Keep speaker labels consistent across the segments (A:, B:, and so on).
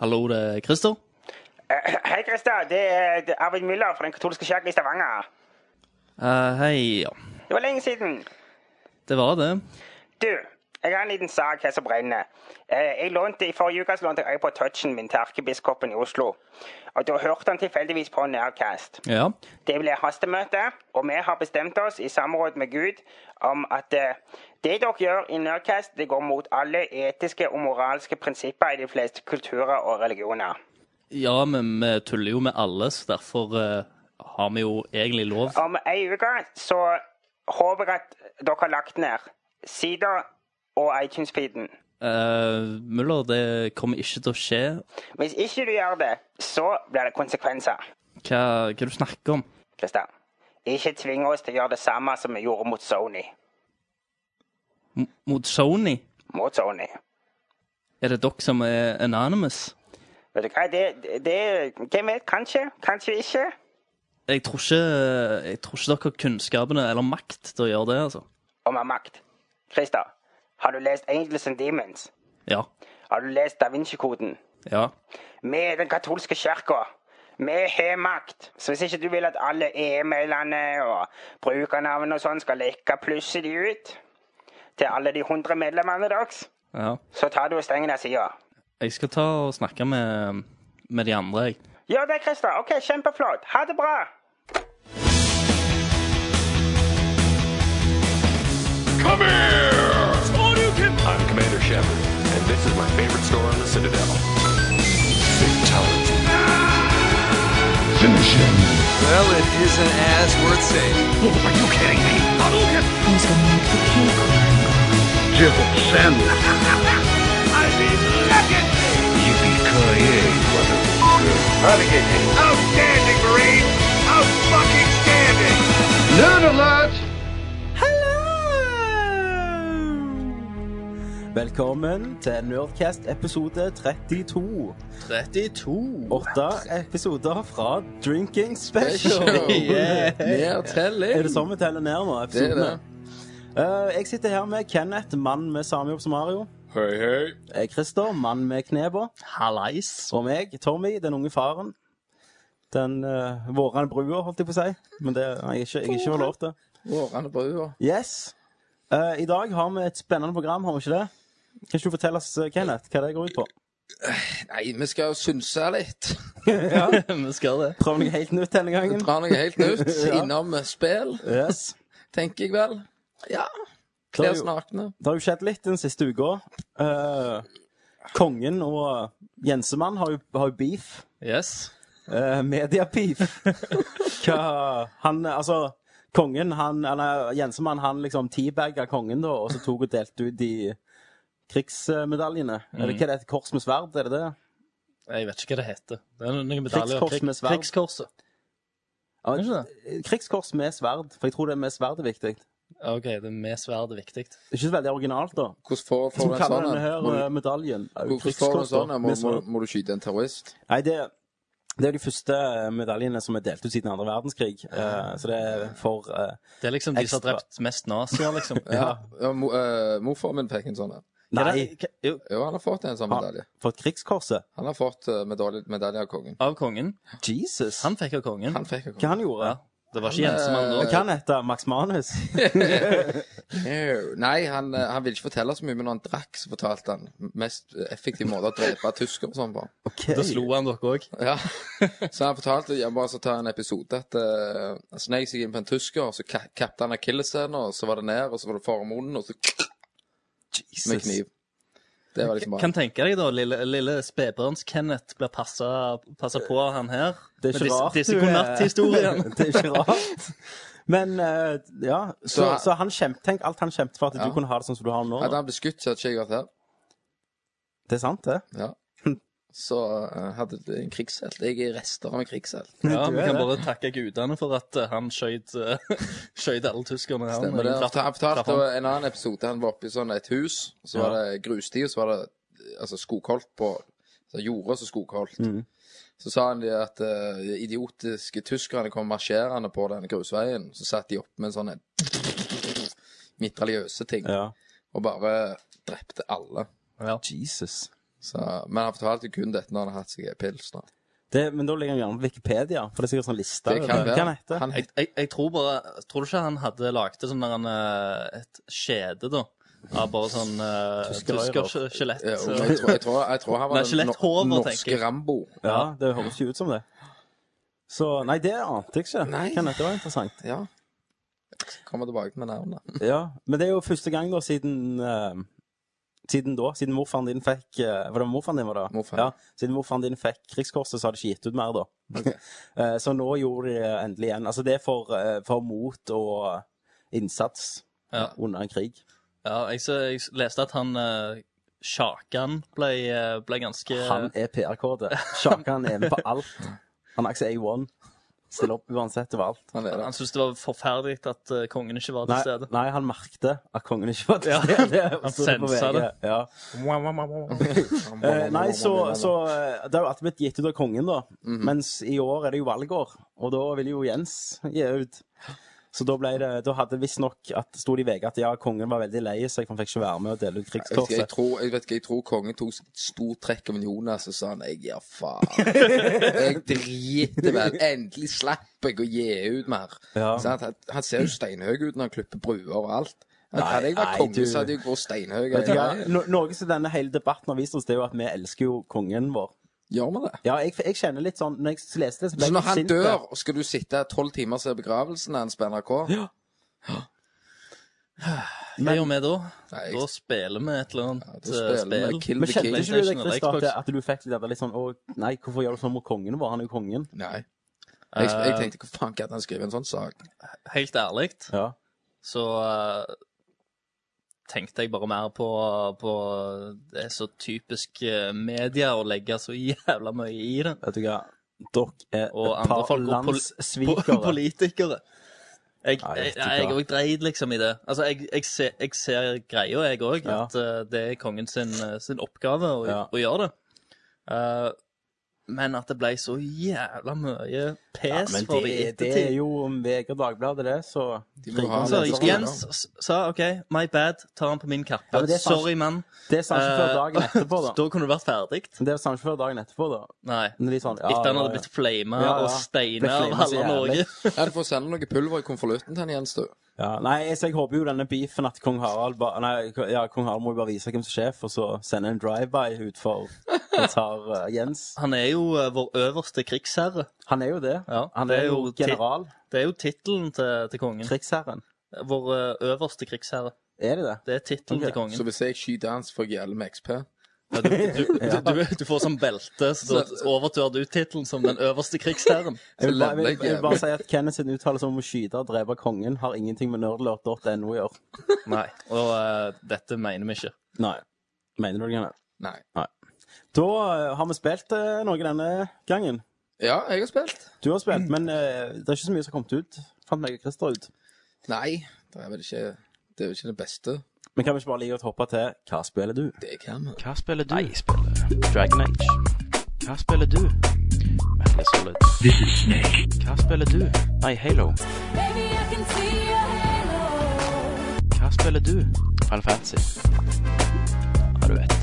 A: Hallo, det er Christer.
B: Eh, Hei, Christer. Det er det er Arvid Müller fra Den katolske kirken i Stavanger.
A: Eh, hei, ja.
B: Det var lenge siden.
A: Det var det.
B: Du, jeg har en liten sak her som brenner. Eh, Jeg lånte, I forrige uke så lånte jeg på touchen min til erkebiskopen i Oslo. Og Da hørte han tilfeldigvis på Nærkast.
A: Ja.
B: Det ble hastemøte, og vi har bestemt oss i samråd med Gud om at eh, det dere gjør i Nærkast, det går mot alle etiske og moralske prinsipper i de fleste kulturer og religioner.
A: Ja, men vi tuller jo med alle, så derfor eh, har vi jo egentlig lov.
B: Om ei uke så håper jeg at dere har lagt ned sider og iTunes-feeden.
A: Uh, Muller, det kommer ikke til å skje.
B: Hvis ikke du gjør det, så blir det konsekvenser.
A: Hva, hva du snakker om?
B: Kristian. Ikke tving oss til å gjøre det samme som vi gjorde mot Sony.
A: M mot Sony?
B: Mot Sony.
A: Er det dere som er anonymous?
B: Vet du hva, det, det- det Hvem vet? Kanskje? Kanskje ikke?
A: Jeg tror ikke, jeg tror ikke dere har kunnskapene eller makt til å gjøre det, altså.
B: Om har makt. Christer, har du lest Angels and Demons?
A: Ja.
B: Har du lest Da Vinci-koden?
A: Ja.
B: Vi er den katolske kirka. Vi har makt. Så hvis ikke du vil at alle e-mailene og brukernavn og sånn skal lekke, plusser de ut til alle de 100 medlemmene deres,
A: ja.
B: så tar du og stenger den sida.
A: Jeg skal ta og snakke med, med de andre, jeg.
B: Gjør det, Christer. OK, kjempeflott. Ha det bra.
C: Come here! I'm Commander Shepard, and this is my favorite store on the Citadel. Fatality. Finish him. Oh,
D: Well, it isn't as worth saying.
C: Are you kidding me?
E: Sen.
C: I mean, look at me! Yippee-ki-yay, motherfucker. Renegade. Outstanding, Marine! Out-fucking standing!
E: Nerd alert!
F: Velkommen til Nerdcast episode 32.
G: 32.
F: Åtte episoder fra Drinking Special. Er det sånn vi teller ned nå?
G: Det er
F: episodene? Eh, jeg sitter her med Kenneth, mann med samme jobb som Mario.
G: Hei, hei.
F: Eh, Christer, mann med kneba.
A: Hallais.
F: Og meg, Tommy, den unge faren. Den uh, vårende brua, holdt jeg på å si. Men det har jeg ikke, jeg har ikke fått lov til.
G: Årene på ua.
F: Yes. Eh, I dag har vi et spennende program, har vi ikke det? Kan ikke du fortelle oss, eh, Kenneth, hva det går ut på?
G: Nei, vi skal synse litt.
A: vi skal det.
F: Prøv noe helt nytt denne gangen.
G: Dra noe helt nytt
F: Ja.
G: innom spill,
F: Yes.
G: tenker jeg vel. Ja. Kle oss nakne.
F: Det har jo skjedd litt den siste uka. Eh, kongen og Jensemann har jo, har jo beef.
A: Yes.
F: Uh, Media-beef. Hva Han Altså, kongen, han Eller Jensemann, han liksom teabagga kongen, da, og så tok og delte ut de krigsmedaljene. Eller hva er det? Kors med sverd? Er det det?
A: Jeg vet ikke hva det heter. Det er noen medaljer.
F: Krigskors med sverd.
A: Krigskorset.
F: Ja, eh,
A: Er det ikke
F: Krigskors med sverd, for jeg tror det med sverd er viktig. Det
A: Ja, OK, det med sverd er viktig.
F: er ikke så veldig originalt, da.
G: Hvordan får får
F: Som
G: du en
F: kaller
G: sånn
F: denne
G: en?
F: her
G: Må
F: eh,
G: du-
F: medaljen? Er jo
G: Hvordan får du en
F: krigskors, da,
G: sånn en? Må,
F: med
G: må,
F: sverd.
G: må du skyte en terrorist?
F: Nei, det, det er jo de første eh, medaljene som er delt ut siden andre verdenskrig.
G: Ah.
F: eh, så det er for eh,
A: Det er liksom de som har
F: Ekstra.
A: drept mest nazier, liksom.
G: Ja. ja mo, eh, morfar min fikk en sånn en.
F: Nei,
A: Hva- jo,
G: Jo, han har fått en sånn
F: Han-
G: medalje.
F: for krigskorset.
G: Han har fått eh, medalje, medalje av kongen.
A: Av kongen.
F: Jesus!
A: Han fikk av kongen.
G: Han fikk av
F: hva
G: kongen.
F: han Eh, gjorde?
A: Ja. Det var ikke Jensemann
F: Hva
A: da.
F: han heter Max Manus?
G: No. Nei, han, eh, han ville ikke fortelle så mye, men når han drakk, så fortalte han mest effektiv måte å drepe tyskere og sånn på.
F: Okay.
A: Da slo han dere òg.
G: Ja. Så han fortalte jeg bare så ta en episode at uh, han snek seg inn på en tysker, og så ka kappte han akilleshælen, og så var det ned, og så var det formunnen, og så med
F: Jesus.
G: kniv. Det var liksom bare
A: Kan tenke deg, da. Lille, lille spedbarns-Kenneth blir passa passa på av han her.
F: Det er
A: Med
F: ikke
A: disse,
F: rart
A: disse
F: du er-
A: godnatthistoriene.
F: Det er ikke rart. Men eh, ja, så,
G: Så-
F: så han kjempe, tenk alt han kjempet for at
G: Ja.
F: du kunne ha det sånn som du har det nå.
G: Hadde han blitt skutt, så hadde ikke jeg vært her.
F: Det er sant, det.
G: Ja. Så eh, hadde det en krigshelt. Jeg er rester av en krigshelt.
A: Ja,
F: Du
A: Vi
F: er
A: kan
F: det.
A: bare takke gudene for at eh, han skjøt eh, skjøt alle tyskerne. Han,
G: Stemmer det. Han
A: Klapp-
G: fortalte- han fortalte
A: klapp han.
G: en annen episode. Han var oppe i sånn et hus, så var det grussti, og så var det eh, altså, skogholt på så Jorda som skogholt. Så sa han de at eh, de idiotiske tyskerne kom marsjerende på denne grusveien. Så satt de opp med en sånn en mitraljøse ting
F: Ja.
G: og bare drepte alle.
A: Ja.
F: Jesus.
G: Så, men han fortalte kun dette når han har hatt seg en pils. Da.
F: Det, men da ligger han gjerne på Wikipedia, for det er sikkert sånn liste.
G: Det kan
F: over- Hva han
G: være.
F: heter
G: Han
A: Jeg,
G: het,
A: jeg, jeg tror bare Tror du ikke han hadde lagd det sånn der han, eh, et skjede, da? Av bare sånn uh,
F: Tyskerøyre.
A: tyskerskjelett.
G: ja, eh, og
A: så-
G: jeg, tror, jeg, tror, jeg tror
A: Nei,
G: han var den
A: skjeletthår,
G: no-
A: nå, tenker
G: norske
A: jeg.
G: Rambo.
F: Ja, det høres jo ut som det. Så Nei, det ante jeg ikke.
G: Nei.
F: Kan dette være interessant?
G: Ja. Kommer tilbake med navnet.
F: Ja, Men det er jo første gang da siden eh, Siden da, siden morfaren din fikk eh, Var det morfaren din, var det?
G: Morfaren.
F: Ja, siden morfaren din fikk krigskorset, så har de ikke gitt ut mer, da. Eh, så nå gjorde de det endelig igjen. Altså, det er for, eh, for mot og innsats
A: Ja.
F: under en krig.
A: Ja, jeg, så, jeg s- leste at han eh, Sjakan ble, eh, ble ganske
F: Han er PR-kode. Sjakan er med på alt. Han er ikke A1. Stiller opp uansett overalt.
G: Han er det.
A: Han syntes det var forferdelig at eh, kongen ikke var til
F: Nei,
A: stede.
F: nei, han merkte at kongen ikke var til
A: Ja.
F: stede.
A: Han
F: Så det på
A: sensa
F: VG,
A: det.
F: Ja. Eh, nei, så, så eh, Det har jo alltid blitt gitt ut av kongen, da.
A: Mhm.
F: Mens i år er det jo valgår, og da vil jo Jens gi ut. Så da ble det, da hadde visstnok Sto det i VG at ja, kongen var veldig lei seg, for han fikk ikke være med og dele ut
G: Jeg vet, ikke, jeg,
F: krigskorset.
G: tror, jeg vet ikke, jeg tror kongen tok et stort trekk om Jonas og sa han, jeg gir faen. Jeg driter vel. Endelig slapp jeg å gi ut mer.
F: Ja.
G: Sant? han, han ser jo steinhøy ut når han klipper bruer og alt. Han,
F: Nei,
G: hadde jeg vært
F: nei,
G: konge,
F: du-
G: så hadde jeg vært steinhøy.
F: Vet du
G: Ja,
F: hva? No, noe som denne hele debatten har vist oss, det er jo at vi elsker jo kongen vår.
G: Gjør vi det?
F: Ja, jeg, jeg kjenner litt sånn Når jeg leste det, så ble
G: Så
F: jeg
G: når han
F: sint.
G: dør, og skal du sitte tolv timer og se begravelsen hans på NRK?
A: Hva gjør vi da?
G: Nei, jeg-
A: Da spiller vi et eller
G: Ja,
A: annet eh,
G: da spiller vi
A: spill.
G: Kill
F: Men
G: the
F: kjente
G: King.
F: ikke du deg,
A: PlayStation eller
F: Christer, at,
A: Xbox?
F: at du fikk litt av det litt sånn Å nei, hvorfor gjør du sånn mot kongen vår? Han er jo kongen.
G: Nei. Jeg, jeg
F: Eh.
G: tenkte, hva faen kan han skrive en sånn sak?
A: Helt ærlig
F: Ja.
A: så eh, tenkte jeg bare mer på, på Det er så typisk eh, media å legge så jævla mye i det.
F: Vet du hva? Dere er
A: Og
F: et
A: andre
F: par
A: folk og pol po-
F: landssvikere.
A: politikere. Jeg
F: Ja, jeg vet
A: jeg-
F: ikke
A: jeg
F: hva.
A: òg dreit liksom i det. Altså, Jeg, jeg, ser, jeg ser greia, jeg òg,
F: Ja.
A: at eh, det er kongen sin, eh, sin oppgave å,
F: Ja.
A: å gjøre det. Eh, men at det ble så jævla mye pes
F: Ja, men
A: for det i
F: det, det er
A: ettertid.
F: jo om VG og Dagbladet, det, så
G: De må ha
A: Så
G: det.
F: sånn.
A: Jens s- sa OK, my bad, tar han på min kappe.
F: Ja, men det er sant.
A: Sorry, mann.
F: Det sa han ikke før
A: Eh,
F: dagen etterpå, da.
A: Da kunne det vært ferdig.
F: Det sa han ikke før dagen etterpå, da.
A: Nei.
F: Men de sånn, ja,
A: Etter han
F: ja,
A: hadde
F: ja.
A: blitt flama
F: Ja, ja.
A: og
F: Ble
A: steina av
F: flamet så
A: halve Norge.
G: Han får sende noe pulver i konvolutten til han, Jens, du.
F: Ja, nei, så jeg håper jo denne beefen at kong Harald ba, Nei, ja, kong Harald må jo bare vise hvem som er sjef, og så sende en drive-by ut for og tar eh, Jens.
A: Han er jo eh, vår øverste krigsherre.
F: Han er jo det.
A: Ja,
F: han
A: det
F: er
A: er
F: jo
A: jo ti-
F: general.
A: Det er jo tittelen til, til kongen.
F: Krigsherren.
A: Vår eh, øverste krigsherre.
F: Er det det?
A: Det er tittelen
F: Ok,
A: til kongen.
G: Så hvis jeg skyter hans, får jeg alle med XP.
A: Ja, du, du, du, du, du får sånn belte, så da overtar du tittelen som den øverste krigsherren.
F: Jeg vil, bare, jeg, vil,
G: lemlegger
F: jeg
G: jeg
F: vil bare si at Kenneth sin uttalelse om å skyte og drepe kongen har ingenting med nerdlurt.no å gjøre.
A: Nei, og eh, dette mener vi ikke.
F: Nei. Mener du det, Kenneth?
G: Nei.
F: Da eh, har vi spilt eh, noe denne gangen.
G: Ja, jeg har spilt.
F: Du har spilt, men eh, det er ikke så mye som har kommet ut. Fant meg og Christer ut.
G: Nei, det er vel ikke det, er vel ikke det beste.
F: Men kan vi ikke bare like godt hoppe til Hva spiller du?
G: Det kan vi.
H: Hva spiller du? Nei, jeg spiller Dragon Age. Hva spiller du? Metal Gear Solid. This is Snake. Hva spiller du? Nei, Halo.
I: Baby, I can see your halo.
H: Hva spiller du? Final Fantasy. Ja, du vet.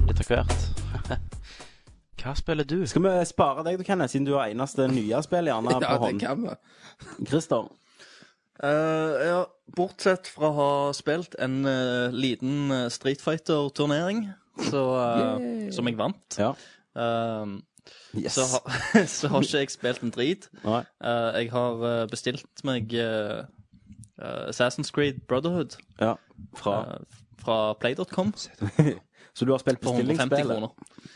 H: Litt av hvert. Hva spiller du?
F: Skal vi spare deg, du, Kenneth, siden du er eneste nye spiller gjerne
G: Ja,
F: på
G: det
F: hånd?
G: kan vi.
F: Christer,
A: Eh, ja, bortsett fra å ha spilt en eh, liten eh, Street Fighter-turnering, så, eh, som jeg vant,
F: Ja.
A: eh,
F: Yes.
A: så, ha, så har ikke jeg spilt en drit.
F: Nei.
A: Eh, jeg har eh, bestilt meg eh, eh, Assassin's Creed Brotherhood
F: Ja. Fra.
A: eh, fra play.com
F: Så du har spilt
A: for 150
F: bestillingsspillet?
A: kroner.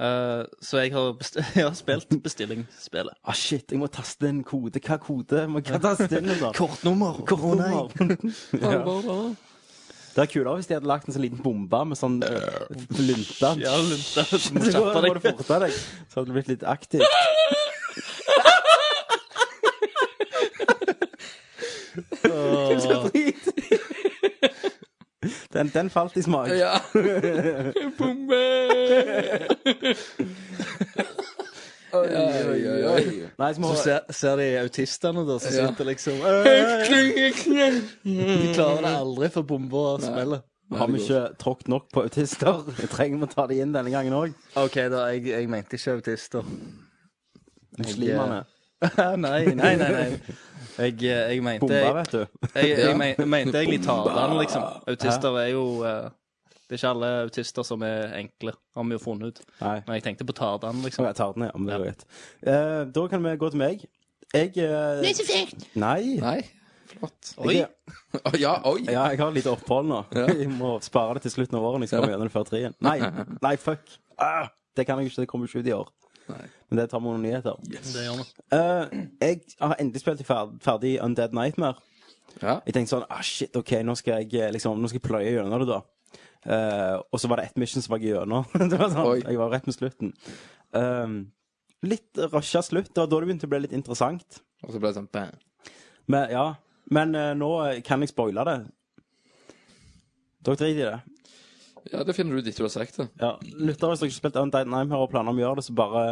A: Eh, så jeg har, best jeg har spilt bestillingsspillet.
F: Ah, shit, jeg må taste inn en kode. Hva kode? Må jeg taste inn under?
A: Kortnummer!
F: Kortnummer. ja. Det er kulere hvis de hadde lagt en sånn liten bombe med sånn øh, lunte.
A: Ja, lunta. Du må
F: Så
A: kjappe
F: går- går
A: deg.
F: det fortere deg. Så hadde du blitt litt aktiv. Den, den falt i smak.
G: Ja. Bombe! oi, oi, oi.
F: Nei, så må
A: Så ser, ser de autistene, da, som sitter liksom «Øh, De klarer det aldri, for bomba smeller.
F: Har vi ikke tråkket nok på autister? Vi trenger å ta de inn denne gangen òg.
A: OK, da. Jeg, jeg mente ikke autister. eh,
F: Muslimene.
A: nei, nei, nei. nei. Jeg, eh, jeg mente
F: Bomba, vet du.
A: Jeg, jeg,
G: Ja.
A: men- mente egentlig talene, liksom. Autister er jo eh, Det er ikke alle autister som er enkle, har vi jo funnet ut.
F: Nei.
A: Men jeg tenkte på tardene,
F: Så
A: liksom.
F: jeg tar den, ja. Men det er greit. Eh, da kan vi gå til meg. Jeg eh,
I: Ikke fint.
F: Nei.
G: Nei. Flott.
A: Oi!
F: Jeg,
G: Å, Ja, oi.
F: ja, jeg har litt opphold nå. Jeg må spare det til slutten av året når jeg skal gjennom det før trien. Nei, nei, fuck. Ah, det kan jeg ikke. Det kommer ikke ut i år. Men det tar vi noen nyheter.
A: Det gjør vi.
F: Eh, jeg har endelig spilt fer- ferdig Undead Nightmare.
G: Ja.
F: Jeg tenkte sånn ah, Shit, OK, nå skal jeg eh, liksom, nå skal jeg pløye gjennom det, da. Eh, og så var det ett mission som var jeg gjennom. det var sånn,
G: Oi.
F: jeg var rett med slutten. Um, litt rusha slutt. Det var da det begynte å bli litt interessant.
G: Og så ble det sånn bang.
F: Men, ja. Men eh, nå eh, kan jeg spoile det. Dere driter i det.
G: Ja, det finner du dit du har sagt det.
F: Ja. Lytter, hvis dere ikke har spilt Undead Nightmare og planer om å gjøre det, så bare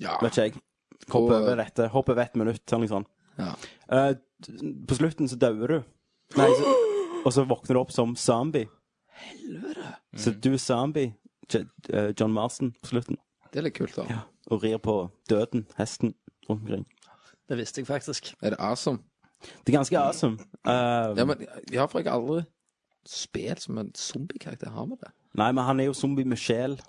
G: Ja.
F: Vet ikke jeg. Hopp
G: Og- eh,
F: over dette. Hopp over ett minutt. Eller noe sånt.
G: ja.
F: Eh, på slutten så dauer du. Nei, så, og så våkner du opp som zombie. Helvete. Så du er zombie, J eh, John Marston, på slutten.
G: Det er litt kult, da.
F: Og rir på døden, hesten, rundt omkring.
A: Det visste jeg faktisk.
G: Er det awesome?
F: Det er ganske awesome. Eh,
G: Ja, men ja, for jeg har aldri spilt som en zombiekarakter. Har vi det?
F: Nei, men han er jo zombie med sjel,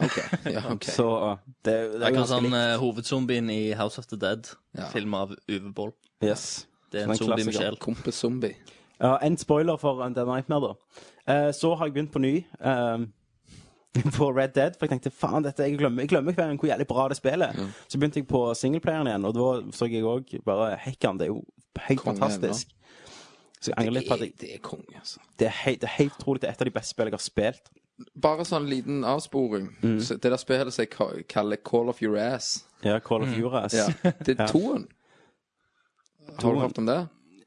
G: OK. Ja, ok.
F: så eh, det, er- det er jo
A: Akkurat
F: ganske
A: som
F: likt.
A: eh, hovedzombien i House of the Dead,
G: Ja.
A: film av Uwe Boll.
F: Yes.
A: Det er
F: Som en
A: en zombie med
F: klassiker.
A: sjel.
G: Kompis-zombie.
F: Ja, en spoiler for Undead Nightmare, da. Eh, så har jeg begynt på ny eh, på Red Dead, for jeg tenkte faen, dette jeg glemmer, jeg glemmer hver gang hvor jævlig bra det spillet. Så begynte jeg på singleplayeren igjen, og da så jeg òg bare Hekkan, det er jo helt
G: Konge,
F: fantastisk. Så jeg angrer litt på at
G: Det,
F: jeg,
G: det er konge, altså.
F: det er helt, det er helt utrolig det er et av de beste spillene jeg har spilt.
G: Bare sånn liten avsporing.
F: Mm.
G: Så Det der spillet som jeg ka- kaller Call of Your Ass.
F: Ja, Call of Juras.
G: Mm. Ja. Det er toen. Har du hørt om det?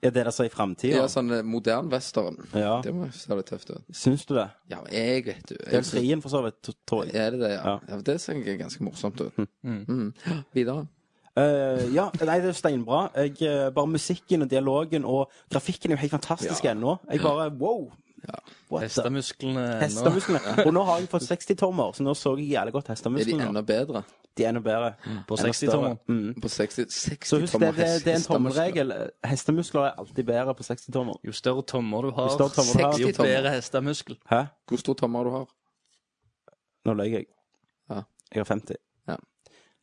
F: Er det det som er i
G: Det
F: framtida?
G: er sånn eh, modern western.
F: Ja.
G: Det må jeg se litt tøft ut.
F: Syns du det?
G: Ja, men jeg vet du.
F: Det er
G: Jeg,
F: jo trien, for så vidt, t- tror jeg.
G: er det det, ja?
F: Ja. Hm.
G: ja. Det ser jeg er ganske morsomt ut. Mm. Videre.
F: Eh, ja, nei, det er steinbra. Jeg, eh, bare musikken og dialogen og grafikken er jo helt fantastisk ennå. Jeg bare wow! What the-
A: Hestemusklene ennå.
F: Hestemusklene. Og nå har jeg fått 60-tommer, så nå så jeg jævlig godt
G: Er de Mm,
F: hestemusklene.
G: enda bedre?
F: de er enda bedre.
A: På
F: Enda
A: 60-tommer.
F: større. Mm.
G: På 60
F: Så husk, det,
G: 60-tommer
F: det, det er en
G: hest- hestemuskler.
F: tommelregel. Hestemuskler er alltid bedre på 60-tommer.
A: Jo større tommer du
F: Jo
A: har,
F: større tommer du har.
A: jo
G: 60 tommer.
A: bedre hestemuskel.
F: Hæ?
G: Hvor stor tommer du har?
F: Nå løy jeg.
G: Ja.
F: Jeg har 50.
G: Ja.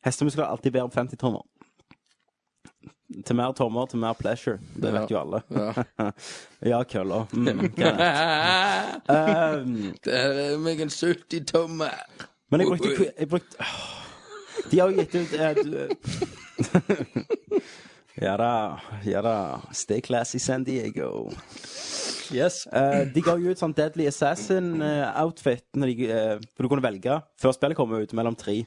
F: Hestemuskler er alltid bedre på 50-tommer. Til mer tommer, til mer pleasure. Det vet
G: Ja.
F: jo alle.
G: Ja.
F: Ja, kølla. Mm, greit. Ehm,
G: Der er meg en 70-tommer!
F: Men jeg brukte, jeg brukte De har jo gitt ut eh, du, Ja da, ja da. Stay classy, San Diego.
A: Yes.
F: Eh, de ga jo ut sånn Deadly Assassin-outfit når de, eh, for du kunne velge før spillet kom ut, mellom tre.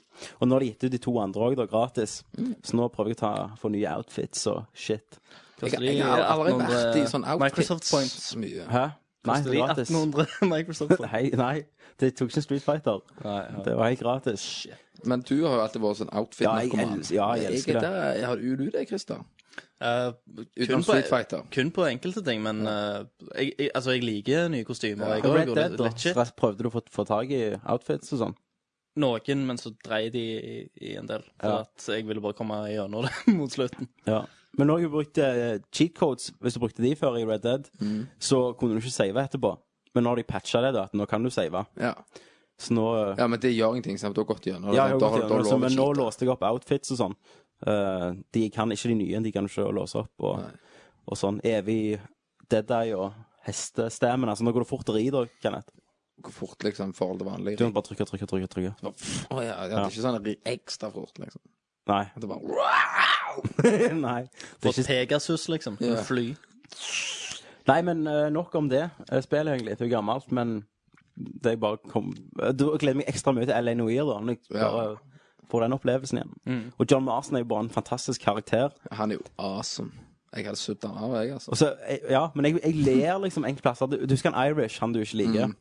F: Og nå har de gitt ut de to andre òg, gratis. Så nå prøver jeg å ta, få nye outfits og shit.
A: Koster de
G: Jeg Altså, har aldri vært i
A: 1800
G: sånn outfits
A: Microsoft Points.
G: så mye.
F: Hæ? Nei,
A: Koster
F: det
A: de
F: er gratis.
A: 1800 Microsoft Points.
F: Nei, nei, det tok ikke Street Fighter. Det var helt gratis.
G: Men du har jo alltid vært sånn
F: Ja, jeg
G: outfit-narkoman.
F: elsker- ja, jeg elsker det.
G: Jeg har du det, Christer?
A: Eh,
G: Utenom
A: på-
G: Street Fighter.
A: kun på enkelte ting, men eh, jeg, jeg, altså, jeg liker nye kostymer. Jeg,
F: Og
A: også,
F: Red
A: og
F: Dead,
A: det- litt shit.
F: da. Prøvde du å få, få tak i outfits og sånn?
A: Noen, men så dreide de i, i en del. For
F: Ja.
A: at jeg ville bare komme gjennom det mot slutten.
F: Ja. Men når jeg brukte eh, cheat codes, hvis du brukte de før i Red Dead, så kunne du ikke save etterpå. Men nå har de patcha det, da, at nå kan du save.
G: Ja.
F: Så nå eh,
G: ja, men det gjør ingenting. Sant? Du har gått gjennom det.
F: Ja, jeg har
G: Da
F: gått
G: du-
F: gjennom
G: da
F: det, så-
G: lover
F: men
G: du
F: nå
G: ikke.
F: låste jeg opp outfits og sånn. Eh, de kan ikke de nye, de kan ikke låse opp og, og sånn. Evig Deadeye og hestestemmen. Altså, nå går det fort å ri, da, Kenneth.
G: Hvor fort liksom forhold til vanlig.
F: Du kan bare trykke, trykke, trykke. trykke.
G: Å ja, ja, det er ikke sånn ri- ekstra fort, liksom.
F: Nei.
G: Det er bare wow!
F: Nei.
A: For
F: Det er ikke...
A: Pegasus, liksom.
G: Ja.
A: Fly.
F: Nei, men eh, nok om det. Eh, Spillet er egentlig litt gammelt, men det jeg bare kom Jeg gleder meg ekstra mye til L.A. Noir, da, når jeg bare får den opplevelsen igjen. Og John Marston er jo bare en fantastisk karakter.
G: Han er jo awesome. Jeg hadde sudd han av, jeg, altså.
F: Og så, eh, ja, men jeg, jeg ler liksom enkelte plasser. Du, du husker han Irish, han du ikke liker?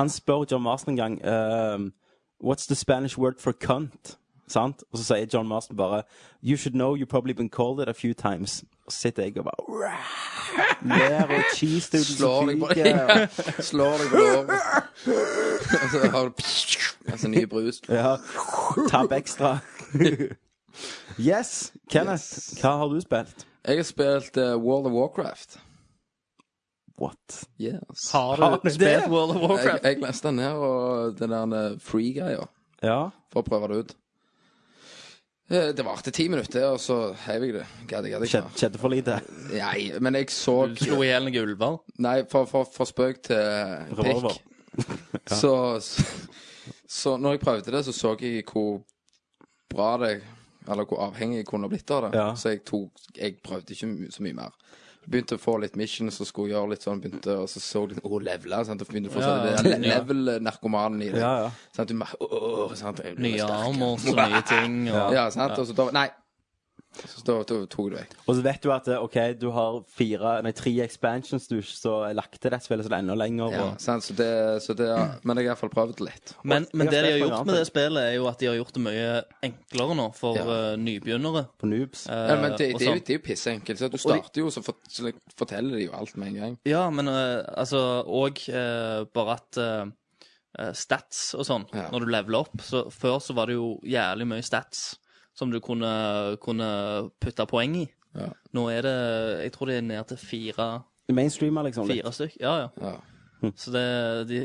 F: Han spør John Marston en gang ehm, What's the Spanish word for cunt? Sant? Og så sier John Marston bare You should know you've probably been called it a few times. Og så sitter jeg og bare "Wah!" Ler og cheese doodles
G: Slår deg på
F: og fyker.
G: Slår deg på låret. Og så har du altså, ny brus.
F: Ja. Tab ekstra. Yes, Kenneth, hva har du spilt?
G: Jeg har spilt eh, World of Warcraft.
F: What?
G: Yes.
A: Har
F: Har
A: du
F: du
A: spilt
F: det?
A: World of
G: Jeg,
A: Warcraft?
G: jeg leste den ned, og den der eh, free-greia,
F: Ja.
G: for å prøve det ut. Eh, Det varte ti minutter, og så heiv jeg det. Gadd jeg gadd ikke.
F: Skjedde, skjedde for lite.
G: Nei, men jeg så
A: Du slo i hjel noen ulver.
G: Nei, for, for, for spøk til
F: Revolver.
G: pikk. så, så, så når jeg prøvde det, så så jeg hvor bra det Eller hvor avhengig jeg kunne blitt av det.
F: Ja.
G: Så jeg, tok, jeg prøvde ikke my- så mye mer. Begynte å få litt missions og skulle gjøre litt sånn, begynte, og så så jeg litt Å, levele. Sant? Og begynte å få
A: Ja,
G: sånn,
A: ja.
G: det le- level-narkomanen i det.
F: Ja, ja.
G: Sant? Sånn Du merker Å, å, å, sant? sånn Jeg blir
A: Nye
G: sterk.
A: armer og nye ting. Og...
G: Ja, sant? Og så da Nei. Så da, da tok jeg det vekk.
F: Og så vet du at eh, ok, du har fire, nei, tre expansions du ikke så lagt til det spillet, så det er enda lenger.
G: Ja,
F: Og...
G: sant? Så det, så det Men jeg har iallfall prøvd det litt.
A: Men, men
F: Jeg har
A: det de har
F: spilt
A: gjort
F: mange
A: med
F: andre
A: det spillet, er jo at de har gjort det mye enklere nå for
G: Ja.
A: eh, nybegynnere.
F: På noobs.
A: eh,
G: Ja, men det,
A: og
G: det, er jo,
A: sånn.
G: det er jo pisseenkelt. Så du starter jo, så, fort- så forteller de jo alt med en gang.
A: Ja, men eh, altså Og eh, bare at eh, eh, stats og sånn,
G: Ja.
A: når du leveler opp så Før så var det jo jævlig mye stats som du kunne, kunne putte poeng i.
G: Ja.
A: Nå er det Jeg tror det er ned til fire,
F: Mainstreamer, liksom. litt.
A: fire stykk. Ja, ja.
G: Ja.
A: Så det, de,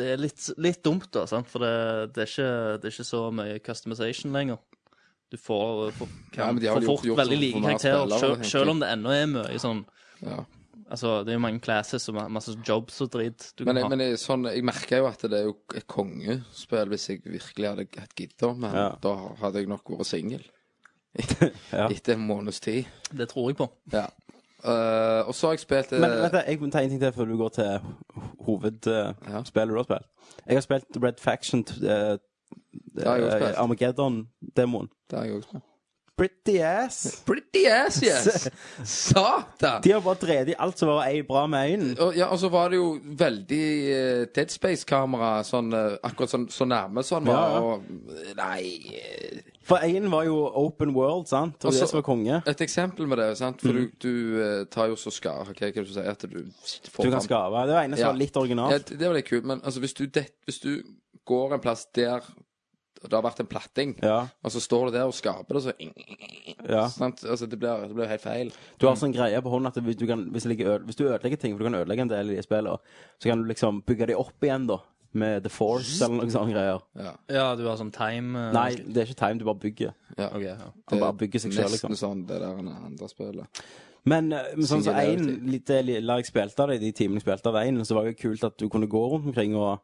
A: det er litt, litt dumt, da, sant? for det, det, er ikke, det er ikke så mye customization lenger. Du får, får, kan,
G: Ja, men de
A: får
G: har vel
A: fort
G: gjort- gjort
A: veldig
G: sånn
A: like
G: for mange
A: karakterer,
G: spillere,
A: selv,
G: tenker
A: selv
G: jeg.
A: om det ennå er mye sånn
G: Ja.
A: Altså, det er jo mange classes og ma- masse jobs og drit du
G: Men,
A: kan ha.
G: jeg- men jeg, sånn, jeg merker jo at det er jo et kongespill hvis jeg virkelig hadde hatt gidda, men
F: Ja.
G: da hadde jeg nok vært singel.
F: Ja.
G: Etter en måneds tid.
A: Det tror jeg på.
G: Ja. Eh, og så har jeg spilt eh,
F: Men vet du, jeg må ta en ting til før du går til hovedspillet
G: Ja.
F: du har spilt. Jeg har spilt Red Faction eh,
G: har jeg også
F: eh,
G: spilt.
F: Armageddon-demoen.
G: Det har jeg også spilt.
F: Pretty ass!
G: Pretty ass, yes! Satan!
F: De har bare drevet i alt som var ei bra med øynene.
G: Og, ja, og så var det jo veldig eh, Dead Space-kamera sånn, eh, akkurat sånn, så nærme sånn var.
F: Ja, ja.
G: Og, nei eh,
F: For én var jo open world, sant? Og
G: Og så-
F: det som var konge.
G: Et eksempel med det, sant?
F: Mm.
G: for du, du eh, tar jo så skade Hva hva er det du sier? At du
F: Du
G: sitter
F: kan
G: foran-
F: skave. Det var ene som
G: Ja.
F: var litt
G: Ja,
F: originalt.
G: det det var litt kult, men altså, hvis, du det, hvis du går en plass der det har vært en platting,
F: Ja.
G: og så står du der og skaper det, så
F: ja.
G: sant? Altså, det, blir, det blir helt feil.
F: Du har sånn greie på hånden at hvis du, kan, hvis, det ligger øde, hvis du ødelegger ting, for du kan ødelegge en del i de spillene, så kan du liksom bygge de opp igjen, da. Med The Force eller noen sånne greier.
G: Ja.
A: Ja, du har sånn time eh,
F: Nei, det er ikke time, du bare bygger.
G: ja.
A: ok, ja.
F: Han bare bygger seg selv,
G: Nesten
F: liksom.
G: sånn det der andre spillet.
F: Men eh, men sånn som
G: Singularity.
F: en, litt det lille jeg spilte av det, de timene jeg spilte av en, så var det jo kult at du kunne gå rundt omkring og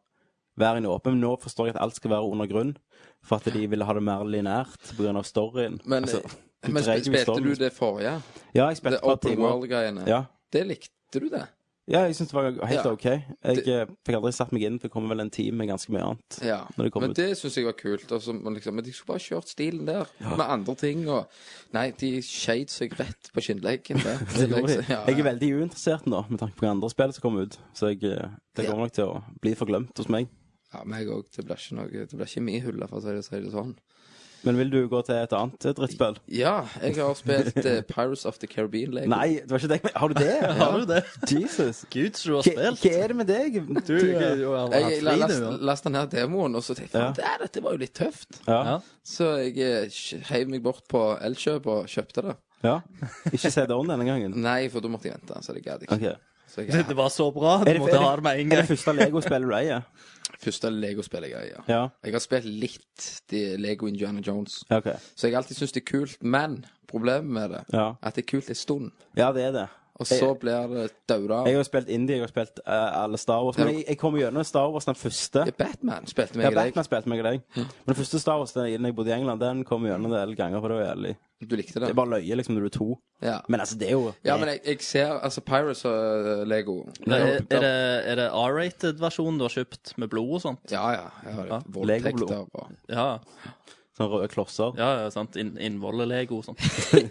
F: være i en åpen. Men nå forstår jeg at alt skal være under grunn, for at de ville ha det mer linært pga. storyen.
G: Men,
F: Altså,
G: eh, men
F: dreier
G: sp
F: jo i
G: spilte
F: stormen.
G: du det forrige?
F: ja, jeg
G: Det
F: spilte et par
G: Open
F: timer.
G: World-greiene?
F: Ja.
G: Det likte du, det?
F: ja, jeg syns det var helt
G: Ja.
F: OK. Jeg eh, fikk aldri satt meg inn, for det kommer vel en time med ganske mye annet.
G: Ja.
F: Når det kom
G: men
F: ut.
G: det syns jeg var kult. Altså, men, liksom, men de skulle bare kjørt stilen der, med andre ting og Nei, de skeit seg rett på skinnleggen der.
F: Det gjorde de.
G: liksom- Ja,
F: Jeg er veldig uinteressert nå, med tanke på andre spill som kommer ut. Så jeg, eh, det
G: Ja.
F: kommer nok til å bli forglemt hos meg.
G: ja, men jeg òg. Det blir ikke noe Det blir ikke mye huller, for å si det, si det sånn.
F: Men vil du gå til et annet eh, drittspill?
G: Ja, jeg har spilt eh, Pirates of the Caribbean Lego.
F: Nei, det var ikke det. jeg men- Har du det?
A: Har du det?
F: Jesus.
A: Gud, så du har
F: Hva,
A: spilt.
F: hva er det med deg?
A: Du, du, du har hatt
G: Jeg, jeg
A: fri,
G: leste
A: du, ja.
G: leste den her demoen, og så tenkte jeg
F: Ja.
G: "Faen, det er- dette var jo litt tøft.
F: Ja.
G: Så jeg eh, kj- heiv meg bort på Elkjøp og kjøpte det.
F: ja. Ikke CD-on denne gangen.
G: Nei, for da måtte jeg vente. Så det gadd jeg ikke.
F: Ok. Er
G: Så jeg-
A: Det, det var så bra. Du
F: det-
A: måtte
F: er det-
A: ha det med en
F: det
A: gang.
F: første Lego-spillet du eier?
G: Første legospillet jeg eier.
F: Ja.
G: Jeg har spilt litt de Lego Indiana Jones.
F: Ja, ok.
G: Så jeg alltid syns det er kult, men problemet med det
F: Ja.
G: at det er kult en stund,
F: ja, det er det.
G: og så blir det dauda.
F: Jeg har jo spilt Indie, jeg har spilt eh, alle Star Wars. Men jeg, jeg kom gjennom Star Wars den første.
G: Batman spilte
F: Ja,
G: meg i
F: Batman spilte meg og deg. Men den første Star Wars den jeg- den jeg bodde i England, den kom gjennom en del ganger. For det var jævlig
G: deg. Du likte
F: Det
G: det.
F: er bare løye liksom når du er to.
G: Ja.
F: Men altså, det er jo
G: ja, men jeg, jeg ser altså Pirates og Lego
A: Er, er det, er det R-rated versjonen du har kjøpt med blod og sånt?
G: Ja, ja. ja, det er Voldtekter
F: Lego-blod.
G: og
A: Ja,
F: sånne sånn røde klosser. Ja.
A: ja, ja sant. In, Innvolle-lego og sånt.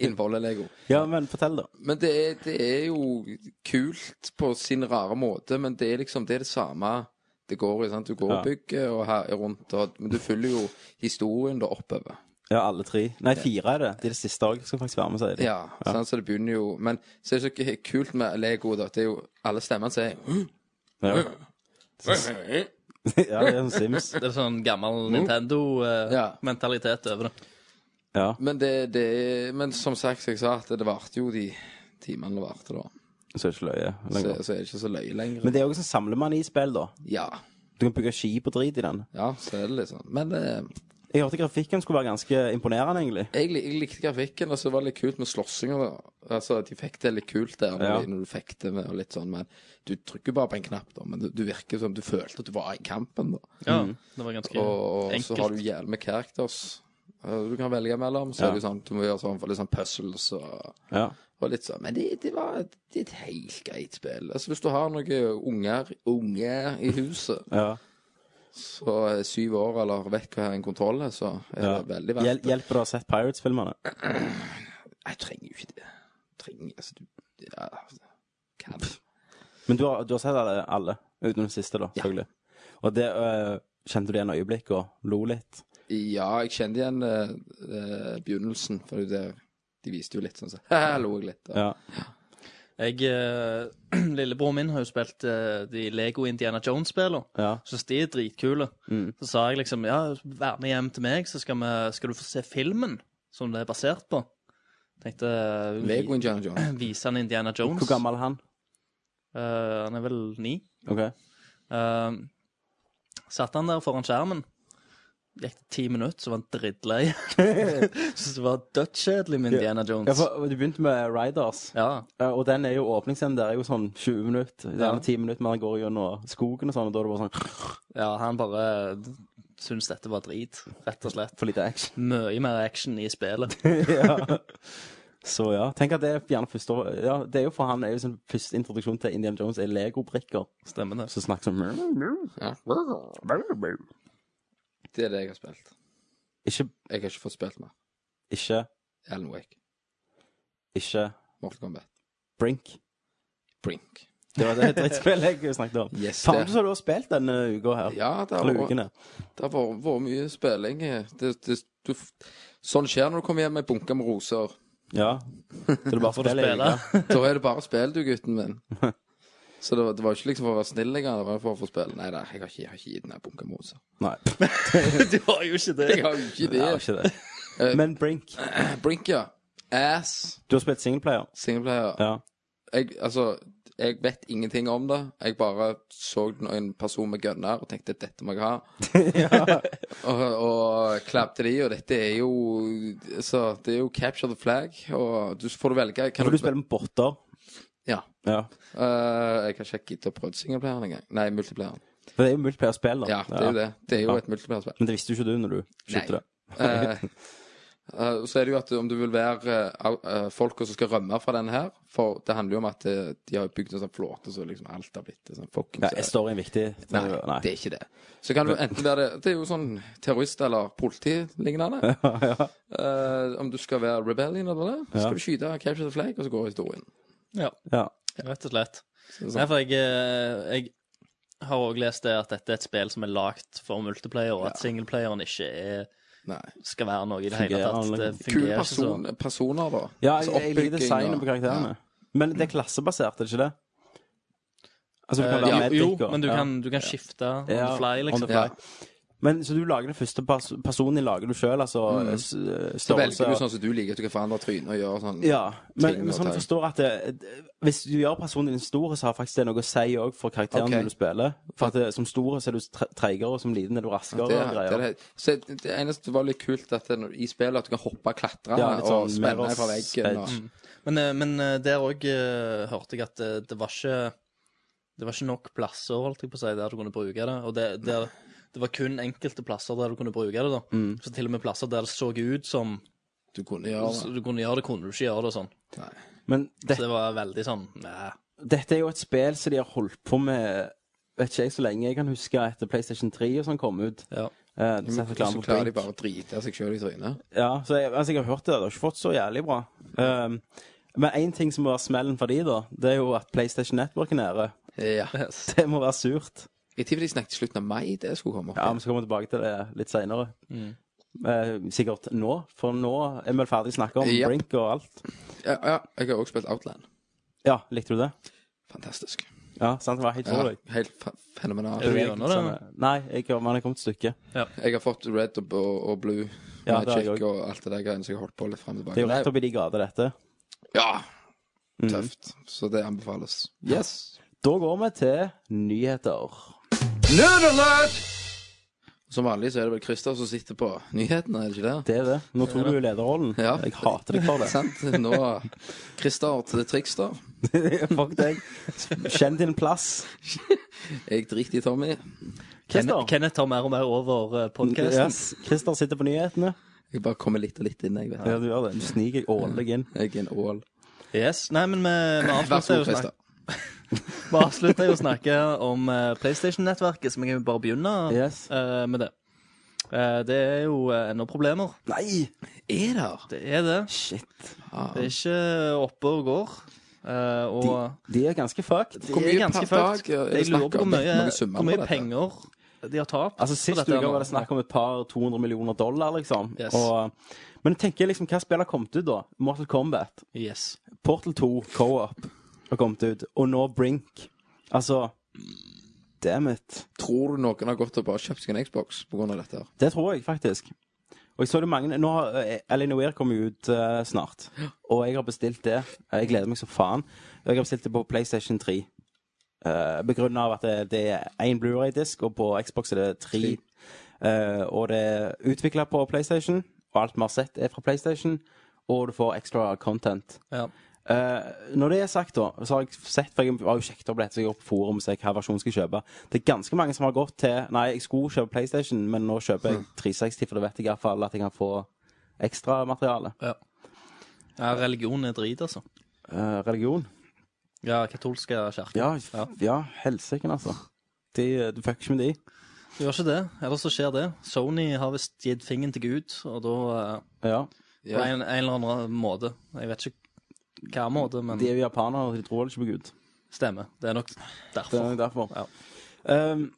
G: innholdet Lego.
F: men fortell, da.
G: Men det er, det er jo kult på sin rare måte, men det er liksom det, er det samme det går i. sant? Du går og
F: Ja.
G: bygger og her rundt, og, men du følger jo historien da oppover.
F: Ja, alle tre. Nei, fire er det. De er det siste òg. Skal faktisk være med, sier de.
G: Ja, sant, så det begynner jo Men så er det så k- kult med Lego, da. at Det er jo alle stemmene som er
F: Ja. ja, det er en Sims.
A: Det er sånn gammel
G: Mm.
A: Nintendo-mentalitet over det.
F: Ja.
G: Men det, det er Men som sagt, som jeg sa, at det varte jo de timene det varte, da.
F: Så er det ikke løye.
G: Så, så er det ikke så løye lenger.
F: Men det er òg sånn samlemann i spill, da.
G: Ja.
F: Du kan bygge skip og drit i den.
G: Ja, så er det liksom. Men eh,
F: Jeg hørte grafikken skulle være ganske imponerende, egentlig.
G: jeg, lik- jeg likte grafikken, og så var det litt kult med slåssinga. Altså, de fikk det litt kult der når,
F: Ja.
G: de- når du fikk det med, og litt sånn, men du trykker bare på en knapp, da. Men du, du virker som du følte at du var i kampen, da.
A: Ja, det var ganske
G: Mm. Og, og så har du
A: enkelt.
G: jævlig med characters eh, du kan velge mellom. Så
F: Ja.
G: er det jo sånn, du må gjøre sånn for litt sånn puzzles og,
F: Ja.
G: og litt sånn. Men det, det var et, det er et helt greit spill. Altså Hvis du har noen unger, unge i huset,
F: ja.
G: så er syv år eller vekk hva en kontroll er, så er
F: Ja.
G: det veldig
F: Hjel
G: verdt det.
F: hjelper det å ha sett Pirates-filmerne?
G: Jeg trenger jo ikke det. Trenger, altså, du, ja, altså, kan.
F: Men du har, du har sett alle, alle utenom den siste, da, selvfølgelig. Og det øh, Kjente du igjen øyeblikk og lo litt?
G: Ja, jeg kjente igjen eh, eh, begynnelsen, for det, de viste jo litt sånn, så jeg lo jeg litt. da.
F: Ja.
A: Jeg, eh, Lillebroren min har jo spilt eh, de Lego Indiana Jones-spillene.
F: Ja.
A: Syns de er dritkule.
G: Mm.
A: Så sa jeg liksom ja, vær med hjem til meg, så skal, vi, skal du få se filmen som det er basert på. Tenkte eh, vi-
G: Lego Indiana Jones.
A: Vise han Indiana Jones.
F: Hvor gammel er han?
A: Eh, han er vel ni.
F: Ok.
A: Eh, satt han der foran skjermen. Gikk det ti minutter, så var han drittlei. Syns det var dødskjedelig med Indiana Jones.
F: Ja, for Du begynte med Riders.
A: Ja,
F: Eh, Og den er jo åpningsscenen der er jo sånn 20 minutter. Det
A: Ja.
F: er 10 minutter, men han går gjennom skogen og sånn, og da er det bare sånn
A: ja, han bare syns dette var drit, rett og slett.
F: for lite action.
A: Mye mer action i spillet.
F: ja. Så ja. Tenk at det er gjerne første Ja, det er jo for han er jo sin første introduksjon til Indian Jones er Lego-brikker.
A: Stemmer det.
F: Så snakker sånn
G: Det er det jeg har spilt.
F: Ikke
G: Jeg har ikke fått spilt mer.
F: Ikke
G: Alan Wake.
F: Ikke
G: Mortal Kombat.
F: Brink.
G: Brink.
F: Det var det drittspillet jeg snakket om.
G: Yes,
F: Faen
G: det-
F: du så du har spilt denne uka her.
G: Ja, det har
F: Eller
G: vært,
F: ukene.
G: det har vært, vært mye spilling. Det, det, du, f- sånn skjer når du kommer hjem med en bunke med roser.
F: Ja. Så du bare
A: Får du
F: spiller i
A: spille?
F: uka.
G: Da er det bare spill, du, gutten min. Så det var, det var ikke liksom for å være snill engang. Det var for å få spille. Nei da, jeg har ikke, jeg har ikke gitt den her bunken med roser.
F: Nei,
A: Du har jo ikke det.
G: Jeg har jo
F: det
G: ikke det.
F: er ikke det.
G: Eh.
F: Men Brink.
G: Brink, ja. Ass.
F: Du har spilt singleplayer.
G: Singleplayer.
F: Ja.
G: Jeg, altså, jeg vet ingenting om det. Jeg bare så den- en person med gunner og tenkte dette må jeg ha.
F: ja.
G: Og, og klapp til de, og dette er jo Så det er jo capture the flag, og du får du velge. Kan
F: For du spiller med botter.
G: Ja.
F: Ja.
G: Eh, jeg har ikke giddet å prøve singleplayeren engang. Nei, multiplayeren.
F: For det er jo multiplayer-spill, da.
G: Ja, det er jo det. Det er jo
F: Ja.
G: et multiplayerspill.
F: Men det visste jo ikke du når du
G: Nei.
F: skytte det.
G: Eh, eh, så er det jo at om du vil være eh, au- eh, folka som skal rømme fra den her For det handler jo om at eh, de har bygd en sånn flåte, så liksom alt har blitt sånn fuckings
F: Ja, er storyen viktig?
G: Nei, det er ikke det. Så kan du enten være det Det er jo sånn terrorist- eller politi-lignende. Eh, om du skal være rebellion eller det, så
F: Ja.
G: skal du skyte capture the flag, og så går historien.
A: Ja,
F: Ja.
A: rett og slett.
G: Så det er
A: Nei,
G: sånn,
A: for jeg, eh, jeg har òg lest det at dette er et spill som er lagd for multiplayer, og at singleplayeren ikke er,
G: nei.
A: skal være noe i det hele
F: Fungerer
A: tatt.
F: han,
A: Det
F: liksom.
G: Kule
A: fungerer ikke sånn.
G: person, personer, da.
F: Ja,
G: Altså,
F: jeg, jeg liker
G: oppbygging
F: designet
G: og-
F: på karakterene.
G: Ja.
F: Men det er klassebasert, er det ikke det? Altså, du
A: Eh,
F: kan være
A: jo,
F: medic
A: jo,
F: og-
A: men du
F: ja.
A: kan, du kan skifte on
F: Ja,
A: the fly,
F: on the
A: liksom.
F: fly. Men Så du lager den første pers personen i lager du sjøl, altså eh, s- eh,
G: Mm. Så velger
F: størrelse
G: du
F: og-
G: sånn som du liker, at du kan forandre trynet og gjøre sånn
F: Ja, men,
G: ting
F: men
G: og
F: sånn jeg
G: tang.
F: forstår at det, det- hvis du gjør personen din stor, så har faktisk det noe å si òg for karakteren
G: Ok.
F: du spiller. For at det, som stor så er du tre- treigere, og som liten er du raskere.
G: Det,
F: og
G: er-
F: greier.
G: det, er- så det eneste var litt kult at det, når- i spillet at du kan hoppe og klatre
F: Ja, litt sånn
G: og spenne
F: Mirror's
G: fra veggen. Og,
F: Edge.
A: Men, eh, men eh, der òg hørte jeg at eh, det var ikke Det var ikke nok plasser holdt jeg på å si, der du kunne bruke det. Og det, der, det var kun enkelte plasser der du kunne bruke det. da.
F: Mm.
A: Så til og med plasser der det så ut som
G: du kunne gjøre
A: så
G: det.
A: du kunne gjøre det, kunne du ikke gjøre det. og sånn.
F: Men det,
A: Så det var veldig sånn Nei.
F: dette er jo et spill som de har holdt på med vet ikke jeg så lenge jeg kan huske etter PlayStation 3 og sånn kom ut.
A: Ja.
F: Eh, det setter
G: Så
F: reklame på
G: klarer de
F: Blink.
G: bare å drite seg sjøl i trynet.
F: Ja, så jeg, altså jeg har hørt det. Det har ikke fått så jævlig bra. Um, men én ting som må være smellen for de da, det er jo at PlayStation Network er nede.
G: Ja.
F: Det må være surt.
G: Jeg tipper de snakket i slutten av mai det skulle komme. opp
F: Ja,
G: igjen.
F: Vi skal komme tilbake til det litt seinere. Eh, sikkert nå, for nå er vi ferdig å snakke om
G: Yep.
F: Brink og alt.
G: Ja, ja, jeg har også spilt Outland.
F: Ja, likte du det?
G: Fantastisk.
F: Ja, sant? Det var helt for
G: Ja,
F: deg.
G: helt fe- fenomenal.
A: Er du gjennom det?
F: Sånn, eh, Nei, jeg, men jeg kom til stykket.
G: Jeg har fått red og, og, og blue
F: Ja, det har jeg
G: magic
F: også.
G: og alt det der greiene, så jeg har holdt på litt frem og tilbake.
F: Det er jo Mm.
G: Nei,
F: rett oppi de grader, dette.
G: Ja. Tøft. Så det anbefales. Yes.
F: Da går vi til nyheter.
E: Nerd alert!
G: Som vanlig så er det vel Christer som sitter på nyhetene, er det ikke det?
F: Det er det. Nå tok du jo lederrollen.
G: Ja.
F: Jeg hater deg for det.
G: Sant? Nå Christer til Trickster.
F: Fuck deg. Kjenn din plass.
G: Jeg driter i Tommy.
A: Kenneth,
F: Christer.
A: Kenneth tar mer og mer over eh, podcasten.
F: Yes. Christer sitter på nyhetene.
G: Jeg bare kommer litt og litt inn, jeg. vet
F: Ja, du gjør det. Du sniker årlig inn.
G: Jeg er en ål.
A: Yes. Nei, men vi, vi
G: Vær
A: avslutter
G: så god,
A: jo snak-
G: Christer.
A: vi avslutter jo å snakke om eh, PlayStation-nettverket, så vi kan jo bare begynne
F: Yes.
A: eh, med det. Eh, det er jo eh, ennå problemer.
F: Nei!
G: Er der?
A: Det er det.
F: Shit.
A: Det er ikke oppe og går. Eh, og
F: De, de er eh, ganske fucked.
G: Hvor
A: det
G: mye
A: er ganske
G: per dag
A: fucked.
G: er det
A: Jeg
G: snakk
A: lurer på hvor
G: om?
A: mye,
G: Noen summer
A: hvor
G: på
A: mye
G: dette?
A: penger de har tapt.
F: Altså
A: på
F: Sist
A: dette
F: uke
A: nå.
F: var det snakk om et par 200 millioner dollar, liksom.
A: Yes.
F: Og, men tenk liksom, hva spill har kommet ut, da? Mortal Kombat,
A: Yes.
F: Portal 2, Co-op har kommet ut, og nå Brink. Altså Damn it.
G: Tror du noen har gått og bare kjøpt seg en Xbox pga. dette? her?
F: Det tror jeg faktisk. Og jeg så det mange Nå har eh, Alien Weir kommer jo ut eh, snart, og jeg har bestilt det. Jeg gleder meg som faen. Og jeg har bestilt det på PlayStation 3. Uh, Begrunna av at det, det er én Blu-ray-disk, og på Xbox er det tre. Eh, og det er utvikla på PlayStation, og alt vi har sett, er fra PlayStation. Og du får ekstra content.
A: Ja.
F: Eh, når det er sagt, da, så har jeg sett For jeg har jo sjekket opp dette, så jeg går på forum og ser hva versjon jeg skal kjøpe. Det er ganske mange som har gått til Nei, jeg skulle kjøpe PlayStation, men nå kjøper jeg 360, for da vet jeg iallfall at jeg kan få ekstramateriale.
A: ja. Religion er drit, altså.
F: Uh, religion?
A: Ja, katolske kirke.
F: Ja, f-
A: Ja.
F: ja helsike, altså. De, du fucker ikke med de.
A: Du gjør ikke det, ellers så skjer det. Sony har visst gitt fingeren til Gud, og da eh,
F: Ja.
A: På en, en eller annen måte. Jeg vet ikke hva måte, men
F: De er jo japanere, og de tror vel ikke på Gud.
A: stemmer. Det er nok
F: Det er
A: derfor.
F: nok Eh, derfor. Um,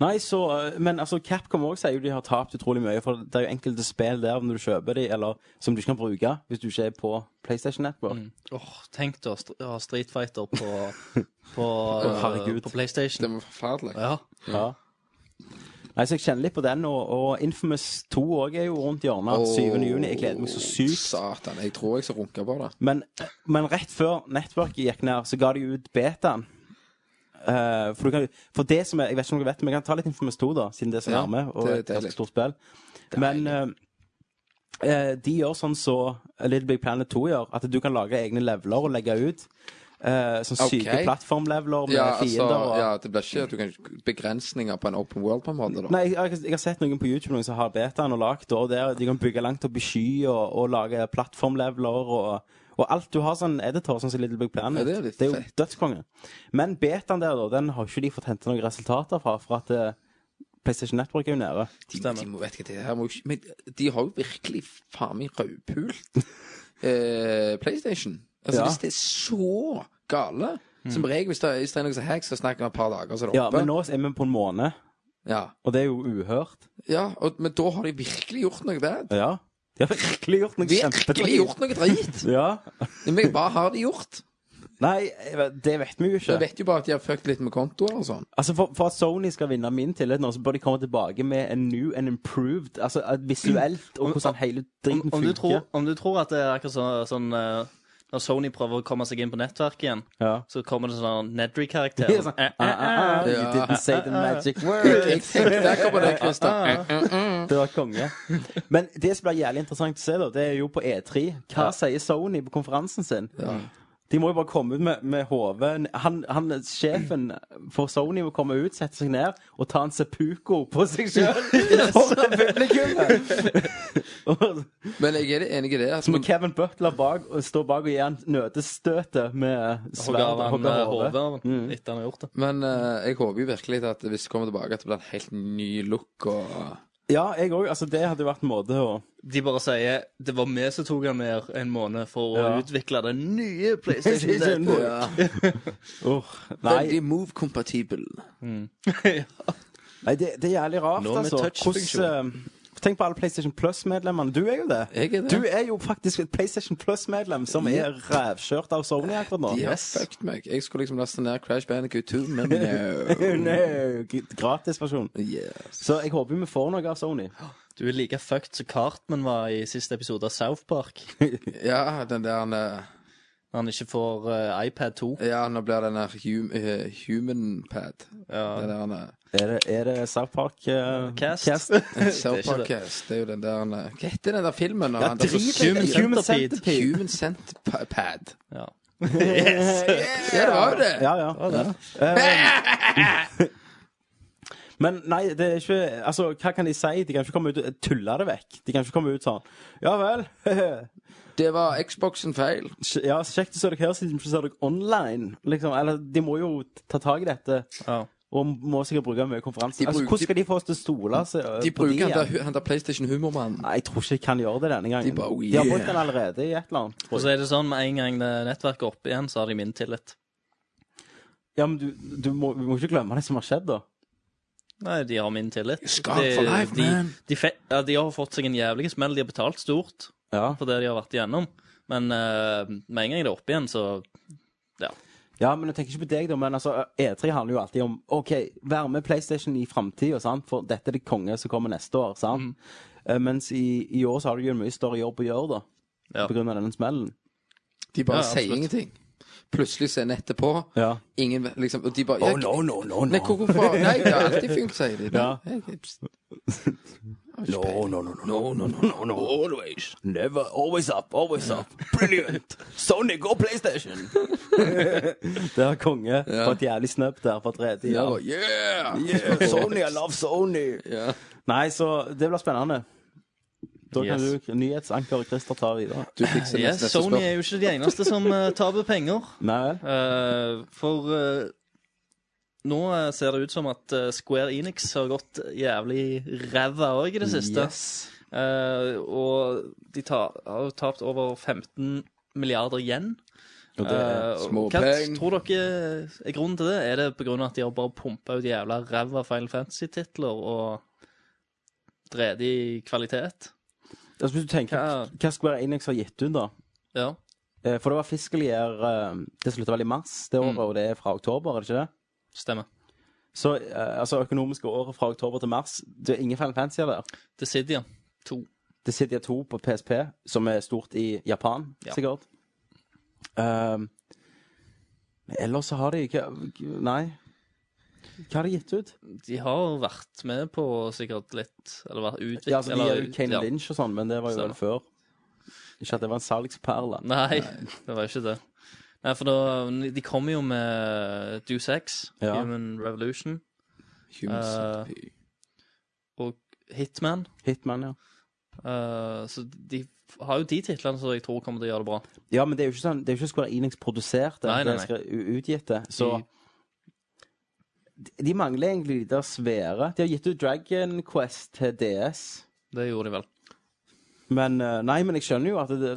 F: nei, så uh, Men altså, Capcom òg sier jo de har tapt utrolig mye. For det er jo enkelte spill der når du kjøper de, eller som du ikke kan bruke hvis du ikke er på PlayStation Network.
A: Åh, tenk deg å st- å ha Street Fighter på, på,
F: herregud.
A: på
G: Det
A: PlayStation.
G: var forferdelig.
A: Ja.
F: Ja. Nei, så Jeg kjenner litt på den, og, og Infamous 2 òg er jo rundt hjørnet. 7. juni. Jeg gleder meg så sykt.
G: Satan. Jeg tror jeg skal runke på det.
F: Men, men rett før nettverket gikk ned, så ga de ut betaen. Eh, for, du kan, for det som er Jeg vet ikke om dere vet, men jeg kan ta litt Infamous 2, da, siden det er så
G: Ja,
F: nærme. Og
G: det er
F: et ganske
G: deilig.
F: stort spill. Men eh, eh, de gjør sånn som så Little Big Planet 2 gjør, at du kan lage egne leveler og legge ut. eh, sånn
G: Ok.
F: syke plattformleveler med
G: Ja, altså,
F: fiender og
G: ja, det blir ikke at du kan begrensninger på en open world, på en måte. da
F: Nei, jeg, jeg, jeg har sett noen på YouTube noen som har betaen og lagd, og der de kan bygge langt opp i sky og, og lage plattformleveler og, og alt. Du har sånn editor, sånn som Little Big Planet.
G: Ja, det er litt
F: jo
G: fett.
F: dødskonge. Men betaen der, da, den har ikke de fått hente noen resultater fra, for at eh, PlayStation Network er jo nede.
G: de, de må vet hva det er. her må jo ikke- Men de har jo virkelig faen meg rødpult eh, PlayStation. Altså,
F: Ja. Mm.
G: hvis det er så gale Som regel, hvis det er, hvis det er noe som hacks, så snakker vi om et par dager, så er det
F: Ja,
G: oppe.
F: men nå er vi på en måned,
G: Ja,
F: og det er jo uhørt.
G: ja og, men da har de virkelig gjort noe bad.
F: Ja. De har virkelig gjort noe
G: Virkelig
F: kjempedritt.
G: gjort noe drit!
F: Ja.
G: Men hva har de gjort?
F: Nei, jeg vet- det vet vi jo
G: Jeg
F: ikke.
G: vet jo bare at de har fucket litt med kontoer og sånn.
F: Altså for, for at Sony skal vinne min tillit nå, så bør de komme tilbake med en new and improved Altså at visuelt, og hvordan hele
A: Om,
F: driten
A: om, du
F: funker.
A: tror, om du tror at det er akkurat så, sånn eh, Når Sony prøver å komme seg inn på nettverket igjen,
F: ja.
A: så kommer det sånn
F: Det
A: Nedry-karakter.
F: er sånn,
A: Eh,
F: ah,
A: eh, eh.
F: ah, ah, You
G: Ja.
F: didn't say the magic
G: Jeg
F: word.
G: tenkte akkurat på det, Christer.
F: Det var konge. Men det som blir jævlig interessant å se, da, det er jo på E3. Hva sier Sony på konferansen sin? De må jo bare komme ut med, med hodet han, han, Sjefen for Sony må komme ut, sette seg ned og ta en sepuko på seg sjøl foran publikummet! Og-
G: Men jeg er enig i det. altså. at
F: Så må
G: man-
F: Kevin Butler bak, stå bak og gi han nødestøtet med
A: Hogger av
F: sverd.
A: han
F: hogger
A: eh,
F: hodet.
A: hodet av han,
F: Mm.
A: etter han har gjort det.
G: Men eh, jeg håper jo virkelig at hvis det kommer tilbake, at det blir en helt ny look og
F: Ja, jeg òg. Altså, det hadde jo vært en måte å
A: De bare sier det var vi som tok han ned en måned for å
F: Ja.
A: utvikle den nye PlayStation.
F: PlayStation.
A: Network.
F: Åh, Nei,
G: move-compatible.
F: nei det, det er jævlig rart,
A: Nå med
F: altså.
A: touchfunksjon.
F: Hvordan, eh, Tenk på alle PlayStation Plus-medlemmene. Du er jo det.
G: Jeg er det.
F: Du er jo faktisk et PlayStation Plus-medlem som er rævkjørt av Sony akkurat nå.
G: De har
A: Yes.
G: fucked meg. Jeg skulle liksom laste ned Crash Bandicoot 2, men no.
F: Oh, no. Gratisversjon.
G: Yes.
F: Så jeg håper vi får noe av Sony.
A: Du er like fucked som Cartman var i siste episode av South Park.
G: Ja, den der eh,
A: Når han ikke får eh, iPad 2.
G: Ja, nå blir den der hum, eh, human pad. Den
A: Ja.
G: der eh,
F: Er det, er det South Park eh,
A: Cast.
F: Cast?
A: ikke
G: South Park Cast. Det er jo den der eh, Hva heter den der filmen? når
F: Ja,
G: han- det er så-
F: drit i det.
G: human,
F: Human
A: Centipede.
F: Centipede.
G: human cent pa- pad.
A: Ja.
G: Ja, det var jo det!
F: Ja, ja. Eh, Men nei, det er ikke Altså, hva kan de si? De kan ikke komme ut og tulle det vekk. De kan ikke komme ut sånn Ja vel.
G: Det var Xboxen feil.
F: ja, kjekt å se dere her, siden vi ikke ser dere online. Liksom. Eller de må jo ta tak i dette.
A: Ja.
F: Og må sikkert bruke mye konferanser.
G: De
F: Altså,
G: bruker-
F: hvordan skal de få oss til å stole seg, eh,
G: De
F: på
G: bruker han
F: igjen?
G: der, han der PlayStation Humormannen.
F: Nei, jeg tror ikke de kan gjøre det denne gangen.
G: De bare, oh,
F: har
G: yeah.
F: brukt den allerede i et eller annet.
A: Og
F: tror jeg.
A: så er det sånn med en gang det nettverket er oppe igjen, så har de min tillit.
F: Ja, men du, du må, vi må ikke glemme det som har skjedd, da.
A: Nei, de har min tillit.
G: scarred for life,
A: de,
G: man.
A: De, fe ja, de har fått seg en jævlig smell. De har betalt stort
F: Ja.
A: for det de har vært igjennom. Men eh, med en gang det er oppe igjen, så
F: Ja, men jeg tenker ikke på deg, da. Men altså, E3 handler jo alltid om OK, vær med PlayStation i framtida, sant? For dette er det konge som kommer neste år, sant? Eh, Mens i, i år så har du jo en mye større jobb å gjøre, da.
A: Ja.
F: På grunn av denne smellen.
G: De bare
A: Ja,
G: sier
A: absolutt.
G: ingenting. Plutselig ser nettet på.
F: Ja.
G: Ingen liksom Og de bare
F: Oh,
G: jeg-
F: no, no, no,
G: Nei,
F: no.
G: hvor- hvorfor? Nei, det har alltid funket, sier de.
F: Ja.
G: Jeg- jeg- pst.
F: No, no, no, no, no, no, no, no. Always. Never. Always up. Always up. Brilliant. Sonic og PlayStation. det var konge.
G: Ja.
F: For et jævlig snøpp der for tredje
G: Ja,
F: år.
G: bare, yeah!
F: Yeah, Sony, I love Sony.
G: Ja.
F: Nei, så det blir spennende. Da kan
A: Yes.
F: du nyhetsankeret Christer ta videre.
G: Du fikser
A: Ja,
G: neste
A: Sony
G: spørsmål.
A: er jo ikke de eneste som eh, taper penger.
F: Nei vel?
A: Eh, for eh, nå eh, ser det ut som at eh, Square Enix har gått jævlig ræva òg i det siste. Eh, og de ta, har jo tapt over 15 milliarder yen.
F: Og det er
A: Eh, og
G: små
A: hva
G: peng.
A: tror dere er grunnen til det? Er det pga. at de har bare pumpa ut jævla ræva Final Fantasy-titler og dredi kvalitet?
F: altså, Hvis du tenker
A: Hva-
F: hva Square Enix har gitt ut, da.
A: Ja.
F: Eh, For det var fiscal year eh, Det slutta vel i mars det
A: Mm.
F: året, og det er fra oktober, er det ikke det?
A: Stemmer.
F: Så eh, altså økonomiske året fra oktober til mars Det er ingen Final Fantasy der.
A: Decidia 2.
F: Det sitter jeg to på PSP, som er stort i Japan,
A: Ja.
F: sikkert. Um, men ellers så har de ikke Nei. Hva har de gitt ut?
A: De har vært med på sikkert litt Eller vært utviklet
F: Ja, altså, de
A: eller-
F: er jo Kane
A: ja.
F: Lynch og sånn, men det var jo vel før. Ikke at det var en salgsperle.
A: Nei, det var ikke det. Nei, for da De kommer jo med Do Sex,
F: Ja.
A: Human Revolution
G: Human
A: Eh,
G: centipede.
A: og Hitman.
F: Hitman, ja.
A: Eh, så de f- har jo de titlene som jeg tror kommer til å gjøre det bra.
F: Ja, men det er jo ikke, sånn, det er jo ikke Square Enix produserte,
A: Nei, nei, nei.
F: det er skre- u- utgitt det. Så de mangler egentlig de der svære. De har gitt ut Dragon Quest til DS.
A: Det gjorde de vel.
F: Men eh, nei, men jeg skjønner jo at det,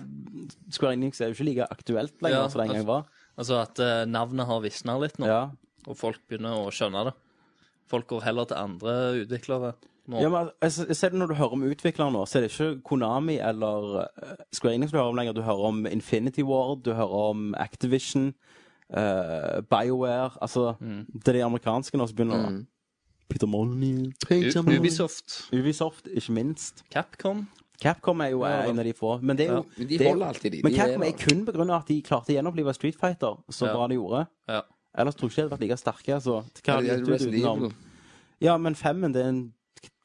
F: Square Enix er jo ikke like aktuelt lenger
A: Ja,
F: som det en gang var.
A: Altså at eh, navnet har visna litt nå,
F: Ja.
A: og folk begynner å skjønne det. Folk går heller til andre utviklere nå.
F: ja, men altså, jeg ser det Når du hører om utviklere nå, så er det ikke Konami eller eh, Square Enix du hører om lenger. Du hører om Infinity Ward, du hører om Activision, eh, BioWare Altså,
A: Mm.
F: det er de amerikanske nå som begynner
G: Mm.
F: å Peter Molyneux,
A: U- Ubisoft,
F: Ubisoft, ikke minst.
A: Capcom
F: Capcom er jo
A: Ja,
F: en av de få. Men det er jo
A: Ja,
G: Men de
F: det er jo-
G: holder alltid de.
F: Men
G: de
F: Capcom
G: er
F: er
G: der.
F: kun pga. at de klarte å gjenopplive Street Fighter så
A: Ja.
F: bra de gjorde.
A: Ja.
F: Ellers tror jeg ikke de hadde vært like sterke. Altså. Hva
G: Ja,
F: hadde
G: de
F: de
G: er
F: gitt ut
G: Resident
F: utenom-
G: Evil.
F: Ja, men femmen, det er en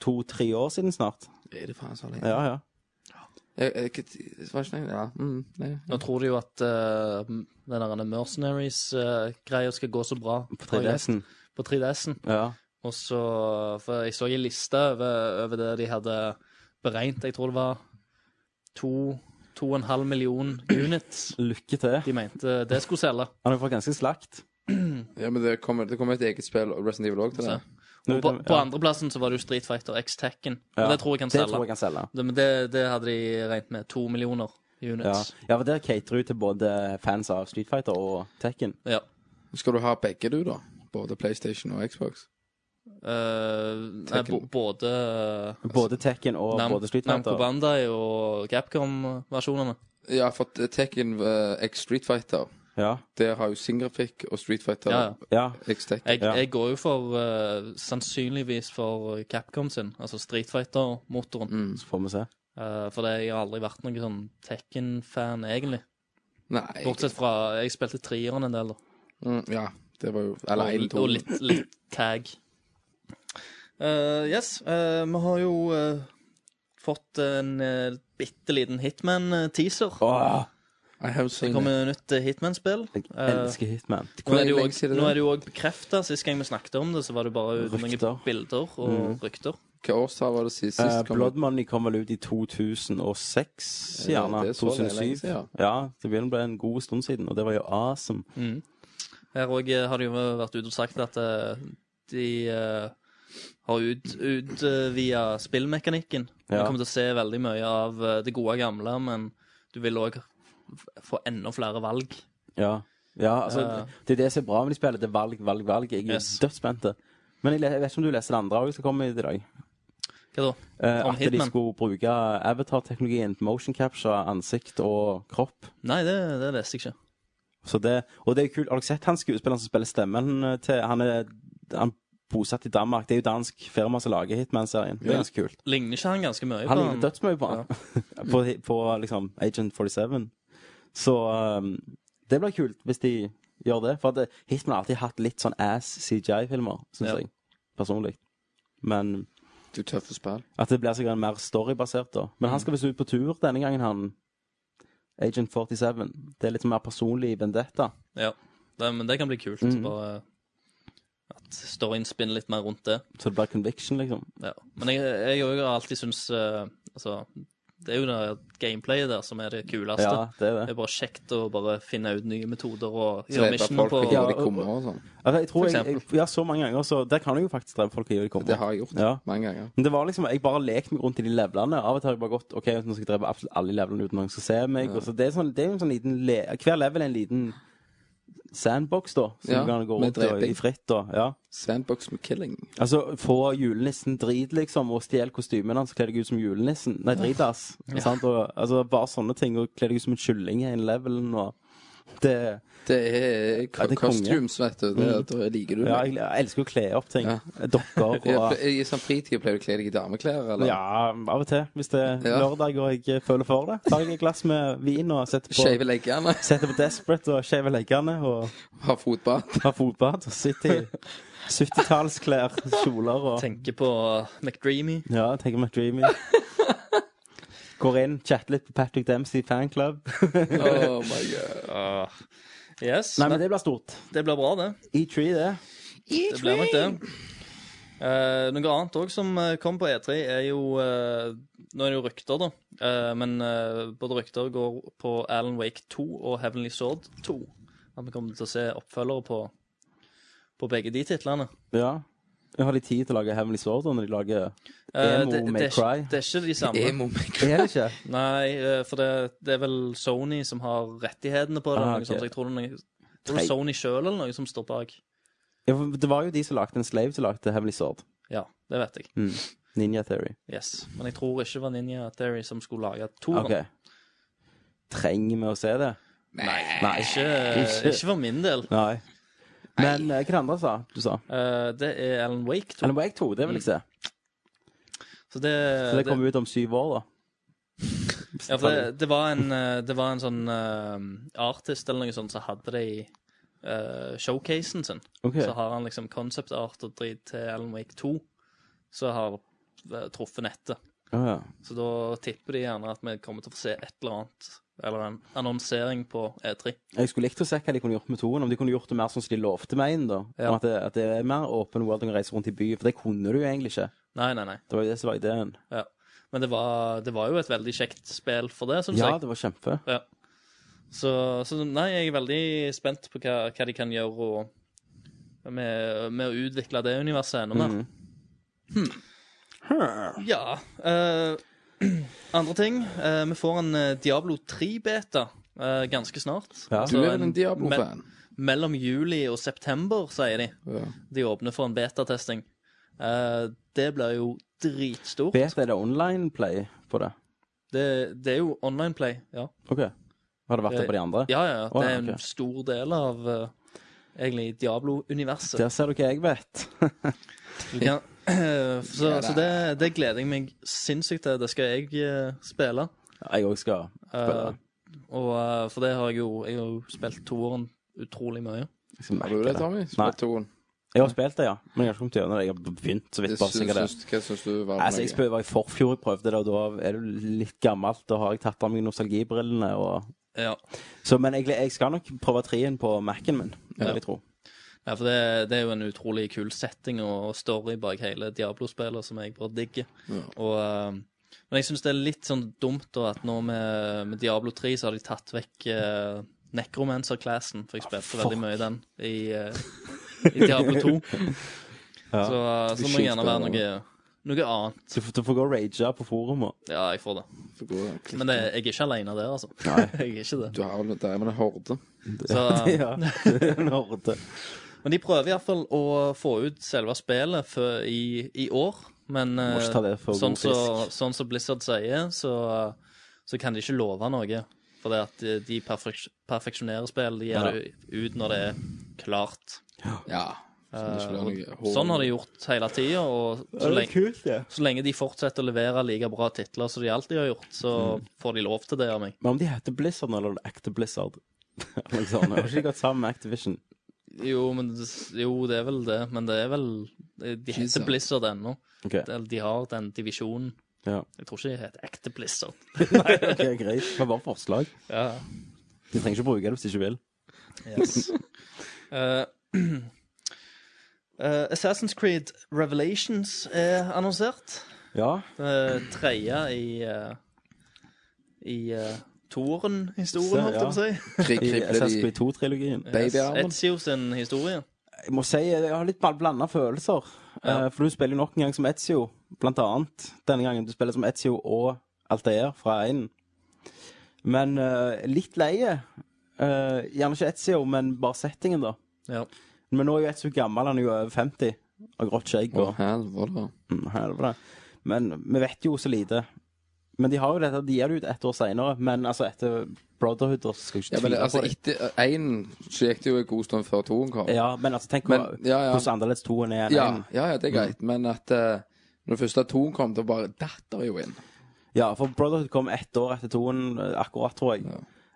F: to-tre år siden snart.
G: Er det faen så lenge?
F: Ja, ja.
G: Jeg- jeg- hva- var ikke det- Ja. Mm, nei.
A: Nå tror de jo at eh, den der Mercenaries-greia skal gå så bra
F: På 3DS-en.
A: På 3DS-en.
F: Ja.
A: Og så For jeg så en liste over, over det de hadde beregnet. Jeg tror det var to, to og en halv million units
F: Lykke til.
A: de mente det skulle selge.
F: Han har fått ganske slakt.
G: Ja, men det kommer, det kommer et eget spill, og Resident Evil òg, til det.
A: Og på,
F: Nå-
A: på
F: ja.
A: andreplassen så var det jo Street Fighter X Tekken.
F: Ja.
A: Og det tror jeg kan
F: Det tror
A: selge.
F: jeg kan selge.
A: Det, men det, det hadde de regnet med. To millioner
F: Ja.
A: units.
F: ja, for der caterer du til både fans av Street Fighter og Tekken.
A: Ja.
G: Skal du ha begge, du, da? Både PlayStation og Xbox?
A: Eh, nei, bo-
G: Tekken.
A: både
F: Både Tekken og
A: Nam
F: både Street
A: Namco
F: Fighter.
A: Bandai og Capcom-versjonene.
G: Ja, for at Tekken eh, X Street Fighter
F: Ja.
G: Det har jo Singrafikk og Street Fighter
A: Ja, ja.
F: ja.
G: X Tekken.
A: Jeg,
F: Ja.
A: jeg går jo for eh, sannsynligvis for Capcom sin, altså Street Fighter-motoren.
F: Så får vi se.
A: Eh, for det, jeg har aldri vært noen sånn Tekken-fan, egentlig.
G: Nei
A: Bortsett fra Jeg spilte treeren en del, da.
G: mm, Ja, det var jo Eller
A: Og,
G: 1, 2
A: og litt, litt tag. Eh, yes, eh, vi har jo eh, fått en uh, bitte liten Hitman-teaser.
F: Åh,
G: I have
A: Det
G: seen it.
A: kommer nytt eh, Hitman-spill.
F: jeg
A: Eh,
F: elsker Hitman.
A: Nå er det jo
G: lenge
A: også-
G: siden
A: nå
G: er det?
A: er det jo òg bekrefta. Sist gang vi snakket om det, så var det bare ut mange
F: Rykter. Mm.
A: bilder og rykter.
G: Hva årstall var det sist? sist
F: Eh,
G: kom-
F: Blood Money kom vel ut i 2006,
G: Ja,
F: gjerne.
G: det er så lenge
F: 2007.
G: siden,
F: Ja, det begynner å bli en god stund siden, og det var jo awesome.
A: Her òg har de jo vært ute og sagt at eh, de eh, har ut, utvida spillmekanikken.
F: Ja.
A: Vi kommer til å se veldig mye av eh, det gode gamle, men du vil òg få enda flere valg.
F: Ja, ja altså,
A: Ja.
F: det er det som er bra med de spiller. Det er valg, valg, valg. Jeg er
A: Yes.
F: dødsspent. Men jeg, le- jeg vet ikke om du leser det andre òg som kommer i dag.
A: Hva da?
F: Eh,
A: Om
F: at de
A: Hitman?
F: skulle bruke avatar-teknologien til motion capture ansikt og kropp.
A: Nei, det, det leste jeg ikke.
F: Så det, og det er jo kult. Har dere sett han skuespilleren som spiller stemmen eh, til Han er han er bosatt i Danmark. Det er jo dansk firma som lager Hitman-serien. Det er ganske kult.
A: Ligner ikke han ganske mye
F: Han
A: på
F: ligner dødsmye på han. på, på liksom Agent 47. Så um, det blir kult hvis de gjør det. For at det- Hitman har alltid hatt litt sånn ass CGI-filmer, syns
A: Ja.
F: jeg. Personlig. Men
G: Du tøffe spill.
F: at det blir sikkert mer storybasert, da. Men
G: Mm.
F: han skal visst ut på tur denne gangen, han. Agent 47. Det er litt mer personlig vendetta.
A: Ja, det, men det kan bli kult.
F: Mhm.
A: Bare at storyen spinner litt mer rundt det.
F: Så det blir conviction, liksom.
A: Ja. Men jeg, jeg har jo alltid syntes eh, Altså, det er jo det gameplayet der som er det kuleste.
F: Ja, det er
A: Det
F: det.
A: er bare kjekt å bare finne ut nye metoder og gjøre
G: Drepe
A: missioner
G: folk
A: på
G: og
A: ja.
G: gjøre de
F: Ja, og-
G: kummer og sånn.
F: Altså, jeg tror jeg, jeg,
A: eksempel.
F: ja, så mange ganger, så der kan jeg jo faktisk drepe folk i det de kommer.
G: Det har jeg gjort
F: Ja.
G: mange ganger.
F: Men det var liksom, jeg bare lekte meg rundt i de levelene. Av og til har jeg bare gått ok, nå skal jeg drepe absolutt alle levelene uten noen skal se meg. Og så det er sånn, det er jo en sånn liten le Hver level er en liten sandbox, da. Som
G: Ja,
F: du kan gå
G: med
F: rundt og,
G: dreping.
F: i fritt. Da. Ja.
G: Sandbox med killing.
F: Altså, få julenissen drit, liksom, og stjel kostymen hans og kle deg ut som julenissen. Nei, dritass. Sant? Og, altså, bare sånne ting. Og kle deg ut som en kylling i en level. Og det
G: Det er
F: Ja, det er konge. Mm.
G: costumes, vet du. Det, Da liker du
F: Ja, jeg,
G: meg.
F: jeg elsker å kle opp ting. Eh,
G: Ja.
F: Dokker og
G: Ja, for I sånn fritid pleier du å kle deg i dameklær, eller?
F: Ja, av og til. Hvis det er
G: Ja.
F: lørdag og jeg føler for det. Tar jeg et glass med vin og setter på,
G: Skeive leggene,
F: setter på Desperate og skeiver leggene og
G: ha fotbad.
F: har fotbad. og Sitter i 70-tallsklær, kjoler og
A: Tenke på McDreamy.
F: Ja, tenker meg dreamy. Går inn, chatter litt på Patrick Dempsey fanclub.
G: Oh my god.
A: Yes.
F: Nei, men
A: det...
F: det blir stort.
A: blir bra, det.
F: E3, E det.
A: Det blir nok det. Eh, noe annet òg som eh, kom på E3, er jo eh, Nå er det jo rykter, da. Eh, men eh, både rykter går på Alan Wake 2 og Heavenly Sword 2. At vi kommer til å se oppfølgere på, på begge de titlene.
F: Ja. Jeg har de tid til å lage Heavenly Sword da, når de lager
A: Eh,
F: Emo
A: det, det,
F: May
A: er,
F: Cry.
A: ikke- det er ikke de samme.
G: Emo maker.
F: Er det ikke?
A: Nei, eh, for det, det er vel Sony som har rettighetene på det.
F: Ah,
A: eller noe
F: ok.
A: sånt, så jeg tror det er noe, jeg tror det
F: Tre.
A: er Sony sjøl eller noe som står bak.
F: Ja, for Det var jo de som lagde en slave som lagde Heavenly Sword. Hmm.
A: Ja, det vet jeg.
F: Ninja Theory.
A: Yes. Men jeg tror ikke det var Ninja Theory som skulle lage toeren.
F: Ok. Trenger vi å se det? Nei.
A: Ikke, ikke. for min del.
F: Nei. Men eh, hva det andre sa du? sa?
A: Eh, det er Alan Wake 2.
F: Eller Wake 2, det vil jeg se.
A: Så det,
F: Så det
A: det,
F: kommer ut om syv år, da.
A: ja, for det, det, var en, eh, det var en sånn eh, artist eller noe sånt som hadde det i eh, showcasen sin.
F: Ok.
A: Så har han liksom concept art og drit til Alan Wake 2, så har eh, truffet nettet.
F: Å, ja.
A: Så da tipper de gjerne at vi kommer til å få se et eller annet, eller en annonsering på E3.
F: Jeg skulle likt å se hva de kunne gjort med toen. Om de kunne gjort det mer sånn som de lovte meg inn, da.
A: Ja.
F: Om At, det, at det er mer åpen world enn å reise rundt i byen. For det kunne du jo egentlig ikke.
A: Nei, nei, nei.
F: Det var jo det som var ideen.
A: Ja. Men det var, det var jo et veldig kjekt spill for det, syns
F: Ja,
A: jeg.
F: det var kjempe.
A: Så, så nei, jeg er veldig spent på hva, hva de kan gjøre og, med, med å utvikle det universet enda
F: Mhm.
A: mer. Hmm. Ja. eh, andre ting. eh, vi får en eh, Diablo 3-beta eh, ganske snart.
F: Ja.
G: Du er vel en
A: me-
G: Diablo-fan?
A: Mellom juli og september, sier de.
G: Ja.
A: De åpner for en betatesting. Eh, det blir jo dritstort.
F: Beta er det online play på det?
A: Det, det er jo online play, ja.
F: Ok. Har det vært det på de andre?
A: Ja, ja, ja.
F: Å,
A: Det
F: ja,
A: er en
F: ok.
A: stor del av eh, egentlig Diablo-universet.
F: Der ser du hva jeg vet.
A: Ja. Så, så det, det gleder jeg meg sinnssykt til. Det skal jeg eh, spille.
F: Jeg òg skal spille.
A: Eh, og, eh, for det har jeg jo Jeg har jo spilt toeren utrolig mye.
F: Jeg skal
G: Har du
F: merke
G: det, Tommy?
F: Nei.
G: Spilt toen.
F: Jeg har spilt det, ja. Men jeg har ikke kommet gjennom det. Jeg har begynt så vidt.
G: Hva
F: bare sikkert det.
G: syns du var
F: Altså, jeg
G: for noe?
F: spør, var i forfjor jeg prøvde det, og da er du litt gammelt. Da har jeg tatt av meg nostalgibrillene. Og...
A: Ja.
F: Så, men jeg, jeg skal nok prøve trien på Mac-en min. Det vil jeg tro.
A: ja, for det, det er jo en utrolig kul setting og story bak hele Diablo-spillet, som jeg bare digger. Og, eh, men jeg syns det er litt sånn dumt da, at nå med, med Diablo 3 så har de tatt vekk eh, Necromancer-classen, for jeg spilte veldig mye den i, eh, i Diablo 2. Så, eh, så må det gjerne være noe, noe annet.
F: Du, får- du får gå og rage på forumet.
A: Ja, jeg får det.
G: Få gå og klikke.
A: Men det, jeg er ikke alene der, altså. jeg er ikke det.
G: Du har vel der med en horde.
A: Så,
F: Ja. det er en horde.
A: men de prøver iallfall å få ut selve spillet før i, i år. Men eh,
F: ikke ta det for
A: sånn
F: god
A: som
F: fisk.
A: sånn som Blizzard sier, så, så kan de ikke love noe. For det at de- de perfek perfeksjonerer spill. De
F: Ja.
A: gir det ut når det er klart.
G: Ja. Sånn, det ikke
F: Eh,
G: blir noe horde.
A: Sånn har de gjort hele tida. Og så lenge, så lenge de fortsetter å levere like bra titler som de alltid har gjort, så
F: Mm.
A: får de lov til det av meg.
F: Men om de heter Blizzard nå, eller Acte Blizzard Alexander, Har ikke de gått sammen med Activision?
A: Jo, men, det- jo, det er vel det. Men det er vel De heter
G: Blizzard.
A: Blizzard ennå.
F: Ok,
A: De, de har den divisjonen.
F: ja.
A: Jeg tror ikke de heter ekte Blizzard.
F: Ok, greit. Det var bare forslag.
A: Ja,
F: De trenger ikke bruke det hvis de ikke vil.
A: yes. Eh, eh, Assassin's Creed Revelations er annonsert.
F: Ja.
A: Uh, tredje i uh, I uh, Toren-historien, holdt jeg på å si.
G: Kri-
F: I
G: kribler de
F: SSB 2-trilogien.
G: babyarmen.
A: Ezio sin historie.
F: Jeg må si jeg har litt blanda følelser.
A: Ja.
F: Eh, For du spiller jo nok en gang som Ezio, blant annet. Denne gangen du spiller som Ezio og Altair fra Einen. Men eh, litt leie. Eh, gjerne ikke Ezio, men bare settingen, da.
A: Ja.
F: Men nå er jo Ezio gammel, han er jo over 50. Har grått skjegg
G: Å,
F: og
G: helvete.
F: Mm, helvete. Men vi vet jo så lite. Men de har jo dette, de gir det ut ett år seinere. Men altså etter Brotherhood da, skal jeg ikke
G: Ja, men
F: tvile
G: det- altså,
F: på det.
G: etter én så gikk det jo en god stund før toen kom.
F: Ja, men altså, tenk
G: Men,
F: hva-
G: ja, ja.
F: hvordan annerledes toen er enn
G: ja,
F: en. Mm.
G: ja, ja, det er greit. Men at eh, når det første toen kom, da bare datt det jo inn.
F: Ja, for Brotherhood kom ett år etter toen, eh, akkurat, tror jeg.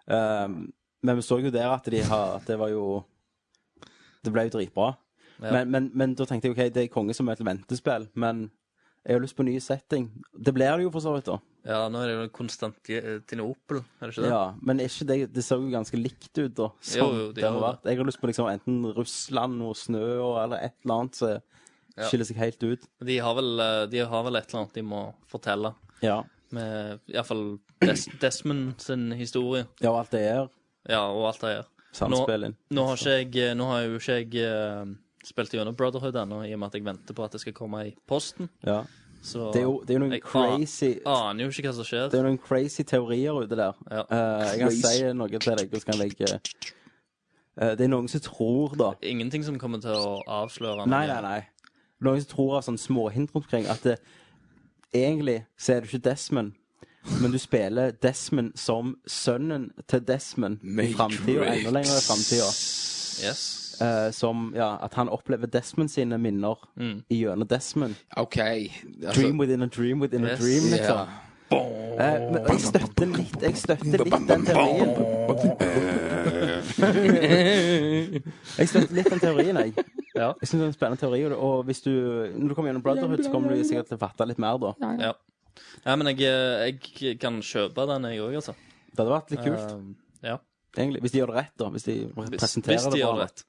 F: Um, men vi så jo der at de har At det var jo Det ble jo dritbra. Men, men, men da tenkte jeg OK, det er konge som er et ventespill, men jeg har lyst på ny setting. Det blir det jo for så vidt, da.
A: ja, nå er det jo Konstantinopel, er det ikke det?
F: Ja, men er ikke det, det ser jo ganske likt ut, da. som
A: Jo, jo, det
F: det har
A: gjør
F: vært. Jeg har lyst på liksom enten Russland og snø og, eller et eller annet som skiller seg helt ut.
A: De, har vel, eh, de har vel et eller annet de må fortelle.
F: Ja.
A: Med iallfall Des Desmond sin historie.
F: ja, og alt det er
A: Ja, og alt det her. Nå,
F: samspill inn.
A: nå, har ikke jeg, nå har jo ikke jeg eh, spilt gjennom Brotherhood ennå, i og med at jeg venter på at det skal komme i posten.
F: Ja.
A: Så
F: Det er jo, det er jo noen
A: jeg
F: crazy
A: an- aner jo ikke hva som skjer.
F: det er jo noen crazy teorier ute der.
A: Ja.
F: Eh, jeg kan si noe til deg. og så kan jeg, eh, det er noen som tror, da
A: Ingenting som kommer til å avsløre
F: Nei, nei, nei. Noen som tror av sånne småhint rundt omkring at det, egentlig så er du ikke Desmond, men du spiller Desmond som sønnen til Desmond i framtida, enda lenger i framtida.
A: Yes.
F: som ja, at han opplever Desmond sine minner i gjennom Desmond.
G: OK. Altså,
F: Dream within a dream within
A: Yes.
F: a dream,
G: ja.
F: liksom. Eh, men jeg støtter litt Jeg støtter litt den teorien. Jeg støtter litt den teorien, jeg.
A: Ja.
F: Jeg synes det er en spennende teori. og- Og hvis du, når du kommer gjennom Brotherhood, så kommer du sikkert til å fatte litt mer, da. Det
A: Ja. ja, men jeg, eh, jeg kan kjøpe den, jeg òg, altså.
F: hadde vært litt kult,
A: Um, ja.
F: egentlig. Hvis de gjør det rett, da. Hvis de
A: Hvis,
F: presenterer
A: hvis de
F: det
A: gjør
F: bra.
A: det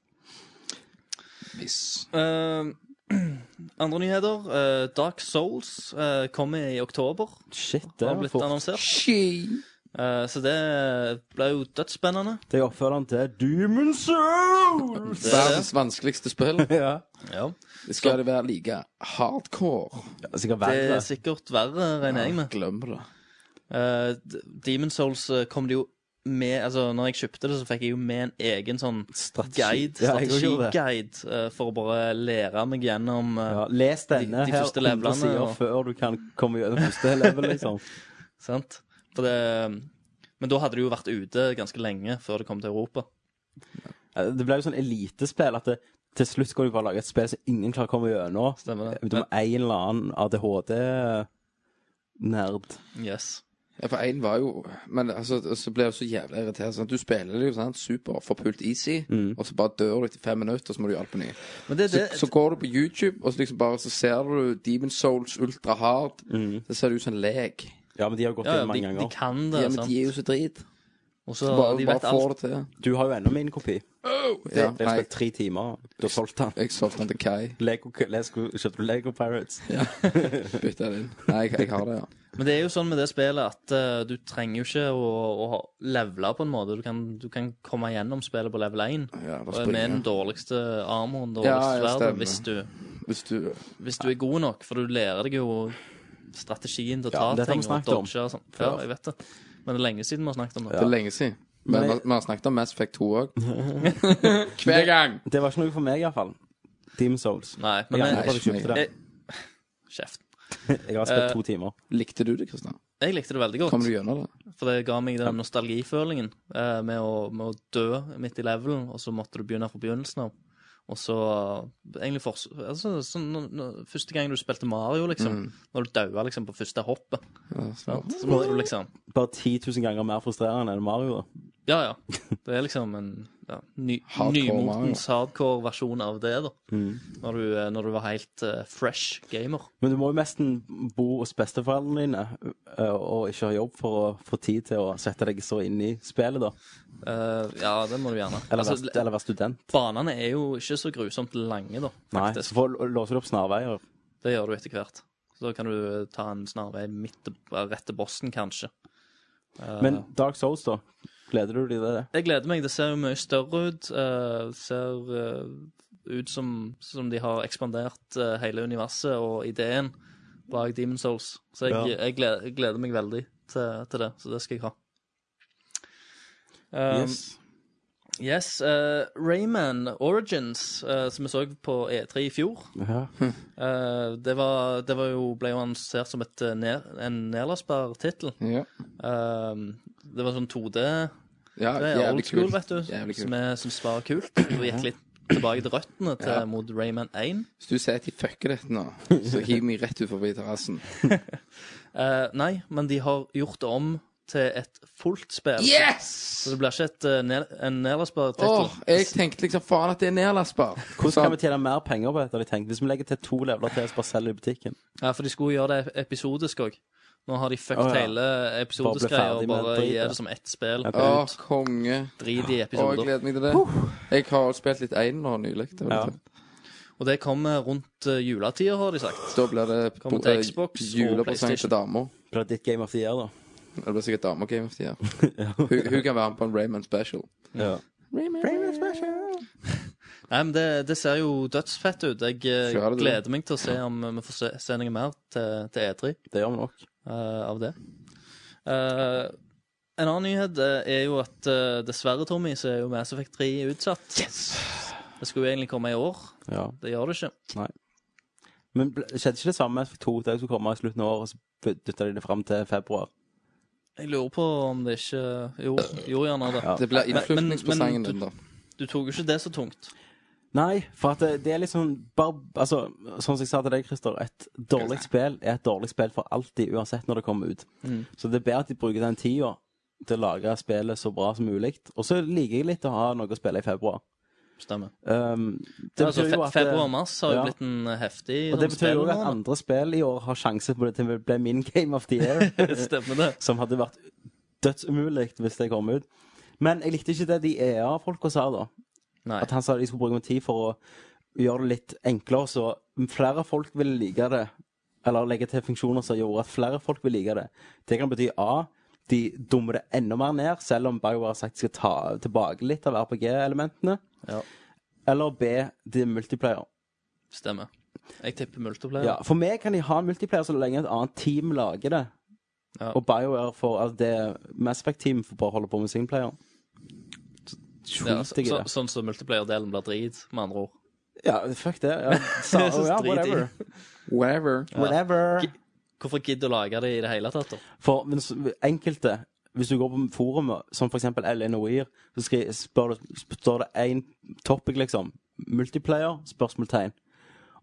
F: da.
A: rett. Eh, andre nyheter. eh, Dark Souls eh, kommer i oktober.
F: Shit, det
A: har
F: er
A: blitt
F: fort.
A: annonsert. Eh, så det blir jo dødsspennende.
F: Det er oppfølgeren til Demon Soul!
A: Det er det.
G: Verdens vanskeligste spill.
F: Ja.
A: Ja.
G: Det skal det være like hardcore.
F: Ja, Sikkert
A: Det er
F: verre.
A: sikkert verre, regner jeg med.
G: Glem det.
A: Eh, D- Demon Souls eh, kom det jo med Altså, når jeg kjøpte det, så fikk jeg jo med en egen sånn guide,
F: Ja, jeg gjorde det.
A: strategiguide, eh, for å bare lære meg gjennom eh,
F: Ja, les denne
A: De- de første
F: her 100
A: levelene,
F: sider
A: og-
F: før du kan komme gjennom første level, liksom.
A: Sant? For det, eh, men da hadde det jo vært ute ganske lenge før det kom til Europa.
F: Eh, Det ble jo sånn elitespill at det, til slutt skal du bare lage et spill som ingen klarer å komme gjennom. Eh,
A: Stemmer det.
F: Du må en eller annen ADHD-nerd.
A: Yes.
G: Ja, for én var jo Men altså, så ble jeg så jævlig irritert. Sant? Du spiller det jo sant? super, forpult easy, og så bare dør du etter fem minutter, og så må du gjøre det på ny.
A: Mm. Men det,
G: Så,
A: det,
G: så går du på YouTube, og så liksom bare så ser du Demon Souls ultra hard.
A: Mm.
G: Så ser det ut som en lek.
F: Ja, men de har gått
A: ja, ja,
F: inn
A: de, de
F: mange ganger.
A: kan det,
G: Ja, men
A: sant?
G: de er jo så drit.
A: Og så
G: Bare,
A: de
G: bare
A: vet
G: får
A: alt.
G: det til.
F: Du har jo ennå min kopi.
G: Ja,
F: Jeg har
G: nei,
F: spilt tre timer. Du har solgt den.
G: jeg solgte den til Kai.
F: Lego, Lego, kjøpte du Lego Pirates?
G: Bytta den inn. Nei, jeg, jeg har det, ja.
A: Men det er jo sånn med det spillet at eh, du trenger jo ikke å, å ha- levele på en måte. Du kan, du kan komme gjennom spillet på level 1
G: Ja, bare
A: og
G: springe.
A: med den dårligste armoren,
G: Ja,
A: dårligste
G: ja,
A: sverdet,
G: stemmer.
A: hvis, du-
G: Hvis du
A: hvis du er god nok. For du lærer deg jo strategien til å ta
F: Ja, dette har vi
A: ting og
F: snakket om.
A: dodge og sånn. Ja, jeg vet det. Men det er lenge siden vi har snakket om det.
G: Det er lenge siden. Men
F: Men jeg-
G: vi har snakket om Mass Effect 2 òg. Hver gang!
F: Det var ikke noe for meg, iallfall. Demon's Souls.
A: Nei, Eh, men
F: jeg
A: jeg-
F: angrer på at jeg kjøpte det.
A: jeg- Kjeft.
F: Jeg har spilt to timer.
G: Likte du det, Kristian?
A: Jeg likte det veldig godt.
G: Kom du gjennom det?
A: For det ga meg den nostalgifølingen eh, med, å, med å dø midt i levelen, og så måtte du begynne fra begynnelsen av. Og så eh, egentlig for, altså, sånn, når, når, Første gang du spilte Mario, liksom, når du daua liksom, på første hoppet,
G: Ja,
A: sant? så måtte du liksom
F: Bare 10 000 ganger mer frustrerende enn Mario. da.
A: Ja, ja. Det er liksom en ja, ny,
G: Hardcore
A: nymotens hardcore versjon av det, da. Når, du, eh, når du var helt eh, fresh gamer.
F: Men du må jo nesten bo hos besteforeldrene dine ø, og ikke ha jobb for å få tid til å sette deg så inn i spillet, da.
A: Eh, ja, det må du gjerne.
F: Eller,
A: Altså,
F: være, eller være student.
A: banene er jo ikke så grusomt lange, da,
F: Nei,
A: faktisk.
F: så får, låser du opp snarveier.
A: Det gjør du etter hvert. Så da kan du eh, ta en snarvei midt til, rett til bossen, kanskje.
F: Men Dark Souls, da. Gleder du deg til det?
A: Jeg gleder meg. Det ser jo mye større ut. eh, ser eh, ut som, som de har ekspandert eh, hele universet og ideen bak Demon Souls. Så jeg,
F: Ja.
A: jeg, gleder, jeg gleder meg veldig til, til det, så det skal jeg ha. Um, yes. eh, Rayman Origins, eh, som vi så på E3 i fjor,
F: Ja.
A: Eh, det, var, det var jo, ble jo annonsert som et, eh, ned, en nedlastbar tittel.
G: Ja.
A: Eh, det var sånn 2D.
G: ja
A: Det er
G: jævlig
A: old school,
G: kult.
A: vet du,
G: Jævlig
A: som
G: kult.
A: jeg syns var kult. Vi gikk litt tilbake til røttene til,
G: Ja.
A: mot Rayman 1.
G: Hvis du sier at de fucker dette nå, så hiv meg rett ut forbi terrassen.
A: Eh, nei, men de har gjort det om til et fullt spill.
G: Yes!
A: Så det blir ikke et, eh, ned, en nedlastbar tittel.
G: Åh, jeg tenkte liksom faen at det er nedlastbar.
F: Hvordan kan vi tjene mer penger på dette? har de tenkt? Hvis vi legger til to leveler til, så bare selger i butikken.
A: Ja, for de skulle gjøre det episodisk òg. Nå har de fucked
F: Å, ja.
A: hele episodisk
F: Bare bli
A: greia og
F: ferdig med
A: bare
F: drit,
A: gir
F: ja.
A: det som ett spill.
F: Ok.
G: Åh, konge.
A: Drit i
G: Åh, jeg
A: episoder.
G: gleder meg til det. Jeg har spilt litt én nå nylig. Det var
F: Ja.
G: litt-
A: Og det kommer rundt eh, juletida, har de sagt.
G: Da blir det eh,
A: Kommer til Xbox og
G: julepresang
A: PlayStation.
G: til dama.
F: Blir det ditt game of the year, da?
G: Det blir sikkert damegame of the year. Hun, hun kan være med på en Rayman special.
F: Ja.
A: Nei, men det, det ser jo dødsfett ut. Jeg eh,
G: Ser det, du.
A: gleder meg til å se om vi får se, se noe mer til, til E3
F: Det gjør vi nok.
A: eh, av det. Eh, en annen nyhet eh, er jo at eh, dessverre, Tommy, så er jo Mass Effect 3 utsatt. Det skulle jo egentlig komme i år.
F: Ja.
A: Det gjør det ikke.
F: Men ble- skjedde ikke det samme med to dager som kommer i slutten av året, og så dytta de det fram til februar?
A: Jeg lurer på om det ikke Jo, jo gjerne det.
F: Ja.
G: Det blir
A: men-
G: innflytningspresangen
A: men
G: din, da.
A: Du tok jo ikke det så tungt.
F: Nei, for at det, det er liksom bare, altså, Sånn som jeg sa til deg, Christer, et dårlig spill er et dårlig spill for alltid, uansett når det kommer ut.
A: Mm.
F: Så det er bedre at de bruker den tida til å lage spillet så bra som mulig. Og så liker jeg litt å ha noe å spille i februar.
A: Stemmer.
F: Um,
A: Det altså, fe
F: eh,
A: Februar-mars har jo
F: ja.
A: blitt en heftig
F: Og det
A: sånn
F: betyr jo at
A: spillmåned.
F: andre spill i år har sjanse på det til å bli min Game of the Year.
A: Stemmer det.
F: som hadde vært dødsumulig hvis det kom ut. Men jeg likte ikke det de EA-folka sa, da.
A: Nei.
F: At han sa de skulle bruke noe tid for å gjøre det litt enklere, så flere folk vil like det. Eller legge til funksjoner som gjorde at flere folk vil like det. Det kan bety A. De dummer det enda mer ned, selv om BioWare har sagt de skal ta tilbake litt av RPG-elementene.
A: Ja.
F: Eller B. De er multiplayer.
A: Stemmer. Jeg tipper multiplayer.
F: Ja, for meg kan de ha multiplayer så lenge et annet team lager det.
A: Ja.
F: Og BioWare for altså, det Mass Effect-team får bare holde på med singleplayer.
A: Ja, så,
F: Skit jeg i
A: så,
F: det.
A: sånn som multiplayer-delen blir drit, med andre ord.
F: Ja, fuck det. Ja, Sa-
A: Jeg synes
F: ja
A: drit i.
F: whatever.
G: Whatever.
F: Whatever.
A: Ki- Hvorfor gidde å lage det i det hele tatt, da?
F: For hvis- enkelte, hvis du går på forumet, som for eksempel LNOIR, så skri, spør det, står det én topic, liksom. Multiplayer? Spørsmålstegn.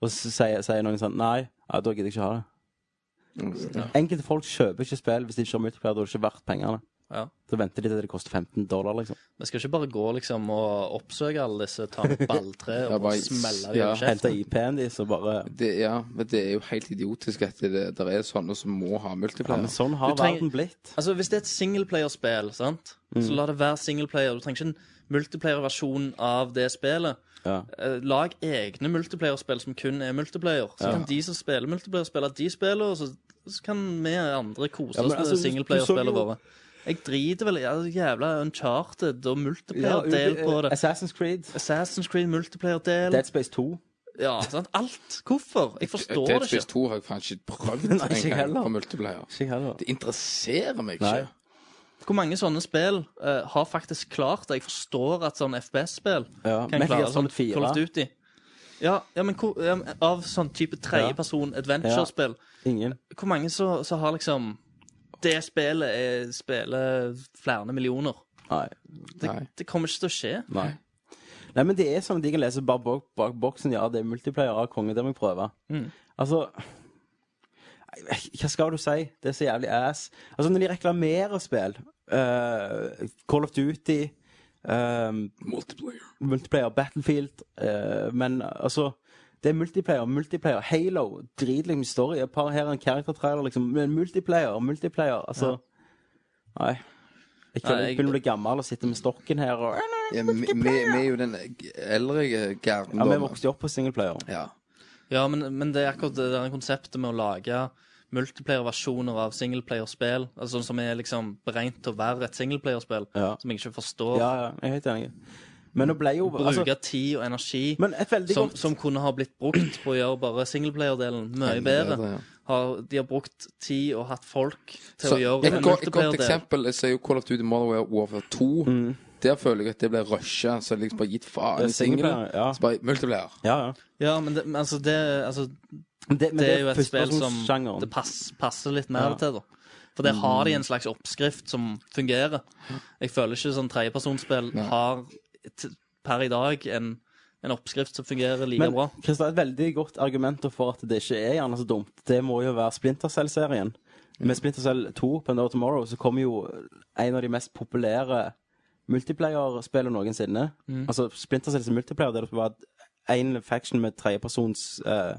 F: Og så sier, sier noen sånn Nei, ja, da gidder jeg ikke ha det. Enkelte folk kjøper ikke spill hvis de ikke har multiplayer. Da er det ikke verdt pengene.
A: Ja.
F: Da venter de til det koster 15 dollar, liksom.
A: Vi skal ikke bare gå liksom og oppsøke alle disse, ta en balltre
G: Ja,
A: og
G: bare-
A: bare smelle
G: ja.
A: dem i
F: Hente
A: kjeften.
F: IP-en de, så bare
G: Det, ja, men det er jo helt idiotisk at det, det er sånne som må ha
F: Ja, men
G: multiplayer.
F: sånn har
A: Du trenger-
F: verden blitt.
A: Altså, Hvis det er et singleplayerspill, sant,
F: Mm.
A: så la det være singleplayer. Du trenger ikke en multiplayer-versjon av det spillet.
F: Ja.
A: Eh, Lag egne multiplayerspill som kun er multiplayer. Så kan de som spiller multiplayer, spille at de spiller, og så, så kan vi andre kose
F: Ja,
A: oss
F: men
A: med
F: altså, du- du så
A: singleplayerspillene
F: jo-
A: våre. Jeg driter vel i ja, jævla uncharted og multiplayer-del på
F: eh,
A: det.
F: Assassin's Creed,
A: Assassin's Creed multiplayer-del.
F: Dead Space 2
A: Ja, sant? Alt. Hvorfor? Jeg forstår
G: Dead
A: det
G: Space
A: ikke.
G: 2 har jeg faen ikke prøvd
F: Nei, ikke
G: engang
F: heller.
G: på multiplayer.
F: Ikke jeg heller.
G: Det interesserer meg
F: Nei.
G: ikke.
A: Hvor mange sånne spill eh, har faktisk klart det? Jeg forstår at sånn FPS-spill
F: Ja,
A: kan
F: Metal Gear
A: klare
F: Solid
A: sånn
F: 4.
A: Call of Duty. Ja, ja men hvor, ja, men av sånn type tredjeperson adventure-spill,
F: Ingen.
A: hvor mange så, så har liksom Det spillet er, spiller flere millioner.
F: Nei.
A: Det,
G: Nei.
A: det kommer ikke til å skje.
F: Nei. Nei, men det er sånn at de kan lese bak, bak, bak boksen. Ja, det er multiplayer av konge, det må jeg prøve.
A: Mm.
F: Altså nei, Hva skal du si? Det er så jævlig ass. Altså, når de reklamerer spill, eh, Call of Duty eh,
G: Multiplayer.
F: multiplayer, Battlefield eh, Men altså Det er multiplayer, multiplayer, Halo Dritlig story, et par her en character trailer liksom Men multiplayer, multiplayer Altså Nei Jeg kan
A: Nei, jeg-
F: begynne å bli gammel og sitte med stokken her og,
G: Ja, vi, vi- vi er jo den eldre garden.
F: Ja,
G: da,
F: vi
G: men-
F: vokste jo opp på singleplayer
G: Ja.
A: Ja, men, men det er akkurat det der konseptet med å lage multiplayer-versjoner av singleplayer-spill, altså sånn som er liksom beregnet til å være et singleplayer-spill,
F: Ja.
A: som jeg ikke forstår.
F: Ja, ja, jeg er helt enig Men det ble jo
A: Bruke
F: altså,
A: tid og energi
F: Men et veldig
A: som,
F: godt-
A: som kunne ha blitt brukt på å gjøre bare singleplayer-delen mye
G: Enda
A: bedre.
G: bedre, ja.
A: Har, de har brukt tid og hatt folk til
G: Så,
A: å
G: et,
A: gjøre en
G: godt, et godt
A: multiplayer-del.
G: eksempel så er jo Call of Duty Modern Warfare 2. Der føler jeg at det ble rusha. Så liksom bare gitt
F: Det er
G: faen i singelen.
F: singleplayer, ja.
G: Så bare multiplayer.
F: Ja, ja
A: Ja, men, det, men altså, det, altså,
F: Men det, men
A: det er jo et spill som
F: førstepersonsgenren.
A: det pass, passer litt mer
F: Ja.
A: til, da. For det har
G: Mm.
A: de en slags oppskrift som fungerer. Jeg føler ikke sånn tredjepersonsspill har t- per i dag en, en oppskrift som fungerer like
F: Men
A: bra.
F: Christa, et veldig godt argument for at det ikke er gjerne så dumt, det må jo være Splinter Cell-serien.
A: Mm.
F: Med Splinter Cell 2 på Under Tomorrow så kommer jo en av de mest populære multiplayer-spillene noensinne.
A: Mm.
F: Altså Splinter Cell som multiplayer, der det var én faction med tredjepersons eh,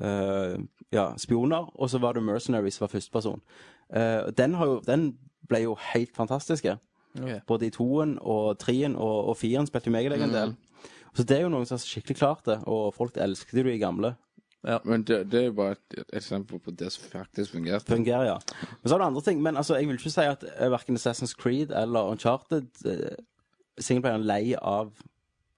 F: eh, ja, spioner, og så var det Mercenaries som var førsteperson. Eh, den, har jo, den ble jo helt fantastiske. Både i toen og treen og, og firen spilte jo meg og deg
A: Mm.
F: en del. Så det er jo noen som har skikkelig klart det, og folk elsket jo de gamle.
G: Men det, det er jo bare et, et eksempel på det som faktisk fungerte.
F: Fungerer, ja. Men så er det andre ting. Men altså, jeg vil ikke si at eh, verken Assassin's Creed eller Uncharted eh, singleplayer er lei av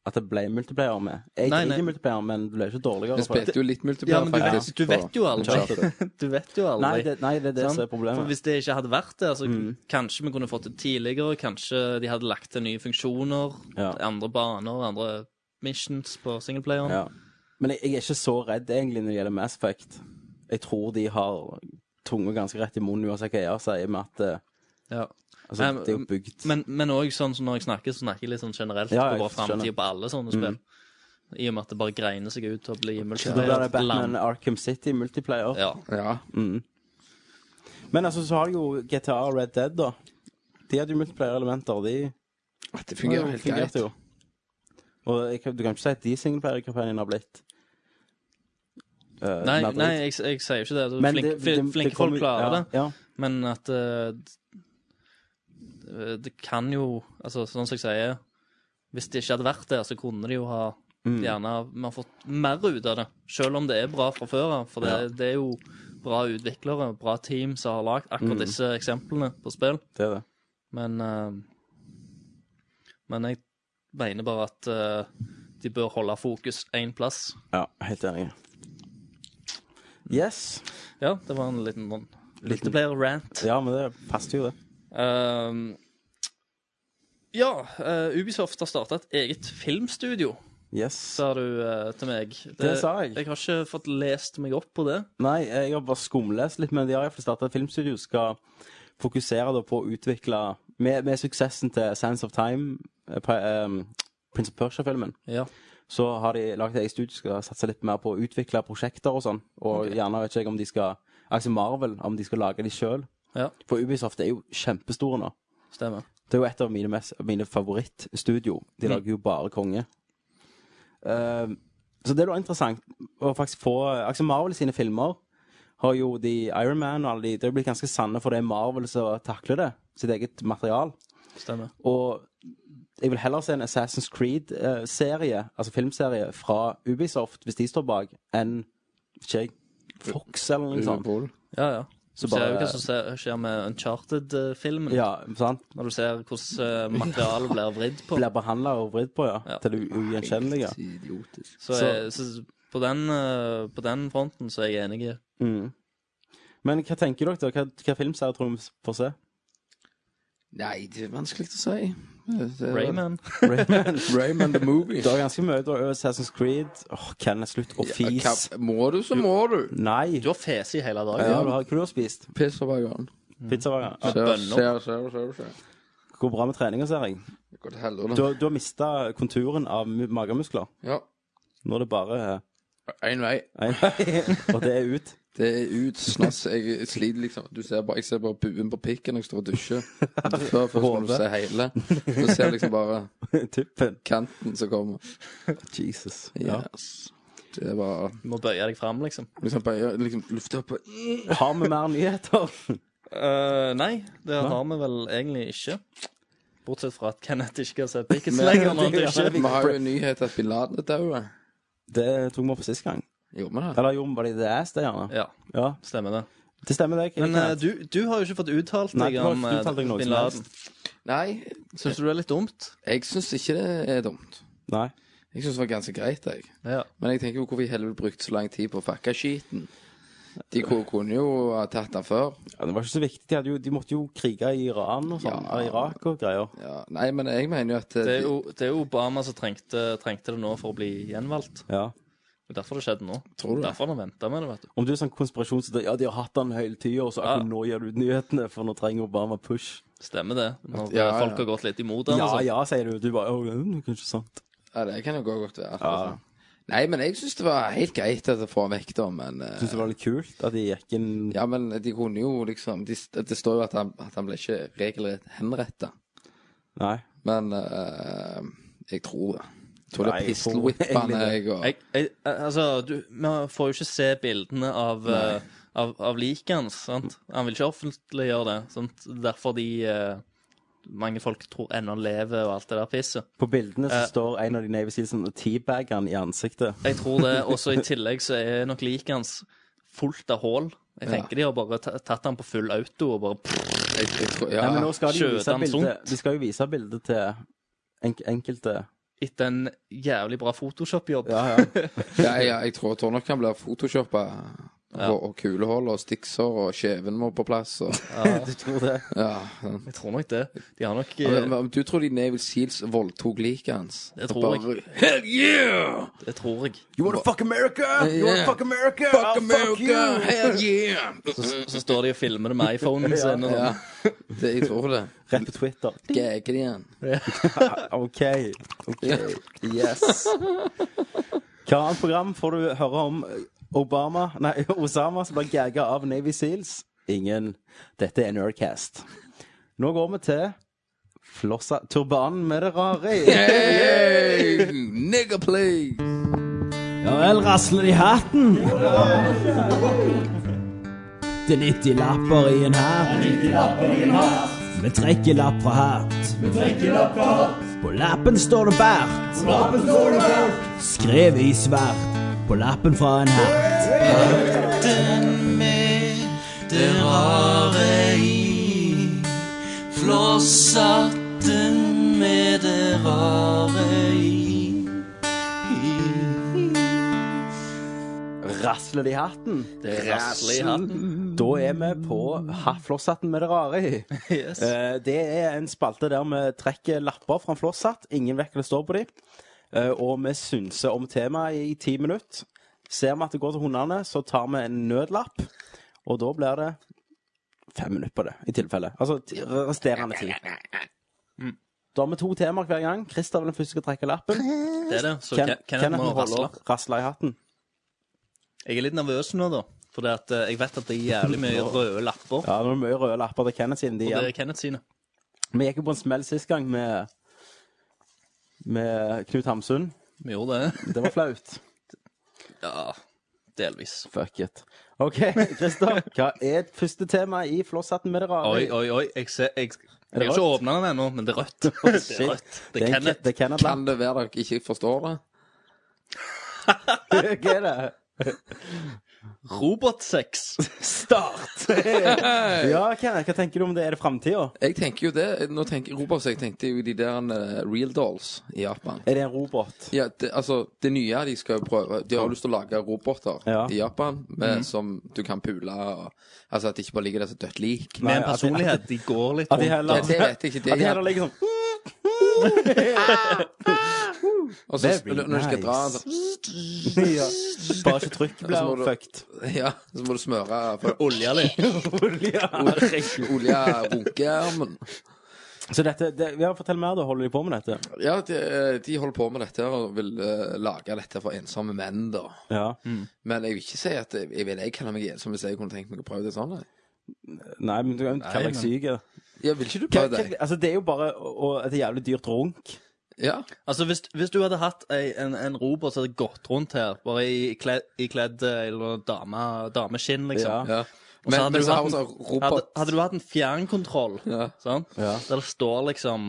F: at det ble multiplayer med. Jeg
A: Nei,
F: liker
A: nei.
F: multiplayer, men det ble ikke dårligere.
G: Vi
F: for det.
G: spilte jo litt
A: Ja,
G: multiplayer,
A: men du, vet-
G: faktisk.
A: du vet jo aldri.
G: Uncharted.
A: Du vet jo aldri.
F: Nei, det, nei, det er det
A: Sant?
F: som
A: Sånn.
F: er
A: For
F: problemet. Mm.
A: hvis det ikke hadde vært det, altså, kanskje vi kunne fått det tidligere, kanskje de hadde lagt til nye funksjoner,
F: Ja.
A: andre baner, andre missions på singleplayeren.
F: Ja. Men jeg, jeg er ikke så redd egentlig når det gjelder Mass Effect. Jeg tror de har tunga ganske rett i munnen uansett hva jeg sier, med at eh,
A: Ja.
F: altså,
A: Nei, men-
F: det er jo bygd
A: Men, men også sånn som når jeg snakker, så snakker jeg litt sånn generelt
F: Ja, jeg
A: på bare
F: skjønner.
A: framtida på alle sånne spill. I og med at det bare greiner seg ut til å bli
F: Så da blir det Batman
A: land.
F: Arkham City multiplayer.
A: Ja.
G: Ja.
F: Men altså, så har jo GTA og Red Dead, da. De hadde jo multiplayer-elementer. De
G: At det fungerer helt
F: fungerte
G: greit.
F: jo. Og jeg, kan- du kan ikke si at de singleplayer-kampanjene har blitt eh,
A: Nei,
F: mer drit.
A: nei jeg, jeg sier jo ikke det.
F: Men
A: Flinke,
F: det- det- det
A: flinke
F: kommer-
A: folk klarer
F: ja,
A: det.
F: Ja.
A: Men at eh, d- Det kan jo Altså, sånn som jeg sier Hvis det ikke hadde vært der, så kunne de jo ha Gjerne Vi har fått mer ut av det. Selv om det er bra fra før av. For det,
F: Ja.
A: det er jo bra utviklere, bra team som har lagd akkurat disse eksemplene på spill.
F: Det er det.
A: Men eh, Men jeg mener bare at eh, de bør holde fokus én plass.
F: Ja, helt enig. Yes.
A: Ja, det var en liten sånn Multiplayer-rant.
F: Ja, men det passet jo, det.
A: Ehm, ja, eh, Ubisoft har starta et eget filmstudio,
F: Yes.
A: sa du eh, til meg. Det,
F: sa jeg.
A: Jeg har ikke fått lest meg opp på det.
F: Nei, jeg har bare skumlest litt, men de har iallfall starta et filmstudio som skal fokusere da på å utvikle Med, med suksessen til Sands of Time, eh, pri- ehm, Prince of Persia-filmen,
A: Ja.
F: så har de lagd et eget studio som skal satse litt mer på å utvikle prosjekter og sånn. Og gjerne vet ikke jeg om de skal Altså Marvel, om de skal lage de sjøl.
A: Ja.
F: For Ubisoft er jo kjempestore nå.
A: Stemmer.
F: Det er jo et av mine, mest- mine favorittstudio. De lager jo bare konge. Eh, så det er jo interessant å faktisk få altså Marvel sine filmer har jo de Iron Man og alle de Det er jo blitt ganske sanne, for det er Marvel som takler det. Sitt eget material.
A: Stemmer.
F: Og jeg vil heller se en Assassin's Creed-serie, altså filmserie, fra Ubisoft, hvis de står bak, enn ikke jeg, Fox eller noe sånt.
G: Liverpool.
A: Ja, ja.
F: Så
A: Du ser jo
F: bare-
A: hva som skjer- skjer med Uncharted-filmen.
F: Ja, sant?
A: Når du ser hvordan eh, materialet blir vridd på.
F: Blir behandla og vridd på, ja.
A: Ja.
F: Til det u- ugjenkjennelige.
G: Idiotisk.
A: Så, jeg, så på, den, eh, på den fronten så er jeg enig.
F: Men hva tenker dere? Hva, hva filmserie tror du vi får se?
G: Nei, det er vanskelig å si. Det- det-
A: Rayman.
F: Rayman.
G: Rayman the Movie.
F: Det er ganske mye da. Assassin's Creed. Åh, Kenneth, slutt å
G: Ja,
F: fise.
G: hva- må du, så må du.
F: Nei.
A: Du har fese i hele dagen.
F: Ja, du har, hva du har spist?
G: Piss over gangen.
F: Pizza hver gang.
A: Med
G: Ser,
A: bønner.
G: ser, ser, ser, ser.
F: Det Går bra med treninga, ser jeg.
G: Det går til helvete.
F: Du, har- du har mista konturen av mu- magemuskler.
G: Ja.
F: Nå er det bare
G: Én vei.
F: Nei, Og det er ut.
G: Det er ut. Snass. Jeg sliter liksom. Du ser bare, jeg ser bare buen på pikken når jeg står og dusjer. Før først må du
F: Hodet.
G: se hele. Du ser liksom bare
F: Tuppen.
G: kanten som kommer.
F: Jesus. Ja.
G: Yes. Det er bare
A: Du må bøye deg fram, liksom.
G: liksom, bare, liksom lufte opp og
F: Har vi mer nyheter?
A: Eh, nei, det har vi vel egentlig ikke. Bortsett fra at Kenneth ikke kan se pikken så lenge. når han dusjer.
G: Vi har jo en nyhet at bin Laden er død.
F: Det tok vi opp sist gang.
G: Gjorde vi det?
F: Eller gjorde vi bare det ass, det, gjerne?
A: Ja,
F: Ja.
A: stemmer det.
F: Det stemmer, det.
A: Men eh,
F: Kenneth.
A: du, du har jo ikke fått uttalt
F: Nei,
A: deg
F: du har
A: om
F: ikke
A: eh,
F: uttalt deg noe
A: bin
F: som
A: Laden.
G: Nei,
A: Syns du det er litt dumt?
G: jeg syns ikke det er dumt.
F: Nei.
G: Jeg syns det var ganske greit, jeg.
A: Ja.
G: Men jeg tenker jo hvorfor i helvete brukte så lang tid på å fucke skiten? De ko- kunne jo ha tatt den før.
F: Ja, det var ikke så viktig. De, hadde jo, de måtte jo krige i Iran og sånn.
G: Ja.
F: og Irak og greier.
G: Ja, nei, men jeg mener jo at
A: Det er jo, det er jo Obama som trengte, trengte det nå for å bli gjenvalgt.
F: Ja.
A: Det er derfor det skjedde nå.
G: Tror du det?
A: Derfor har han venta med det, vet du.
F: Om du er sånn konspirasjonsidé Ja, de har hatt den hele tida, og så akkurat
A: Ja.
F: nå gjør du ut nyhetene, for nå trenger Obama push.
A: Stemmer det. Når
G: Ja,
A: eh,
G: ja.
A: folk har gått litt imot han
F: Ja,
A: og sånn.
F: ja, sier du. Du bare Å, det er kanskje sant.
G: Ja, det kan jo gå godt være. altså. Nei, men jeg syns det var helt greit at det får vekk, da, men eh,
F: Syns det var litt kult at de gikk inn
G: Ja, men de kunne jo liksom de, Det står jo at han, at han ble ikke regelrett henretta,
F: Nei.
G: men eh, jeg tror det. Jeg tror det
F: Nei,
G: er
F: jeg tror
G: pistol-whippene,
F: egentlig
G: jeg, og
A: Jeg, jeg, altså, du, vi får jo ikke se bildene av, eh, av, av liket hans. sant? Han vil ikke offentliggjøre det. sant? Derfor de eh, Mange folk tror ennå han lever og alt det der pisset.
F: På bildene
A: Eh.
F: så står en av de Navy Sealsene og teabagger han i ansiktet.
A: Jeg tror det. Og så i tillegg så er nok liket hans fullt av hull. Jeg tenker de har bare ta- tatt han på full auto og bare pff,
G: jeg, jeg tror, ja,
F: Nei, men nå skal de, jo
A: skjøt
F: vise
A: han
F: bilde,
A: sunt?
F: de skal jo vise bildet til enk enkelte
A: etter en jævlig bra Photoshop-jobb.
F: Ja, ja.
G: ja, ja, jeg tror, tror nok han blir photoshoppa. Og, og kulehull og stikser, og kjeven må på plass. Og,
F: Du tror det?
G: ja. sånn.
A: Jeg tror nok det. De har nok
G: Ja, men-
A: eh,
G: men Du tror de Naval Seals voldtok liket hans?
A: Det tror jeg.
G: Bare, Hell yeah!
A: Det tror jeg.
F: You wanna fuck America? You wanna
G: Yeah.
F: fuck America?
G: Ah, Fuck
F: I'll fuck you!
G: America! Hell yeah!
A: Så står de og filmer det med iPhonen sin. og sånn.
G: Ja, det, jeg tror det.
F: Rett på Twitter.
G: Gagger de igjen?
F: OK. ok, Yes. Hva annet program får du høre om Obama Nei, Osama som blir gagga av Navy Seals? Ingen. Dette er Nerdcast. Nå går vi til Flossa turbanen med det rare i.
G: Hey, nigga, please!
F: Ja vel, rasler det i hatten. Det er 90 lapper i en hatt. Vi trekker lapp fra hatt. På lappen står det bart. Skrevet i svart på lappen fra en hatt. Rasler det i hatten?
A: Det er raslig i hatten.
F: Da er vi på ha- flosshatten med det rare i.
A: Yes.
F: Eh, Det er en spalte der vi trekker lapper fra en flosshatt. Ingen vet hva det står på dem. Og vi synser om temaet i ti minutter. Ser vi at det går til hundene, så tar vi en nødlapp. Og da blir det fem minutter på det, i tilfelle. Altså ti- resterende ti.
A: Mm.
F: Da har vi to temaer hver gang. Christer er den første som skal trekke lappen.
A: Det er det. Så
F: Ken,
A: Ken, Kenneth må rasle.
F: opp rasla i hatten.
A: Jeg er litt nervøs nå, da. For jeg vet at det er jævlig mye røde lapper.
F: Ja, det er mye røde lapper til Kenneth siden de
A: Og det
F: igjen.
A: er Kenneth sine.
F: Vi gikk jo på en smell sist gang med, med Knut Hamsun.
A: Vi gjorde det.
F: Det var flaut.
A: Ja, delvis.
F: Fuck it. OK, Christer. Hva er første tema i Flosshatten med det rare?
A: Oi, oi, oi. Jeg, ser, jeg, jeg
F: det
A: har ikke åpna den ennå, men det er rødt. Det
F: Shit.
A: er rødt. Det er
F: en-
A: Kenneth.
F: Det er Kenneth Land.
G: Kan det være dere ikke forstår det?
F: Hva er det?
A: Robotsex.
F: Start! ja, Kenneth, hva tenker du om det? Er det framtida?
G: Jeg tenker jo det. Nå tenker Robert, så jeg tenkte jo de der eh, real dolls i Japan.
F: Er det en robot?
G: Ja, det, altså, det nye de skal prøve De har jo lyst til å lage roboter
F: Ja. Mhm.
G: i Japan med, som du kan pule og Altså at det ikke bare ligger der som dødt lik.
A: Med
F: Nei,
A: en
F: at de-
A: personlighet. De går litt
F: At de
A: rundt.
F: heller,
G: Det- det vet jeg ikke, det-
F: at de heller ligger sånn
G: Og så
F: Very
G: når du skal dra
F: nice.
G: så,
F: ja. Bare ikke trykk
G: Og så må
F: blir sånn
G: du-
F: fucked.
G: Ja, så må du smøre for
A: Olja litt.
G: olje runkearmen.
F: Så dette det, ja, Fortell mer, da. Holder de på med dette?
G: Ja, de, eh, de holder på med dette her og vil eh, lage dette for ensomme menn, da.
F: Ja.
G: Men jeg vil ikke si at jeg, jeg vil jeg kaller meg ensom hvis jeg kunne tenkt meg å prøve det sånn. jeg.
F: Nei, men du kan
A: Nei,
F: kalle deg
A: men-
F: syk. ja.
G: Ja, vil ikke du
F: Hva-
G: prøve det?
F: hva- Altså, det er jo bare å- å- et jævlig dyrt runk.
G: Ja.
A: Altså, hvis, hvis du hadde hatt ei, en, en robot som hadde gått rundt her, bare i kledd, i kledd eh, eller dame, dameskinn, liksom
G: ja.
A: Og så
G: Men,
A: hadde du
G: men så
A: hatt
G: har hun
A: en-
G: sånn
A: Hadde,
G: robot
A: hadde du hatt en fjernkontroll,
G: Ja.
A: sant?
F: Ja.
A: der det står liksom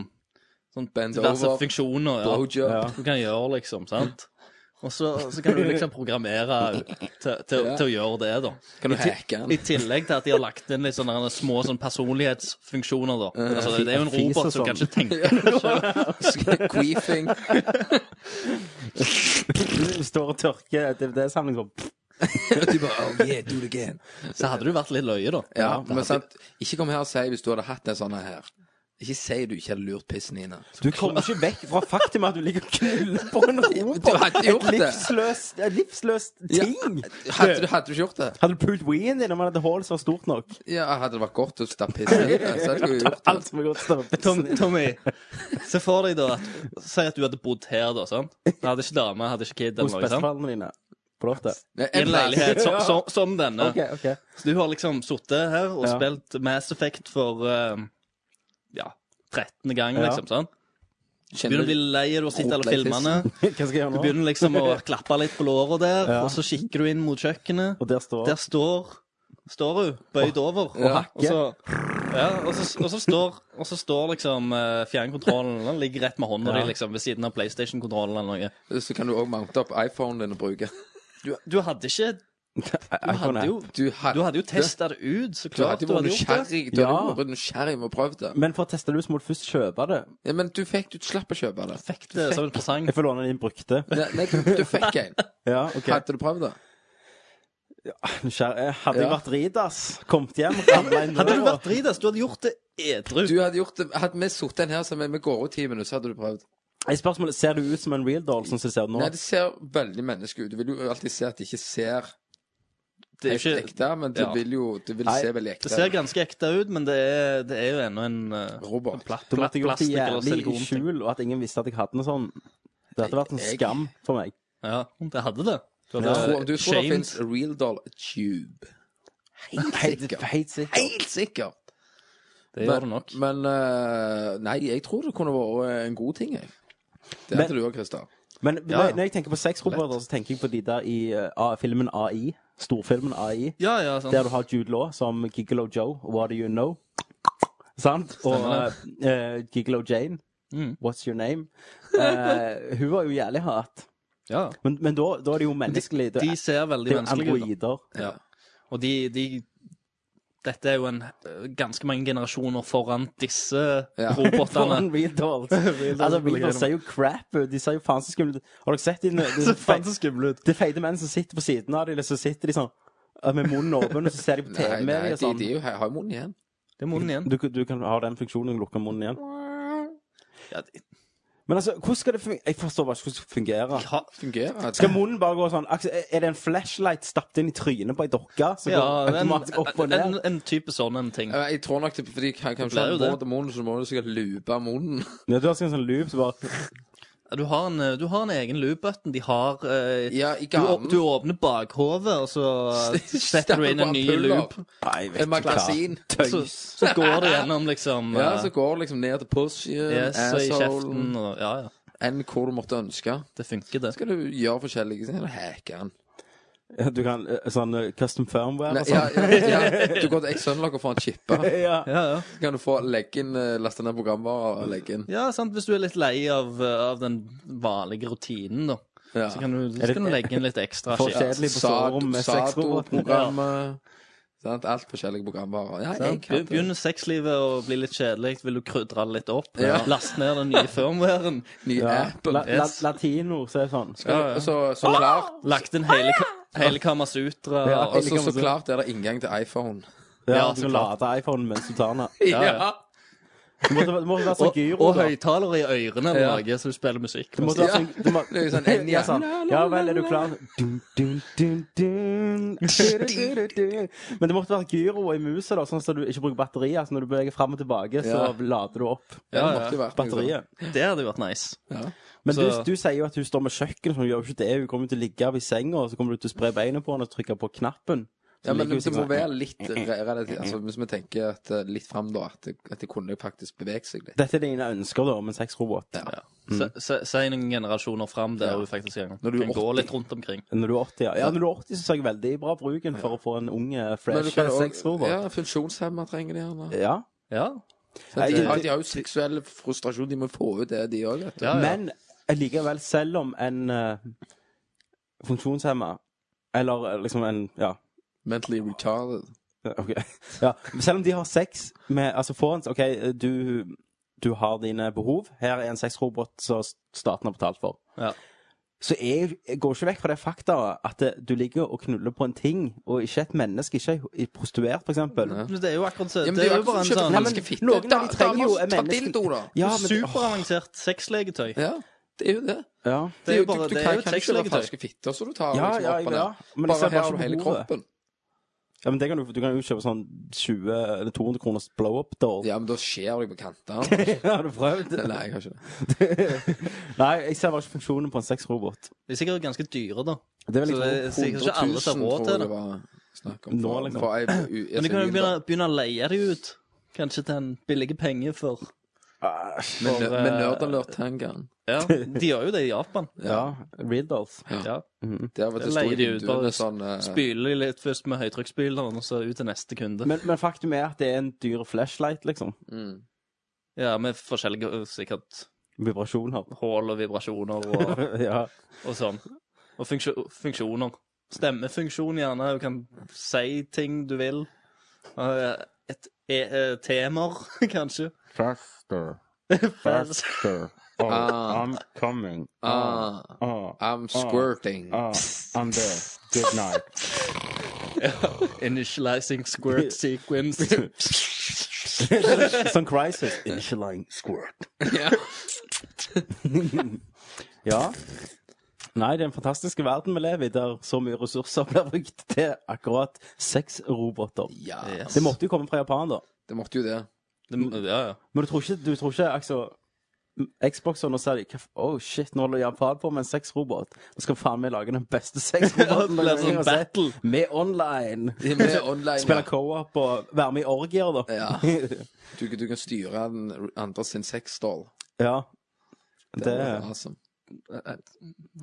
A: sånn
G: Bend
A: diverse
G: over.
A: funksjoner ja,
G: blowjob.
F: Ja.
A: du kan gjøre, liksom, sant? Og så, så kan du liksom programmere til, til, til å gjøre det, da.
G: Kan du
A: I ti-
G: hacke den?
A: I tillegg til at de har lagt inn litt sånne her små sånn personlighetsfunksjoner, da. Altså, det er jo en
F: Fis og
A: robot som
F: sånn.
A: kan ikke tenke
G: Queefing.
F: Du står og tørker DVD-samling sånn.
G: De bare, oh, yeah, do it again.
A: Så hadde du vært litt løye, da.
G: Ja, men sant, ikke kom her og si hvis du hadde hatt en sånn her. Ikke si du ikke hadde lurt pissen din. altså.
F: Du kommer ikke vekk fra faktum at du ligger og knuller på en robot.
G: Du hadde gjort
F: et
G: det.
F: livsløst, et livsløst
G: Ja,
F: ting.
G: Hadde, du- hadde du ikke gjort det?
F: Hadde du pult ween din om han hadde hull som var stort nok?
G: Ja, Hadde det vært godt å stappe pissen i det, så hadde du gjort det.
F: Alt som er godt større.
A: Tom, liksom. Tommy, se for deg da at, Si at du hadde bodd her, da. sant? Du hadde ikke dame, hadde ikke kid.
F: Hos
A: Eller noe, sant?
F: besteforeldrene dine. På loftet.
G: Nei,
A: I en
G: plass.
A: leilighet som, som, som denne.
F: Ok, ok.
A: Så du har liksom sittet her og
F: Ja.
A: spilt Mass Effect for eh, ja, 13. gang,
F: Ja.
A: liksom. sant? Begynner
G: Kjenner
A: å bli
G: du-
A: lei av å sitte alle
G: Rotlei
A: filmene.
F: Hva skal jeg gjøre
A: Du
F: nå?
A: begynner liksom å klappe litt på låret der,
F: Ja.
A: og så kikker du inn mot kjøkkenet.
F: Og der står
A: Der står Står hun bøyd over og
F: hakker.
A: så, ja, og, så, og, så står, og så står liksom eh, fjernkontrollen Den ligger rett med hånda
F: Ja.
A: di liksom, ved siden av PlayStation-kontrollen. eller noe
G: Så kan du òg mounte opp iPhonen din og bruke.
A: Du, du hadde ikke Du hadde jo,
G: Du hadde,
A: du hadde jo testa det ut, så
G: Du
A: klart
G: hadde
A: du
G: jo vært
A: hadde gjort det.
G: nysgjerrig. Du hadde
F: Ja.
G: jo vært nysgjerrig med å prøve det.
F: Men for å teste det ut, så må du først kjøpe det.
G: Ja, men du fikk Du slapp å kjøpe det.
A: Fikk det som en presang.
F: Jeg får låne din brukte.
G: Nei, nei, du fikk en.
F: Ja, ok.
G: Hadde du prøvd det?
F: Kjære, hadde jeg
G: Ja.
F: vært ridas, kommet hjem, ramla inn
A: Hadde du
F: døra
A: vært dritas, du hadde gjort det edru.
G: Du hadde gjort det Hadde vi sittet en her som vi går ut ti minutter, så hadde du prøvd.
F: Jeg spørsmålet, Ser du ut som en real doll, sånn som du ser ut nå?
G: Nei, det ser veldig menneske ut. Du vil jo alltid se at det ikke ser
A: Det, er
G: helt
A: jo ikke,
G: ekte, men det
A: ja.
G: vil jo det vil
F: Nei,
G: se veldig ekte
A: det ser ganske ekte ut, men det er, det er jo ennå en eh,
G: Robot.
A: platt,
F: Da måtte
A: platt
F: jeg gjort det
A: plastikk eller
F: jævlig i
A: silikonting.
F: skjul, og at ingen visste at jeg hadde noe sånn. Det hadde vært en
G: Jeg-
F: skam for meg.
A: Ja, det hadde det. Du
G: Jeg tror- Du
A: hadde
G: tror det
A: shamed.
G: fins real doll tube.
F: Helt
G: sikker.
F: Helt sikker.
G: Helt sikkert!
A: Det
G: Men,
A: gjør det nok.
G: men eh, nei, jeg tror det kunne vært eh, en god ting, jeg. Det hadde
F: Men-
G: du òg, Christer.
F: Men
A: Ja, ja.
F: når jeg tenker på sexroboter, så tenker jeg på de der i eh, A- filmen AI. Storfilmen AI.
A: Ja, ja, sant.
F: Der du har Jude Law som Gigolo Joe. What do you know? Sant? Og eh, Gigolo Jane.
A: Mm.
F: What's your name? Eh, hun var jo jævlig hat.
A: Ja.
F: Men, men da, da er det jo menneskelig.
A: De
F: det er-
A: ser
F: det
A: veldig
F: er jo
A: menneskelige ut.
F: androider.
A: da. Ja. Og de, de dette er jo en eh, ganske mange generasjoner foran disse
G: Ja.
A: robotene.
F: Foran Real Dolls. altså, Real Dolls ser jo crap ut. De ser jo faen så skumle ut. Har dere sett de, de,
A: Så faen så skumle ut.
F: Det er feite menn som sitter på siden av dem, eller så sitter de sånn eh, med munnen åpen, og så ser de på
G: Nei,
F: TV med
G: nei,
F: dem
G: de,
F: og sånn.
G: de er jo- har jo munnen igjen.
A: Det er munnen igjen.
F: Du, du kan ha den funksjonen og lukke munnen igjen.
A: Ja, de-
F: Men altså, hvordan skal det fungere? Jeg forstår bare ikke hvordan det skal fungere.
A: ja,
G: Fungerer.
F: Skal munnen bare gå sånn Aksel, Er det en flashlight stappet inn i trynet på ei dokke? Som
A: ja,
F: går
A: en,
F: automatisk opp og
A: en,
F: ned?
A: en type sånn en ting.
G: Ja, Eh, Jeg tror nok det fordi kan, kan
A: Det er jo
G: ikke ha
A: det.
G: båt og munnen, så må du sikkert lube munnen.
F: Ja, du har sånn sånn loop som bare
A: Du har en, eh, du har en egen loop-button. De har eh,
G: Ja, i
A: du, å-
G: ganen.
A: du åpner bakhovet, og så setter du inn en ny loop.
F: Nei, jeg
G: Et magasin.
A: Så, så går det gjennom liksom
G: Ja,
A: eh,
G: så Eh, går det liksom ned til pushen,
A: yes, og i kjeften
G: assholen,
A: og Ja, ja.
G: enn hvor du måtte ønske.
A: Det funker, det.
G: Så skal du gjøre forskjellige ting. eller Hacke den.
F: Ja, Du kan eh, sånn eh, custom firmware
G: Nei,
F: og
G: ja,
F: sånn.
G: ja, ja, du går til Xunlock og får en chippe.
F: Ja.
A: Ja, ja.
G: Så kan du få legge inn, eh, laste ned programvarer og legge inn.
A: ja sant, Hvis du er litt lei av, eh, av den vanlige rutinen, da,
G: Ja.
A: så kan du, så kan du legge inn litt ekstra
F: For
A: shit.
F: kjedelig på
G: Sado-
F: soverommet med sexroboten.
G: Sado-programmet. Sant? Alt forskjellige programvarer. Ja, jeg
A: Sant?
G: kan
A: Be-
G: det.
A: Begynner sexlivet å bli litt kjedelig, vil du krydre det litt opp?
G: Ja.
A: Last ned den nye firmwaren.
G: Ny
F: Ja.
G: app.
F: La, la,
A: yes.
F: latino, så er det sånn.
G: Ja, ja. Så, så klart
A: Lagt inn hele, ka- hele Kamasutra.
F: Ja,
A: og-
G: Og så,
F: Eller kan
G: så
F: man si-
G: klart er det inngang til iPhone.
F: Ja,
A: Ja,
F: du
A: så
F: kan
A: klart.
F: lade iPhonen mens du tar den.
A: Ja, ja.
F: Du må, du må være sånn
A: Og,
F: gyro.
A: og
F: da.
A: høyttalere i ørene eller
G: Ja.
A: noe, så du spiller musikk.
F: Du må
A: mens-
F: være sånn, du må,
G: Det er jo sånn en
F: ja, sånn. ja vel, er du klar? Dun, dun, dun, dun. Dun, dun, dun, dun. Men det måtte være gyro i muset, da, sånn at du ikke bruker batterier. Så når du beveger fram og tilbake, så
G: Ja.
F: lader du opp
G: Ja, det måtte jo vært sånn. noe sånt.
F: batteriet.
A: Det hadde jo vært nice.
F: Men du,
A: Så-
F: du sier jo at hun står med kjøkken, så hun gjør jo ikke det. Hun kommer jo til å ligge ved senga, og så kommer du til å spre beina på henne og trykke på knappen. Så
G: Ja, men
F: ligger hun
G: det må
F: sånn-
G: være litt re- relativt altså, Hvis vi tenker at, eh, litt fram, da, at, det- at det kunne faktisk bevege seg litt.
F: Dette er dine ønsker, da, om en sexrobot.
A: Ja. Se- se- Si noen generasjoner fram der hun faktisk kan,
G: Når du er
A: kan gå
G: 80.
A: litt rundt omkring.
F: Når du er 80, ja. ja. Når du er 80, så ser jeg veldig bra bruken for å få en ung, eh,
G: Men du
F: fresh
G: kan jo også-
F: sexrobot. Ja.
G: ja, Funksjonshemma trenger de
A: Eh,
G: gjerne.
F: ja.
A: Ja.
G: Så De,
F: Jeg-
G: har- de har jo seksuell frustrasjon. De må få ut det, de òg, vet du.
A: Ja, ja.
F: Men likevel, selv om en uh, funksjonshemma Eller eh, liksom en Ja.
G: Mentally retarded.
F: Ok. Ja. Selv om de har sex med Altså, får en OK, du, du har dine behov. Her er en sexrobot som staten har betalt for.
A: Ja.
F: Så jeg, jeg går ikke vekk fra det fakta at eh, du ligger og knuller på en ting, og ikke et menneske, ikke ei- ei prostituert, for eksempel.
A: Men Det er jo akkurat så.
G: Ja, men
A: det er jo bare en
G: akkurat som å kjøpe
A: sånn
G: menneskefitte.
F: noen av de
G: Da-
F: trenger
G: damer
F: jo
G: som
F: en
G: tar
F: menneske-
G: dildo, da.
F: Ja, men,
A: superavansert sexlegetøy.
G: Ja, det er jo det.
F: ja.
A: Det er jo bare
G: du, du
A: det er
G: kan
A: jo
G: jo
A: et
G: ikke
A: sexlegetøy.
G: falske fitter som du tar
F: Ja,
G: liksom,
F: ja,
G: opp og
F: ja.
G: ned.
F: Men jeg ser
G: Bare her
F: bare
G: har du
F: på
G: hele
F: behovet.
G: kroppen.
F: ja, men det kan du, du kan jo kjøpe sånn 20 eller 200 kroners blow-up-door.
G: Ja, men da skjer det på kantene.
F: har du prøvd?
G: Nei, jeg har ikke det.
F: Nei, jeg ser bare ikke funksjonen på en sexrobot.
A: De er sikkert ganske dyre, da.
F: Det er vel
A: Så
F: liksom
A: det er sikkert ikke
G: 100 000
A: alle som har råd til
G: tror jeg
A: det.
G: det var snakk om.
F: Nå,
G: for-
F: liksom.
G: for ei- u- altså,
A: Men du kan jo
G: SVU,
A: begynne,
G: da.
A: begynne å leie de ut. Kanskje til en billig penge for
G: Med
A: for,
G: nø-
A: eh,
G: Med nerdalert-tangaen.
A: Ja, de gjør jo det i Japan.
F: Ja. Real dolls.
A: Ja.
G: Der vet du
A: Det
G: sto
A: leier de ut,
G: vinduene
A: bare
G: sånn eh,
A: Spyle de litt først med høytrykksspyleren, og så ut til neste kunde.
F: Men, men faktum er at det er en dyr flashlight, liksom.
G: mm.
A: Ja, med forskjellige ø, sikkert
F: Vibrasjoner.
A: hull og vibrasjoner og,
F: ja.
A: og sånn. Og funksjo- funksjoner. Stemmefunksjon, gjerne. Du kan si ting du vil. Eh, Et e eh, temaer, kanskje. Faster.
G: ah, ah, I'm squirting.
F: Ah.
A: Initializing squirt sequence.
F: Sånn crisis. Initialing squirt.
G: Ja.
F: Ja. Nei, det er en fantastisk verden vi lever i, der så mye ressurser blir brukt til akkurat sexroboter.
G: ja.
A: Yes.
F: Det måtte jo komme fra Japan, da.
G: Det måtte jo det.
A: Det må- Ja, ja.
F: Men du tror ikke, du tror ikke altså, Xbox og nå ser de hva f- Oh shit, nå holder Japan på med en sexrobot. Nå skal faen meg lage den beste
A: Det
F: sexroboten.
A: blir sånn battle.
F: med online.
G: Det er Med online,
F: Spille
G: ja.
F: co-op og være med i orgier, da.
G: Ja. Du, du kan styre den andre sin sexdoll.
F: ja.
G: Det
F: Det
G: er awesome.
A: Eh,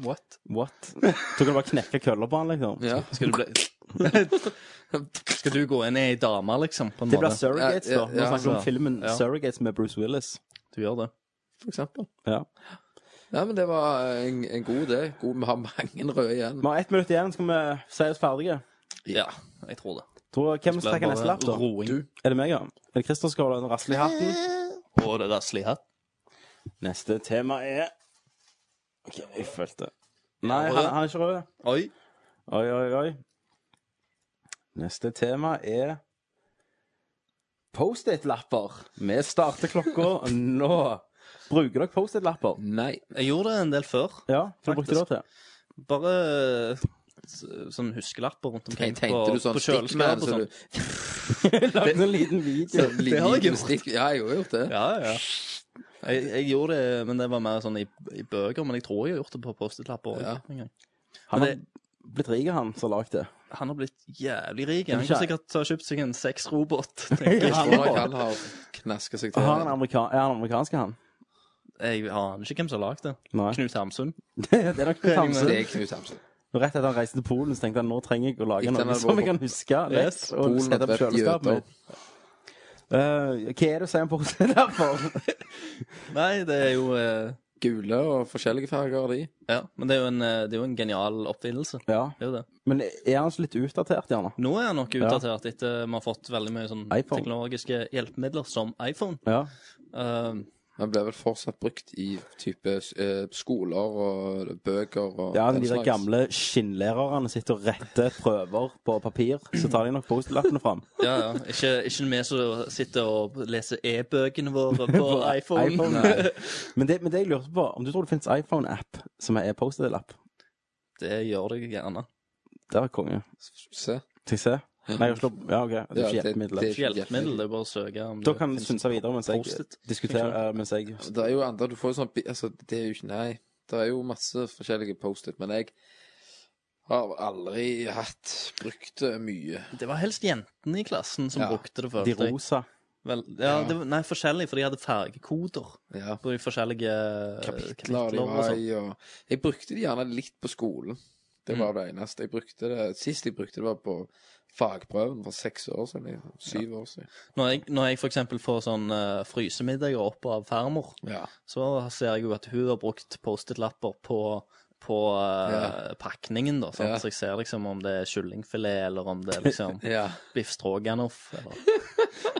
A: What?
F: What? Du kan bare knekke køller på han, liksom.
G: Ja.
A: Skal du bli Skal du gå inn i ei dame, liksom? På en
F: Det blir
A: måte?
F: Surrogates,
G: Ja,
F: da.
G: ja,
F: Nå
G: ja,
F: snakker vi om
A: så-
F: filmen
A: ja.
F: Surrogates med Bruce Willis.
A: Du gjør det.
G: For eksempel.
F: Ja.
G: Nei, men det var en, en god idé. God, vi har mange røde igjen.
F: Vi har ett minutt igjen, skal vi si oss ferdige?
A: Ja, jeg tror det.
F: Tror, hvem som trekker neste lapp, da?
A: Roing.
G: Du.
F: Er det meg, ja? Er det Christer som skal holde den rasle i hatten?
A: Og det rasler i hatt.
F: Neste tema er OK, jeg følte Nei, han, han er ikke rød.
A: Oi.
F: Oi, oi, oi. Neste tema er Post-it-lapper. Vi starter klokka nå. Bruker dere Post-it-lapper?
G: Nei.
A: Jeg gjorde det en del før.
F: Ja, hva brukte dere til?
A: Bare eh, s- sånn huskelapper rundt omkring.
G: Jeg tenkte du sånn
A: på kjøleskap og sånn.
F: Lagde en liten video.
A: Det har jeg gjort.
G: Stikk. Ja, jeg har gjort det.
A: Ja, ja. Jeg, jeg gjorde det, men det var mer sånn i, i bøker. Men jeg tror jeg har gjort det på Post-It-lapper.
G: Ja.
A: også en gang.
F: Han har
A: Men
F: blitt rik, han som lagde det.
A: Han har blitt jævlig rik.
F: Men
A: Han kan
F: ikke-
A: sikkert ha kjøpt seg en sexrobot. tenker
G: Jeg
A: Jeg
G: tror nok han har knaska seg til.
F: Har han amerika- Er han amerikansk, han?
A: Jeg aner ikke hvem som har lagd det.
F: Nei.
A: Knut Hamsun.
F: det er nok Knut Hamsun.
G: Det er Knut Hamsun.
F: Rett etter han reiste til Polen, så tenkte han nå trenger jeg å lage
G: Etter han
F: noe
G: hadde
F: som
G: vært
F: jeg kan huske. Yes,
A: Yes,
F: og
G: Polen
F: sette
G: hadde
F: opp
G: vært
F: kjøleskapet
G: jøder.
F: mitt. Eh, hva er det å si om posen derfor?
A: Nei, det er jo eh,
G: Gule og forskjellige farger, de.
A: Ja, men det er jo en, eh, det er jo en genial oppfinnelse.
F: ja,
A: Det er jo det.
F: men er han så litt utdatert, gjerne?
A: Nå er han nok utdatert etter eh, vi har fått veldig mye sånn
F: iPhone.
A: teknologiske hjelpemidler som iPhone.
F: Ja.
A: Eh,
G: Den ble vel fortsatt brukt i type eh, skoler og bøker og
F: ja,
G: den
F: de der
G: slags.
F: gamle skinnlærerne sitter og retter prøver på papir, så tar de nok post-lappene fram.
A: ja, ja. Ikke, ikke vi som sitter og leser e-bøkene våre på iPhone.
F: iPhone, nei. Men det, men det jeg lurte på, om du tror det finnes iPhone-app som er post-it-lapp?
A: Det gjør det gjerne.
F: Der er konge.
G: Se.
F: Skal jeg se? Nei, jeg slår Ja, OK. Det er
G: Ja,
F: ikke
G: det-
F: hjelpemidler.
G: det-
A: Ikke hjelpemiddel, det er bare å søke om
F: Da
A: det
F: kan
A: finnes
F: Sunsa videre mens jeg
A: Post-it.
F: diskuterer eh, mens jeg
G: Det er jo andre Du får jo sånn bi- Altså, det er jo ikke Nei. Det er jo masse forskjellige Post-It, men jeg har aldri hatt brukt det mye.
A: Det var helst jentene i klassen som
G: Ja.
A: brukte det, følte
F: De
A: jeg.
F: rosa.
A: Vel, ja, det, var- nei, forskjellig, for de hadde fargekoder
G: Ja.
A: på de forskjellige eh,
G: Kapitler de
A: og
G: var
F: altså.
A: sånn.
G: i, og Jeg brukte det gjerne litt på skolen. Det
F: Mm.
G: var det eneste. Jeg brukte det Sist jeg brukte det, var på fagprøven for seks år siden. eller Syv år siden.
A: Når jeg, når jeg for eksempel får sånn eh, frysemiddager opp av farmor,
G: Ja.
A: så ser jeg jo at hun har brukt Post-It-lapper på, på eh,
G: Ja.
A: pakningen, da. Sant?
G: Ja.
A: Så jeg ser liksom om det er kyllingfilet, eller om det er liksom
G: ja.
A: biff stroganoff, eller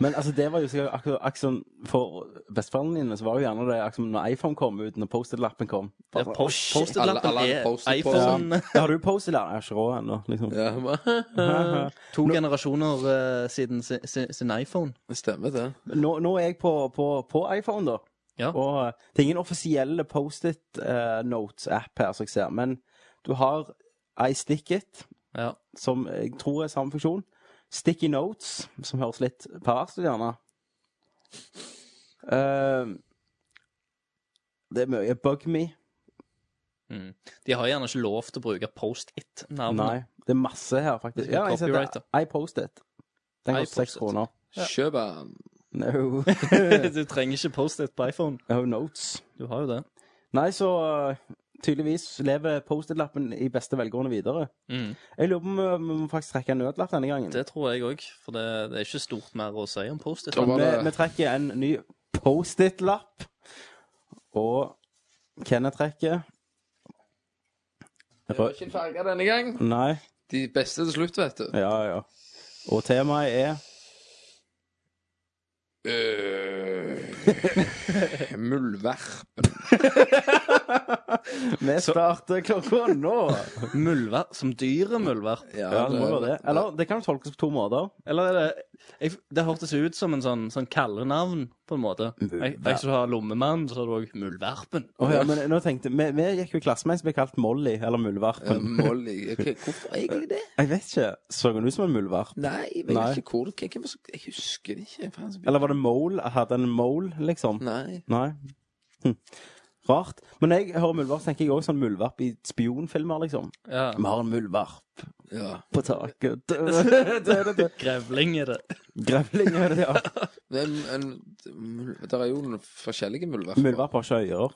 F: Men altså, det var jo sikkert akkurat, akkurat sånn For besteforeldrene dine så var jo gjerne det akkurat som når iPhone kom ut, når Post-It-lappen kom.
A: Ja,
F: Bare,
A: post-
F: «Åh, shit,
A: Post-it-lappen
G: Alle- alle
A: er
G: Post-it på-
A: iPhone
F: Har du Post-It-lappen? Jeg er ikke råd ennå, liksom.
G: ja.
A: To generasjoner eh, siden sin, sin, sin iPhone.
G: Det stemmer, det.
F: Nå, nå er jeg på, på, på iPhone, da.
A: Ja.
F: Og eh, det er ingen offisielle Post-It-notes-app her, som jeg ser, men du har iStickit,
A: Ja.
F: som jeg tror er samme funksjon. Sticky Notes, som høres litt perverst ut, gjerne. Eh, det er mye BugMe.
A: Mm. De har gjerne ikke lov til å bruke Post-It-navnet.
F: Nei, det er masse her, faktisk.
A: Det er
F: Ja, jeg
A: copyright,
F: setter iPost-it. Den koster seks
A: iPost-it.
F: kroner.
G: Kjøp den.
F: No.
A: du trenger ikke Post-It på iPhone.
F: no notes.
A: Du har jo det.
F: Nei, så uh, tydeligvis lever Post-it-lappen i beste velgående videre.
A: Mm.
F: Jeg lurer på om uh, vi må faktisk trekke en nødlapp denne gangen.
A: Det tror jeg òg, for det, det er ikke stort mer å si om Post-It.
G: Da var
F: Vi,
G: det-
F: vi trekker en ny Post-it-lapp. Og Kenneth trekker
G: Det var ikke farger denne gang.
F: Nei.
G: De beste til slutt, vet du.
F: Ja, ja. Og temaet er
G: Øh, Eh, Muldvarp.
F: Vi starter klokka nå!
A: Mulver, som dyret mulverp.
F: Ja, det må være det. Eller det kan jo tolkes på to måter.
A: Eller er det jeg, Det hørtes ut som en sånn, sånn kallenavn, på en måte. Jeg, jeg som har lommemann, så har du òg Muldvarpen.
F: Å ja, men nå tenkte Vi, vi gikk jo i klasse med en som ble kalt Molly, eller
G: Ja,
F: Muldvarpen.
G: Molly. Ok, Hvorfor egentlig det?
F: Jeg vet ikke. Så hun ut som en muldvarp?
G: Nei, jeg vet
F: Nei.
G: ikke hvor det hvem var som- Jeg husker det ikke. Faen, så-
F: Eller var det Mole? Hadde en mole, liksom?
G: Nei.
F: Nei. Hm. Rart. Men når jeg hører muldvarp, tenker jeg òg sånn muldvarp i spionfilmer, liksom.
A: Ja.
F: Vi har en muldvarp
G: Ja.
F: på taket Dø, dø, dø, dø.
A: Grevling er det.
F: Grevling er det, ja.
G: Det er, en, mul- der er jo noen forskjellige muldvarper.
F: Muldvarp har ikke ører.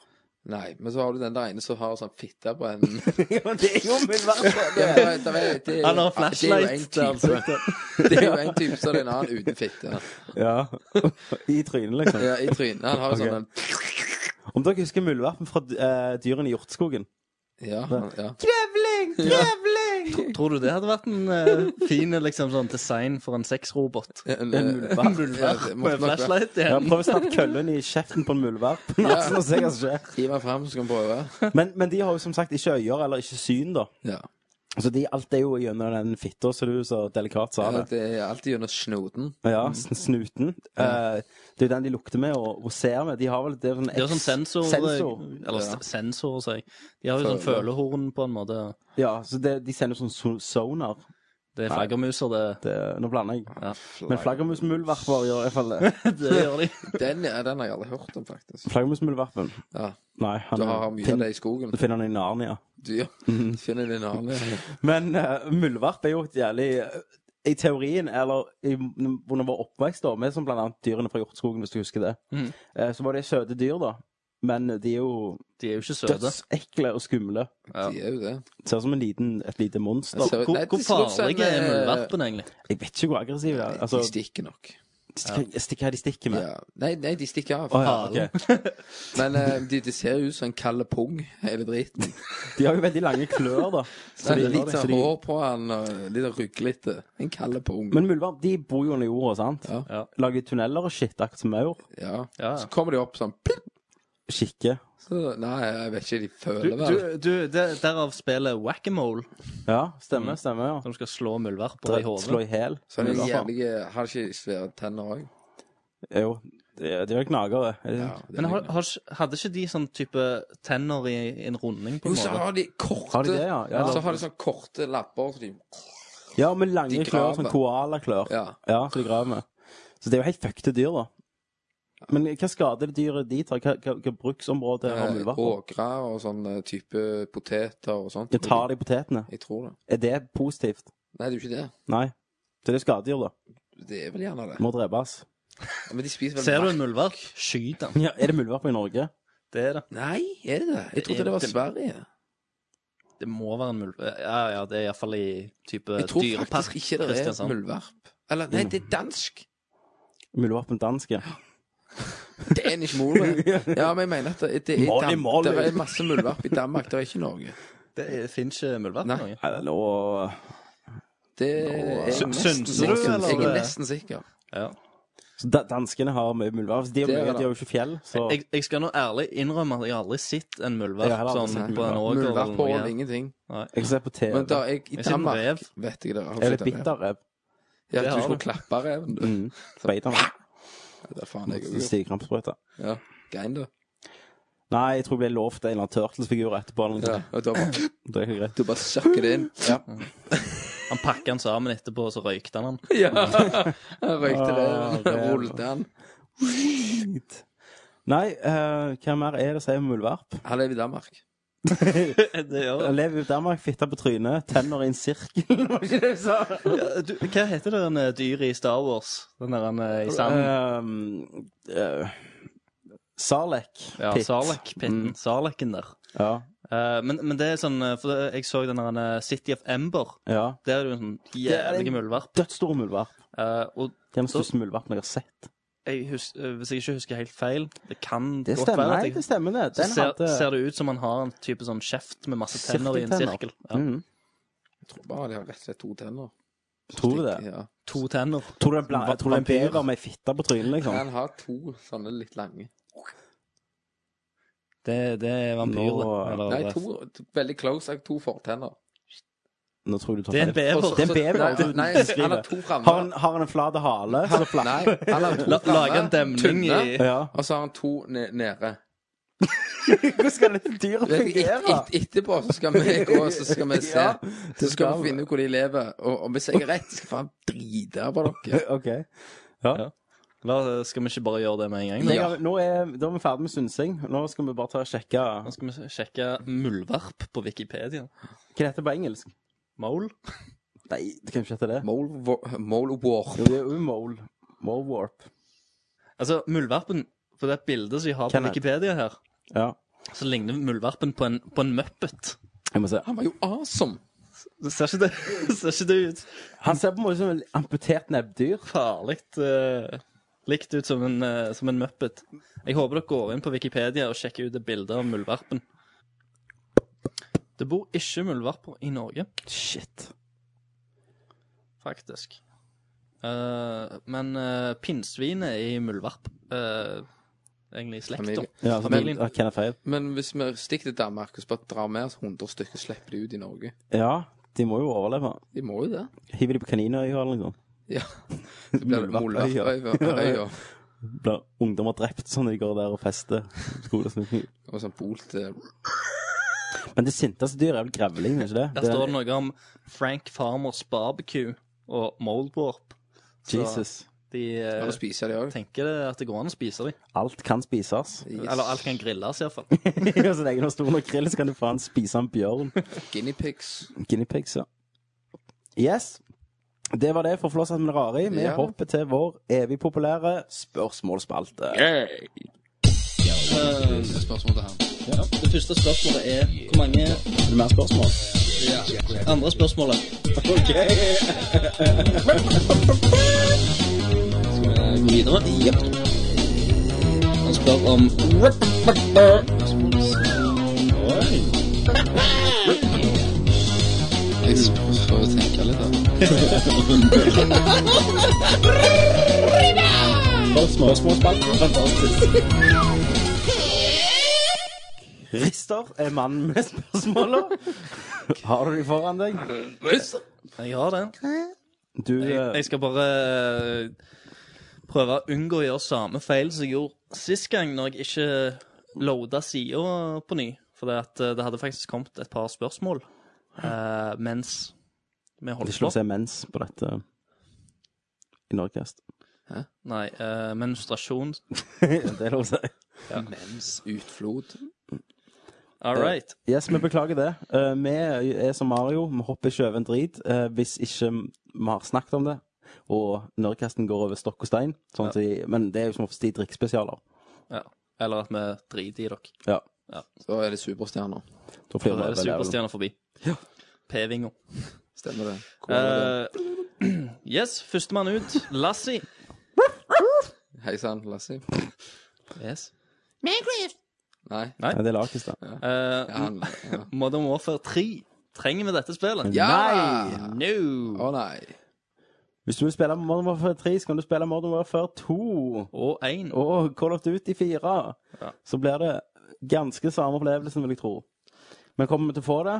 G: Nei, men så har du den der ene som har sånn fitte på en
F: Ja, det er jo muldvarp!
G: Ja, men det er- det er-
A: Han har
G: Det
A: flashlight
G: er
A: til
G: jo en type,
A: ansiktet.
G: det er jo en type så er det en annen uten fitte.
F: Ja. I trynet, liksom.
G: Ja, I trynet. Han har jo sånn en
F: Om dere husker muldvarpen fra eh, dyrene i Hjorteskogen?
G: Ja. han- ja.
F: Grevling! Grevling!
A: Tro- Tror du det hadde vært en eh, fin liksom, sånn design for en sexrobot?
G: En,
F: En
G: eh, ja,
A: Med
G: det måtte nok være.
A: flashlight i
F: Ja,
A: hendene?
F: prøv å stappe køllen i kjeften på en muldvarp.
G: Ja.
F: Så ser jeg hva som skjer.
G: Gi meg frem, så skal vi prøve.
F: Men, men de har jo som sagt ikke øyer eller ikke syn, da.
G: Ja.
F: Så de, alt er jo gjennom den fitta, som du så delikat sa
G: Ja,
F: det.
G: det er alltid gjennom snoten.
F: Ja, sn- snuten. Eh, det er jo den de lukter med og, og ser med. De har vel det er sånn
A: Det er jo sånn sensor,
F: Sensor.
A: Eller
G: Ja.
A: s- sensor, sier jeg. De har jo sånn
G: Føle.
A: følehorn, på en måte.
F: Ja, så det, de sender sånn so- sonar.
A: Det er flaggermuser, det.
F: Det, nå blander jeg.
A: Ja.
F: Men flaggermusmuldvarper gjør iallfall det.
A: Det gjør de.
G: Den, ja, den har jeg aldri hørt om, faktisk.
F: Flaggermusmuldvarpen.
G: Ja,
F: Nei, han Mhm.
G: Du har mye av
F: finn-
G: det i skogen.
F: Du finner han i Narnia.
G: Du ja. finner din annen.
F: Men uh, muldvarp er jo et jævlig eh, I teorien, eller i, under vår oppvekst, da, med som blant annet dyrene fra Hjortskogen, hvis du husker det,
A: Mhm.
F: eh, så var det søte dyr, da. Men de er jo
A: De er jo ikke søte.
F: dødsekle og skumle.
A: Ja.
G: De er jo det.
F: Ser ut som en liten, et lite monster.
G: Jeg ser-
A: Hvor,
G: Nei, det
A: hvor
G: ser ut som en,
A: farlige er
G: eh,
A: muldvarpen, egentlig?
F: Jeg vet ikke hvor aggressiv de er. Altså,
G: De stikker nok.
F: stikk- stikk hva de stikker med.
G: Ja. Nei, nei, de stikker av.
F: Å, ja, ok.
G: Men eh, de, de ser jo ut som en kald pung, hele driten.
F: De har jo veldig lange klør, da.
G: Så det er litt
F: så
G: sånn
F: de,
G: hår på han, og litt rygglete. En kald pung.
F: men muldvarp de bor jo under jorda, sant?
G: Ja.
A: Ja.
F: Lager tunneler og shit, akkurat som maur.
G: Ja.
A: Ja.
G: Så kommer de opp sånn pling,
F: Kikke.
G: så, Nei, jeg vet ikke, de
A: Du,
G: føler
A: du,
G: vel
A: du det, Derav spillet whack-a-mole,
F: Ja, stemmer, stemmer. ja
A: når du skal slå muldvarper Mm. i
F: Slå
A: hodet.
F: i hæl.
G: Så er de
F: muldvarper.
G: jævlige Har de ikke svære tenner òg?
F: Jo, det det er jo gnagere. er det
G: Ja,
F: sant?
G: det er
A: Men har,
G: lignende.
A: har, hadde ikke de sånn type tenner i en runding, på
G: jo,
A: en
G: så
A: måte?
G: har de korte
F: Har de det, ja? Ja.
G: Så har de sånn korte lapper. Så de,
F: Ja, med lange
G: De
F: klør,
G: graver.
F: sånn koalaklør.
G: ja.
F: Ja, så de graver med. Så det er jo helt fuckte dyr, da. Men hva skader det dyret de tar? Hva, hva, hva bruksområde har
G: eh,
F: muldvarper?
G: Åkre og sånn eh, type poteter og sånt.
F: Ja, Tar de potetene?
G: Jeg tror det.
F: Er det positivt?
G: Nei, det er jo ikke det.
F: Nei. Så det er skadedyr, da.
G: Det er vel gjerne det.
F: Må drepes.
G: Men de spiser vel
A: Ser du
G: mark-
A: en muldvarp, skyt den.
F: Ja, er det muldvarper i Norge?
A: Det er det.
G: Nei, er det det? Jeg trodde det var
A: Det-
G: Sverige.
A: Det må være en muldvarp. Ja, ja, det er iallfall i type
G: Jeg tror
A: dyrepark.
G: faktisk ikke det er
A: Kristiansand.
G: muldvarp. Eller nei, det er dansk.
F: Muldvarpen dansk, ja.
G: Det er ikke mulig. Ja, men jeg mener at det, det, er,
F: Molly,
G: Dan-
F: Molly.
G: det er masse muldvarp i Danmark, det er ikke i Norge.
A: Det er- finnes ikke muldvarp i
G: Nei.
A: Norge.
F: Nei, det er lov
G: Det er jeg
A: Sy-
G: nesten
A: syns du,
G: sikker-
A: eller?
G: Jeg er nesten sikker.
A: Ja.
F: Så da, Danskene har mye muldvarp. De, har
G: Det er
F: mye-
G: det.
F: de har jo ikke fjell, så
A: Jeg, jeg skal nå ærlig innrømme at jeg har aldri sett en muldvarp
F: Jeg har aldri
A: sånn
F: sett
A: på
F: en
A: en
F: muldvarp.
A: åker. eller
G: Muldvarp på
A: noe
G: og
A: her.
G: ingenting.
F: jeg ser på TV.
G: Men da jeg i
A: Jeg ser en
G: Danmark
A: rev.
G: Vet jeg det. har
F: Er det
G: sett den, ja.
F: bitterrev?
G: Ja,
A: Det
G: at
A: har
G: du skulle
A: du.
G: klappe reven, du.
F: Mm. Speideren.
G: Det er faen jeg òg.
F: Stigkrampsprøyte.
G: Ja. Gein, du.
F: Nei, jeg tror jeg ble lovt en eller annen Turtles-figur etterpå. Eller noe.
G: Ja. Og da bare,
F: sånt. Det er ikke greit.
G: du bare sjakker det inn. Ja.
A: Han pakket den sammen etterpå, og så røykte han den.
G: ja. Jeg Røykte reven.
F: Ah, rev.
G: Rullet den.
F: Nei, eh, hva mer er det å si om muldvarp?
G: Han lever i Danmark.
A: det gjør
F: Jeg lever i Danmark, fitta på trynet, tenner i en sirkel. Var ikke det du sa?
A: Du, hva heter det den dyret i Star Wars? Den der han
F: Eh,
A: er i sanden?
F: Um, eh, Sarlek.
A: Ja,
F: Pit.
A: Sarlek-pitten. Sarleken der.
F: Mm, Ja,
A: Eh, men, men det er sånn eh, For jeg så den der eh, City of Ember.
F: ja.
A: Der er det jo en sånn
F: er en-
A: jævlig muldvarp.
F: Dødsstor muldvarp.
A: Eh, og
F: Det er den største muldvarpen jeg har sett.
A: jeg hus eh, hvis jeg ikke husker helt feil Det kan
F: Det
A: godt
F: stemmer,
A: være at
F: nei,
A: jeg
F: det stemmer det.
A: så
F: Den
A: ser,
F: hadde...
A: ser det ut som han har en type sånn kjeft med masse tenner i en
F: Sirkeltenner.
A: sirkel. Ja.
F: Mhm.
G: Jeg tror bare de har rett og slett to tenner.
F: Tror du det?
G: Ja.
A: To tenner.
F: Tror du det er en bla- tror du det er en
A: Vampyr.
F: bever med ei fitte på trynet, liksom?
G: Han har to sånne litt lange.
A: Det, det er vampyr, det.
F: Nå-
A: Eller-
G: Nei, to, veldig close. Jeg har to fortenner.
F: Nå tror jeg du tar
A: Det er en
F: feil.
A: bever.
F: Det er en bever,
G: Nei,
F: du- du
G: Nei,
F: beskriver.
G: han har to framme.
F: Har han, har han en flat hale? Så flat.
G: Nei, han har to
A: La,
G: framme,
A: lage en demning
G: tynne,
A: i
F: Ja.
G: Og så har han to ne nede.
F: Hvordan skal dette dyret
G: Vet du,
F: fungere?
G: et, et, etterpå så skal vi gå og så skal vi se.
F: Ja,
G: så skal
F: skal vi.
G: vi finne ut hvor de lever. Og, og hvis jeg er rett, skal jeg faen drite på dere.
F: Ok.
A: La, skal vi ikke bare gjøre det med en gang?
F: Jeg
A: Da,
F: har, nå er, da er vi ferdig med synsing. Nå skal vi bare ta og sjekke
A: Nå
F: Hva
A: skal vi sjekke muldvarp på Wikipedia.
F: heter det på engelsk?
A: Mole?
F: Nei, det kan jo ikke hete det.
G: Mole vo- Mole war.
F: Jo, det er jo mole. Mole warp.
A: Altså, muldvarpen På det bildet som vi har på
F: Kenneth.
A: Wikipedia her,
F: Ja.
A: så ligner muldvarpen på en, på en muppet.
F: Jeg må se.
G: Han var jo awesome.
A: Det ser ikke det, ser ikke det ut
F: Han ser på en måte som en amputert nebbdyr.
A: farlig eh, likt ut som en, eh, som en muppet? Jeg håper dere går inn på Wikipedia og sjekker ut det bildet av muldvarpen. Det bor ikke muldvarper i Norge,
F: Shit.
A: faktisk. Eh, men uh, pinnsvin er i muldvarp. eh, egentlig i slekt, da.
G: Familie.
F: Ja, så, men,
A: Familien.
F: ah, Kenneth Feil.
G: Men hvis vi stikker til Danmark og bare drar med oss 100 stykker, slipper de ut i Norge.
F: Ja, de må jo overleve.
G: De må jo det.
F: Hiver de på kaninøya eller noe sånt?
G: Ja. Så blir det
F: Muldvarpøya.
G: Muldvarpøya
F: Blir ungdommer drept sånn når de går der og fester? skolesnuten?
G: og sånn bolt eh,
F: Men det sinteste dyret er vel grevlingen, ikke det?
A: Der står det noe om Frank Farmers barbecue og moldwarp. Så
F: Jesus.
A: De eh,
G: Kan du spise de òg?
A: tenker det at det går an å spise dem.
F: Alt kan spises.
A: Eller alt kan grilles, iallfall.
F: Ja, så lenge det er stor nok grill, så kan du faen spise en bjørn.
G: Guinea pigs.
F: Guinea pigs, ja. Yes. Det var det for Flåshatt med Rari. Vi
G: Ja.
F: hopper til vår evig populære spørsmålsspalte.
G: Spørsmål til han.
A: Det første spørsmålet er hvor mange
F: Er det mer spørsmål?
A: andre spørsmålet. Skal vi gå videre? Jepp. Han spør om
G: Jeg sp- får jo tenke litt, da.
F: Rister er mannen med spørsmåla. Har du de foran deg?
A: Jeg har det.
F: Du eh,
A: Jeg skal bare eh, prøve å unngå å gjøre samme feil som jeg gjorde sist gang, når jeg ikke loada sida på ny. For det, at eh, det hadde faktisk kommet et par spørsmål eh, mens vi
F: Det er
A: holdt
F: ikke
A: på.
F: lov å si mens på dette i Norgecast.
A: Nei, eh, menstruasjon.
F: det er lov å si.
G: Mens utflod.
A: All right.
F: Yes, vi beklager det. Eh, vi er som Mario, vi hopper ikke over en drit eh, hvis ikke vi har snakket om det. Og Nerdcasten går over stokk og stein. Sånn at de, men det er jo som oftest de drikkspesialer.
A: Ja. Eller at vi driter i dere.
F: Ja,
G: Da er det superstjerner.
F: da
A: Da er det
F: flyr vi over levelen.
A: superstjerner forbi. P-vinga.
G: Stemmer det? Hvor er det?
A: Uh, yes, førstemann ut. Lassie.
G: Hei sann, Lassie.
A: Yes.
G: Nei.
F: Ja, det er lakis, da.
A: Eh,
G: Ja, han, ja.
A: Modern Warfare 3. Trenger vi dette spillet?
G: ja!
A: No.
G: Å nei.
F: Hvis du vil spille Modern Warfare 3, så kan du spille Modern Warfare 2.
A: Og én.
F: og Call of Duty 4,
A: Ja.
F: så blir det ganske samme opplevelsen, vil jeg tro. Men kommer vi til å få det?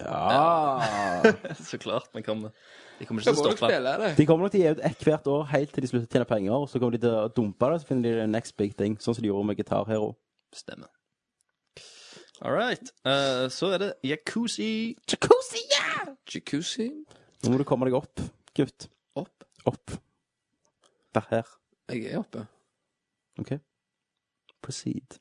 F: Ja
A: Så klart vi kommer. De kommer
G: Da
A: ikke til
G: må
A: å
G: du
A: stoppe.
G: spille det.
F: De kommer nok til å gi ut ett hvert år helt til de slutter å tjene penger. Og så kommer de til å dumpe det, så finner de det next big thing, sånn som de gjorde med Guitar Hero.
A: Stemmer. All right. Eh, så er det Yakuzi.
G: Jacuzzi
F: Nå må du komme deg opp, gutt.
G: opp.
F: Opp. Der her.
G: Jeg er oppe.
F: OK? Proceed.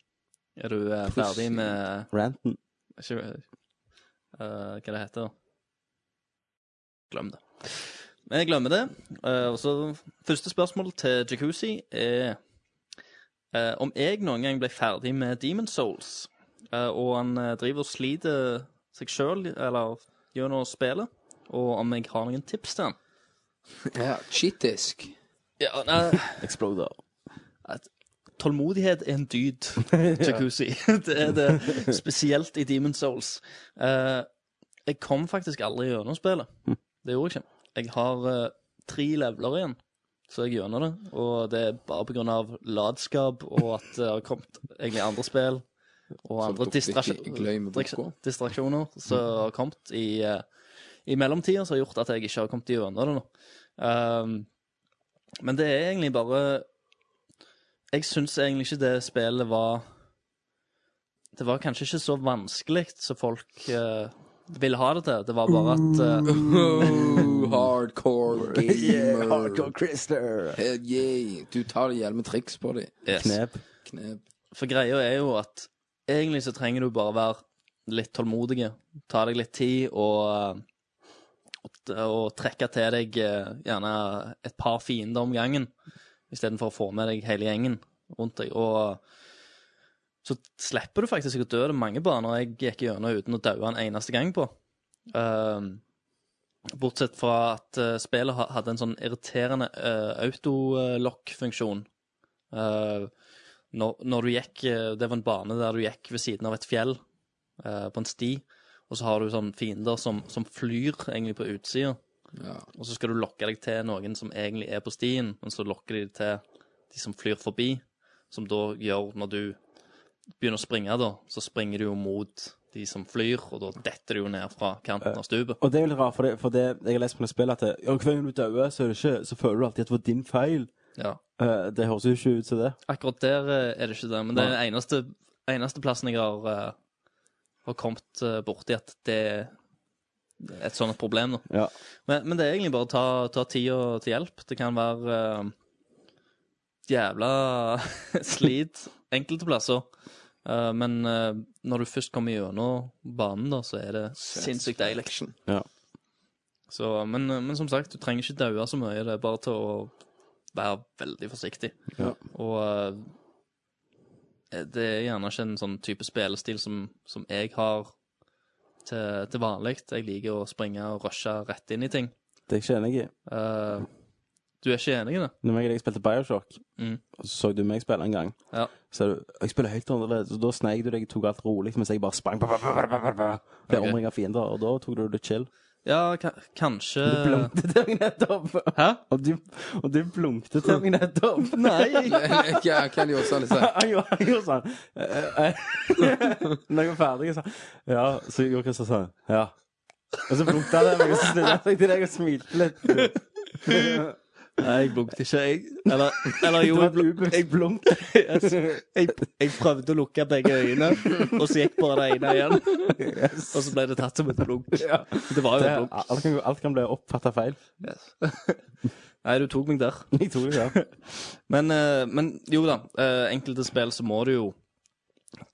A: Er du eh, ferdig med
F: Ranten.
A: ikke, eh, Hva det heter det? Glem det. Men jeg glemmer det. Eh, og så Første spørsmål til Jacuzzi er eh, om jeg noen gang ble ferdig med Demon Souls, eh, og han eh, driver og sliter seg sjøl gjennom spillet, og om jeg har noen tips til han.
G: Ja, Cheat-disk.
A: Ja, nei,
F: Exploder.
A: Tålmodighet er en dyd, jacuzzi. det er det, spesielt i Demon's Souls. Eh, jeg kom faktisk aldri gjennom spillet.
G: Hm.
A: Det gjorde jeg ikke. Jeg har eh, tre leveler igjen, så jeg er gjennom det. Og det er bare på grunn av latskap og at det har kommet egentlig andre spill og andre
G: dukker ikke
A: distraksjon-
G: i glemme boka. Hm.
A: distraks- distraksjoner som har kommet i, eh, i mellomtida, som har gjort at jeg ikke har kommet gjennom det nå. Ehm, men det er egentlig bare Jeg syns egentlig ikke det spillet var Det var kanskje ikke så vanskelig som folk eh, ville ha det til. Det var bare at
G: Mm.
A: eh,
G: Oh, hardcore gamer.
F: Christer.
G: Hell yeah. Du tar det hjelme triks på dem.
F: Knep.
G: Knep.
A: For greia er jo at egentlig så trenger du bare være litt tålmodig. Ta deg litt tid og, og, og trekke til deg eh, gjerne et par fiender om gangen, istedenfor å få med deg hele gjengen rundt deg. Og så slipper du faktisk å dø. Det er mange baner jeg gikk gjennom uten å daue en eneste gang på. Ehm, bortsett fra at eh, spillet ha- hadde en sånn irriterende uh, autolock-funksjon. Ehm, Eh, når, når du gikk eh, Det var en bane der du gikk ved siden av et fjell. eh, på en sti, og så har du sånn fiender som, som flyr egentlig på utsida.
G: Ja.
A: Og så skal du lokke deg til noen som egentlig er på stien, men så lokker de til de som flyr forbi, som da gjør når du begynner å springe, da, så springer du jo mot de som flyr, og da detter du jo ned fra kanten av stupet.
F: Og det er jo litt rart, for, det, for det, jeg har lest på noen spill at det, ja, hver gang du dør, så, er det ikke, så føler du alltid at det var din feil.
A: Ja.
F: Eh, det høres jo ikke ut som det.
A: Akkurat der eh, er det ikke det, men det er den eneste, eneste plassen jeg har, eh, har kommet eh, borti at det er et sånt problem. Da.
F: Ja.
A: Men, men det er egentlig bare å ta, ta tida til hjelp. Det kan være eh, jævla slit enkelte plasser. Eh, men eh, når du først kommer gjennom banen, da, så er det sinnssykt deilig.
F: Ja.
A: Så, men, eh, men som sagt, du trenger ikke daue så mye. Det er bare til å være veldig forsiktig.
F: Ja.
A: Og eh, det er gjerne ikke en sånn type spillestil som, som jeg har til, til vanlig. Jeg liker å springe og rushe rett inn i ting.
F: Det er jeg ikke enig i.
A: Eh, du er ikke enig i det?
F: Når jeg og deg spilte Bioshock,
A: Mm.
F: og så så du meg spille en gang,
A: Ja.
F: så er du, jeg spiller helt annerledes, og da sneik du deg, tok alt rolig, mens jeg bare sprang, ba, ba, ba, ba, ba, ba. ble
A: Ok.
F: omringet av fiender, og da tok du det chill.
A: Ja, ka kanskje
F: Du blunket til meg nettopp!
A: Eh. Hæ?
F: Og du, og du blunket til meg nettopp!
A: Nei!
G: Hva kan de også alle si?
F: Han gjorde, han gjorde sånn eh, eh, Når jeg var ferdig, så Ja, så gjorde Christian sånn. Ja. Og så blunket han til meg, og så snudde han seg til deg og smilte litt.
A: Nei, jeg blunket ikke, jeg. Eller, eller jo,
F: Det var
A: jeg,
F: et
A: blunk-
F: ubevisst-
A: jeg blunket. Jeg, jeg prøvde å lukke begge øynene, og så gikk bare det ene igjen. Og så ble det tatt som et blunk. Det var jo et
F: Det-
A: blunk.
F: Alt kan, alt kan bli oppfattet feil.
A: Nei, du tok meg der.
F: Jeg tror det, ja.
A: Men, eh, men jo da, eh, enkelte spill så må du jo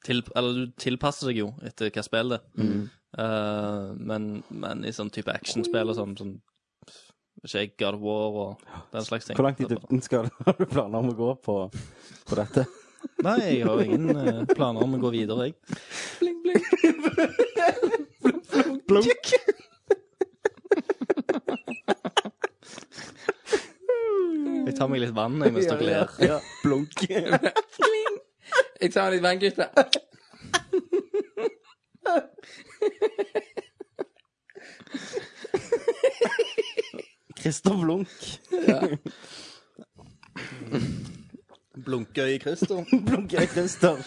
A: til, Eller du tilpasser deg jo etter hva spill det er.
F: Mm.
A: Eh, men, men i sånn type actionspill og sånn, sånn ikke jeg, God of War og den slags ting.
F: Hvor langt i dybden skal du, har du planer om å gå på, på dette?
A: Nei, jeg har ingen eh, planer om å gå videre, jeg.
F: Blunk!
A: Jeg tar meg litt vann jeg, mens dere ler.
F: Ja, blunk.
G: Jeg tar litt vann, gutter.
F: Christer Blunk.
A: Blunkøy Christer.
F: Blunk er Christer.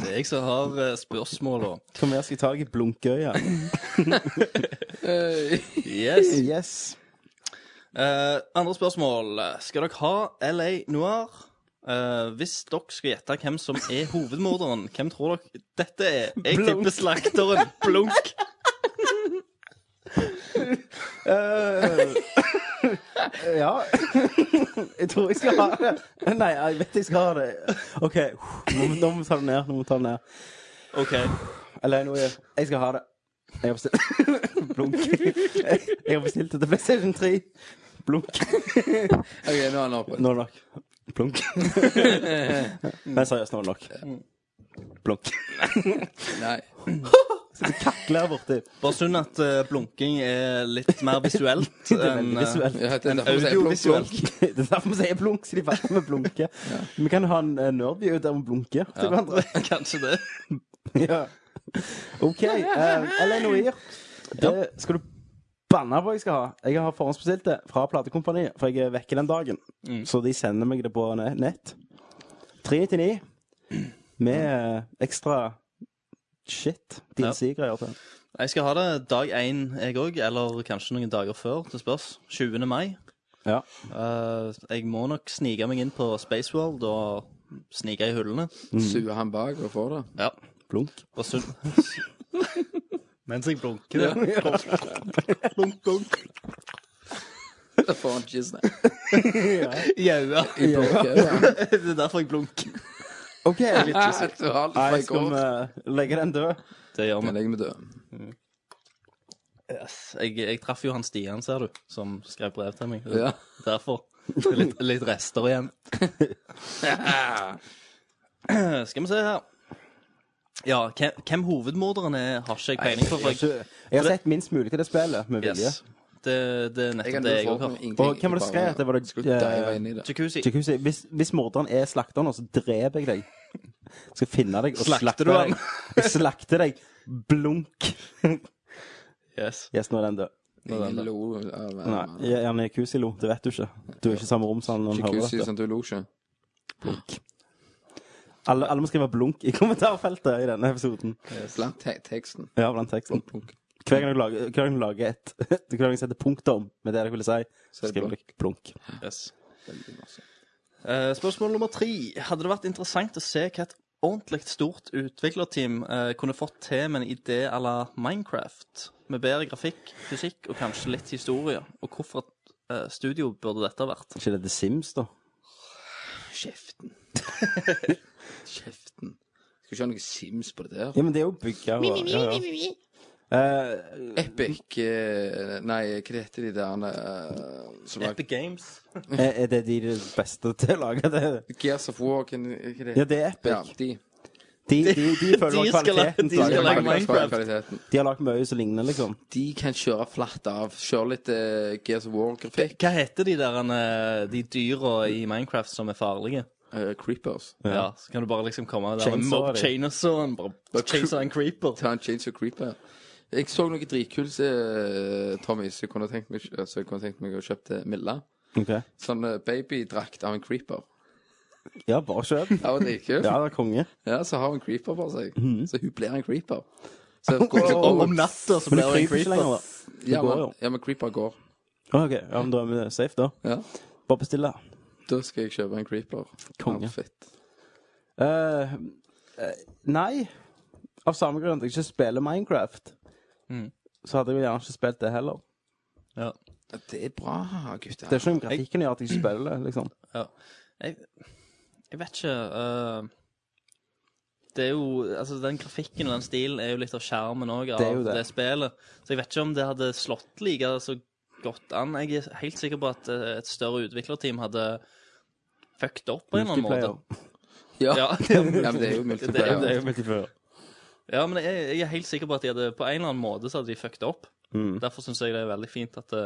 A: Det er jeg som har eh, spørsmål og
F: Kom her, skal jeg ta i blunkøya.
A: Yes.
F: Yes.
A: Eh, andre spørsmål. Skal dere ha LA Noir? Eh, hvis dere skal gjette hvem som er hovedmorderen, hvem tror dere dette er? Jeg tipper slakteren. Blunk.
F: Ja. Jeg tror jeg skal ha det. Nei, jeg vet jeg skal ha det. OK, nå må, nå må vi ta det ned. Nå må vi ta det ned.
A: OK.
F: Eller noe. Jeg skal ha det. Jeg har bestilt Blunk. Jeg jeg har bestilt det til PlayStation 3. Blunk.
G: Ok, nå er han oppe.
F: Nå er det nok. Blunk. Men seriøst, nå er det nok. Blunk.
G: Nei.
F: Klær borti.
A: Bare synd at eh, blunking er litt mer visuelt
F: Det er
A: enn
F: veldig
A: eh,
F: visuelt.
G: Ja, det er derfor vi sier plunk,
A: audiovisuelt.
F: Det er
G: plunk.
F: derfor vi sier blunk, så de vet at vi blunker. Vi kan ha en eh, nerdview der vi blunker til hverandre.
A: Kanskje det.
F: Ja. OK. Uh, Noir. Det eh, skal du banne på jeg skal ha. Jeg har forhåndsbestilt det fra platekompaniet, for jeg er vekke den dagen.
A: Mm.
F: Så de sender meg det på ne- nett. 399 med eh, ekstra shit. DLC-greier til.
A: Jeg skal ha det dag én, jeg òg. Eller kanskje noen dager før. Det spørs. 20. mai.
F: Ja.
A: Eh, jeg må nok snike meg inn på Spaceworld og snike i hullene.
G: Suger han bak og får det?
A: Ja.
F: Blunk.
A: Bare synd Mens jeg blunker. Ja.
G: Da får han ikke snakk.
A: Jaua.
G: Ja.
A: Det er derfor jeg blunker.
F: OK. Nei,
G: Du har alt fra i
F: skal
G: går.
F: vi legge den død?
A: Det gjør
G: Men
A: vi.
G: jeg må dø.
A: Jeg, jeg traff jo han Stian, ser du, som skrev brev til meg.
G: Ja.
A: Derfor. Det er Litt, litt rester igjen. Skal vi se her. Ja, hvem, hvem hovedmorderen er, har ikke jeg peiling på. For jeg,
F: Jeg har sett minst mulig til det spillet, med vilje.
A: yes. det, det er
G: Jeg
A: nettopp
G: kan
A: det
G: dø
A: jeg
G: for
A: òg har.
G: ingenting.
F: Og hvem var det skrev at det var det-
G: Skulle dive inn i det.
A: Jacuzzi.
F: Jacuzzi, hvis, hvis morderen er slakteren, så dreper jeg deg. skal finne deg og
A: Slakter
F: slakte
A: du han?
F: deg. Jeg slakter deg. Blunk.
A: Yes.
F: Yes, nå er den død.
G: Ingen lo av
F: Nei, gjerne Kusi lo. Det vet du ikke. Du er ikke i samme rom som han når han hører
G: Jacuzzi
F: dette.
G: som du lo ikke. sånn-
F: Alle, alle må skrive blunk i kommentarfeltet i denne episoden.
G: Blant te teksten.
F: Ja, blant teksten.
G: Plunk.
F: Hver gang du lager, hver gang du lager et Hver gang du setter punktum med det dere ville si,
G: er det
F: skriver
G: blunk.
F: dere blunk.
A: yes. Eh, spørsmål nummer tre. Hadde det vært interessant å se hva et ordentlig stort utviklerteam eh, kunne fått til med en idé à la Minecraft? Med bedre grafikk, fysikk og kanskje litt historie. Og hvorfor et eh, studio burde dette ha vært?
F: Ikke det The Sims, da?
G: Kjeften. Kjeften. Skal ikke ha noe Sims på det der.
F: Ja, men det er jo bygga og ja, ja. Eh,
G: Epic eh, Nei, hva heter de der eh, som lager
A: Epic Games.
F: er, er det de beste til å lage det?
G: Gears of War? Hva hva det?
F: Ja, det er Epic.
G: Ja, de.
F: De, de, de følger
A: De
F: de
A: skal
F: kvaliteten.
A: la- de
F: til-
A: skal lage
G: Kvaliteten.
A: Minecraft.
G: Kvaliteten.
F: De har lagd mye som ligner, liksom.
G: De kan kjøre flatt av. Kjøre litt eh, Gears of War-grafikk.
A: Hva heter de der eh, de dyra i Minecraft som er farlige?
G: Eh, creepers.
A: Ja. Så kan du bare liksom komme der og
F: Chainsaw
A: mobbe
F: de.
A: chainsawen. Bare chainsaw en creeper.
G: Ta en change of creeper. Jeg så noe dritkult, eh, Tommy, så jeg kunne tenkt meg, eh, så jeg kunne tenkt meg å kjøpe Milla.
F: Ok.
G: Sånn eh, babydrakt av en creeper.
F: Ja, bare kjøp.
G: Det var dritkult.
F: Ja, Mhm.
G: ja.
F: det er konge.
G: så har hun creeper på seg. Så hun blir en creeper. Så går
A: Og
G: oh,
A: om natta så
F: Men
A: blir det
F: det
A: en
F: kryper ikke
A: creeper.
F: lenger, da.
G: ja,
F: går
G: men,
F: jo.
G: ja, men creeper går.
F: Å, Ok, ja, men da er vi safe, da.
G: Ja.
F: Bare bestill det.
G: Da skal jeg kjøpe en creeper.
F: Konge.
G: Outfit.
F: Eh, eh, nei. Av samme grunn at jeg ikke spiller Minecraft,
A: Mm.
F: så hadde jeg jo gjerne ikke spilt det heller.
A: Ja.
G: Ja, Det er bra, gutter.
F: Det er ikke noe om grafikken gjør at jeg ikke spiller det, liksom.
A: Jeg, jeg vet ikke eh, Det er jo Altså, den grafikken og den stilen er jo litt av skjermen òg av
F: Det er jo
A: det.
F: det.
A: spillet. Så jeg vet ikke om det hadde slått like så godt an. Jeg er helt sikker på at eh, et større utviklerteam hadde fucked opp på en eller annen måte.
F: Multiplayer.
G: Ja.
A: Ja,
G: ja, men det er jo
A: Det er jo- det er
G: multiplayer.
A: jo Ja, men jeg, jeg er helt sikker på at de hadde, på en eller annen måte så hadde de fucket opp.
F: Mm.
A: Derfor syns jeg det er veldig fint at det,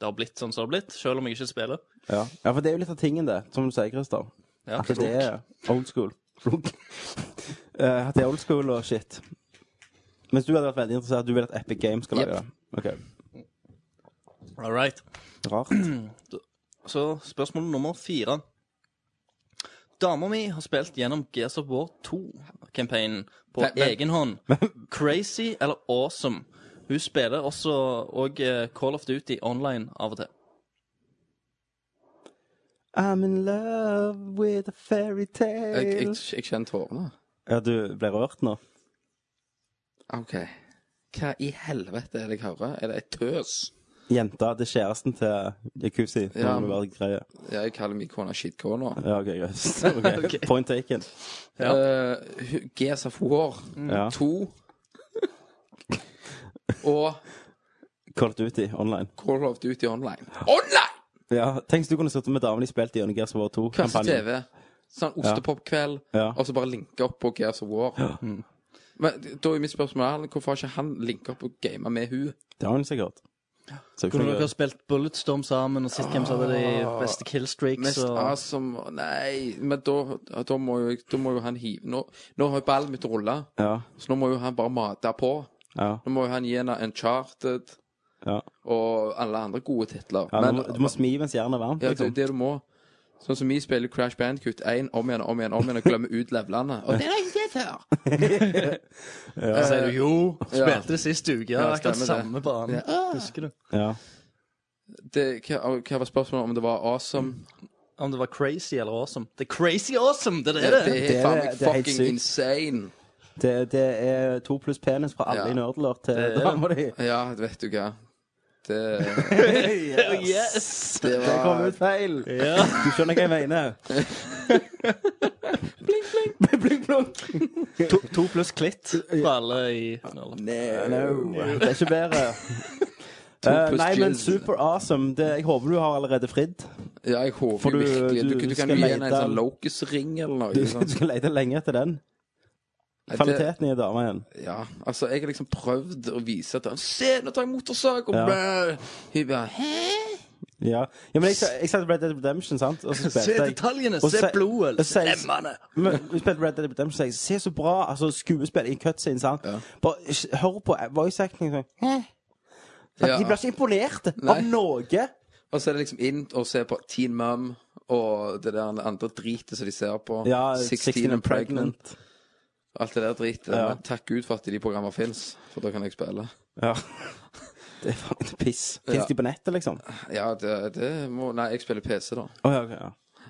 A: det har blitt sånn som det har blitt, selv om jeg ikke spiller.
F: Ja. ja, for det er jo litt av tingen, det, som du sier, Christer.
A: Ja,
F: At Altså, det er old school. Flunk. Eh, at det er old school og shit. Mens du hadde vært veldig interessert, du vil at Epic Games skal lage det. Ok,
A: All right.
F: Rart.
A: Så spørsmål nummer fire. Dama mi har spilt gjennom Gears of War 2-campaignen på
G: Nei, men-
A: egen hånd. Crazy eller awesome? Hun spiller også og eh, Call of Duty online av og til.
F: I'm in love with a fairytale.
G: Jeg, jeg, jeg kjenner tårene.
F: Ja, du ble rørt nå?
G: OK. Hva i helvete er det jeg hører? Er det et tøs?
F: Jenta til kjæresten til Yakuzi. Ja.
G: Ja.
F: Må være greie.
G: Ja, jeg kaller min kone shitkona.
F: Ja, ok, greit. Ok. Point taken.
G: Ja. Eh, Gears of War
F: Mm. Ja.
G: 2 og
F: Call of Duty online.
G: Call of Duty Online. Online!
F: Ja, Tenk hvis du kunne sittet med damen de spilte i under Gears of War 2.
G: Hver sin
F: kampanjen.
G: TV. Sånn ostepopkveld,
F: Ja.
G: og så bare linke opp på Gears of War. Mm. Men da er mitt spørsmål her, hvorfor har ikke han linka opp og gama med hun?
F: Det har hun sikkert. Så ikke
A: Kunne
F: noe-
A: dere ha spilt Bulletstorm sammen og sett hvem som hadde de beste killstreaks?
G: Mest
A: Og...
G: awesome Nei, men da, da, må jo, da må jo han hive Nå, nå har jo ballen mitt rulla,
F: Ja,
G: så nå må jo han bare mate på.
F: ja,
G: Nå må jo han gi henne Uncharted
F: ja.
G: og alle andre gode titler.
F: ja du,
G: Men-
F: må, du må smi mens jernet er varmt.
G: Ja, det er
F: Liksom.
G: jo det du må. Sånn som vi spiller Crash Bandicoot 1 om igjen og om igjen om igjen og glemmer ut levelene. Og det er ikke det før!
A: Så sier du jo,
G: Ja.
A: spilte det sist uke. Ja,
G: Ja,
A: akkurat
G: stemmer det.
A: samme banen. Ah. Husker du?
F: Ja.
G: Det, hva, hva var spørsmålet om det var awesome?
A: Om det var crazy eller awesome. Det er crazy awesome! Det er det.
G: Det,
A: det.
G: er faen meg
F: det er helt
G: fucking
F: sykt.
G: insane.
F: Det, det er to pluss penis fra alle
G: Ja.
F: i Nerdler til
A: er-
F: dama di.
G: Ja, vet du hva. Det,
A: Oh, Yes!
G: det
F: Det kom
G: var
F: ut feil! Du skjønner hva jeg mener.
A: To, to pluss klitt for alle i
F: No. Det er ikke bedre. Eh,
G: pluss
F: nei, men
G: gin.
F: super awesome. Det, jeg håper du har allerede fridd.
G: Ja, jeg
F: For
G: håper
F: du-
G: jo virkelig Du,
F: du
G: du, kan
F: skal
G: jo gi henne en
F: lete-
G: sånn locus-ring eller noe.
F: Du,
G: sånn.
F: du skal lete lenge etter den.
G: Nei, det-
F: Kvaliteten i dama igjen.
G: Ja, altså, jeg har liksom prøvd å vise til henne Se, nå tar jeg motorsag! Og
F: Ja.
G: blæ! hun bare Hæ?
F: Ja. ja, men jeg, jeg satte Red Dead Redemption, sant? Og så
A: Se
F: spilte jeg
A: detaljene,
F: og
A: se
F: så-
A: blodet,
F: og så-
A: se emmene.
F: Men vi spilte Red Dead Redemption, så jeg Se så bra! Altså, skuespill i cutscene, sant? Bare s- hør på voice acting. Sånn. Hæ? Sant?
G: Ja.
F: De blir ikke imponert
G: Nei.
F: av noe.
G: Og så er det liksom inn og se på Teen Mum og det der andre dritet som de ser på.
F: Ja,
G: 16 and Pregnant. Alt det der dritet.
F: Ja.
G: Men takk Gud for at de programmene fins, for da kan jeg spille.
F: Ja. Det er faen piss. Fins
G: Ja.
F: de på nettet, liksom?
G: Ja, det, det må Nei, jeg spiller PC, da.
F: Å ja, ok, ja.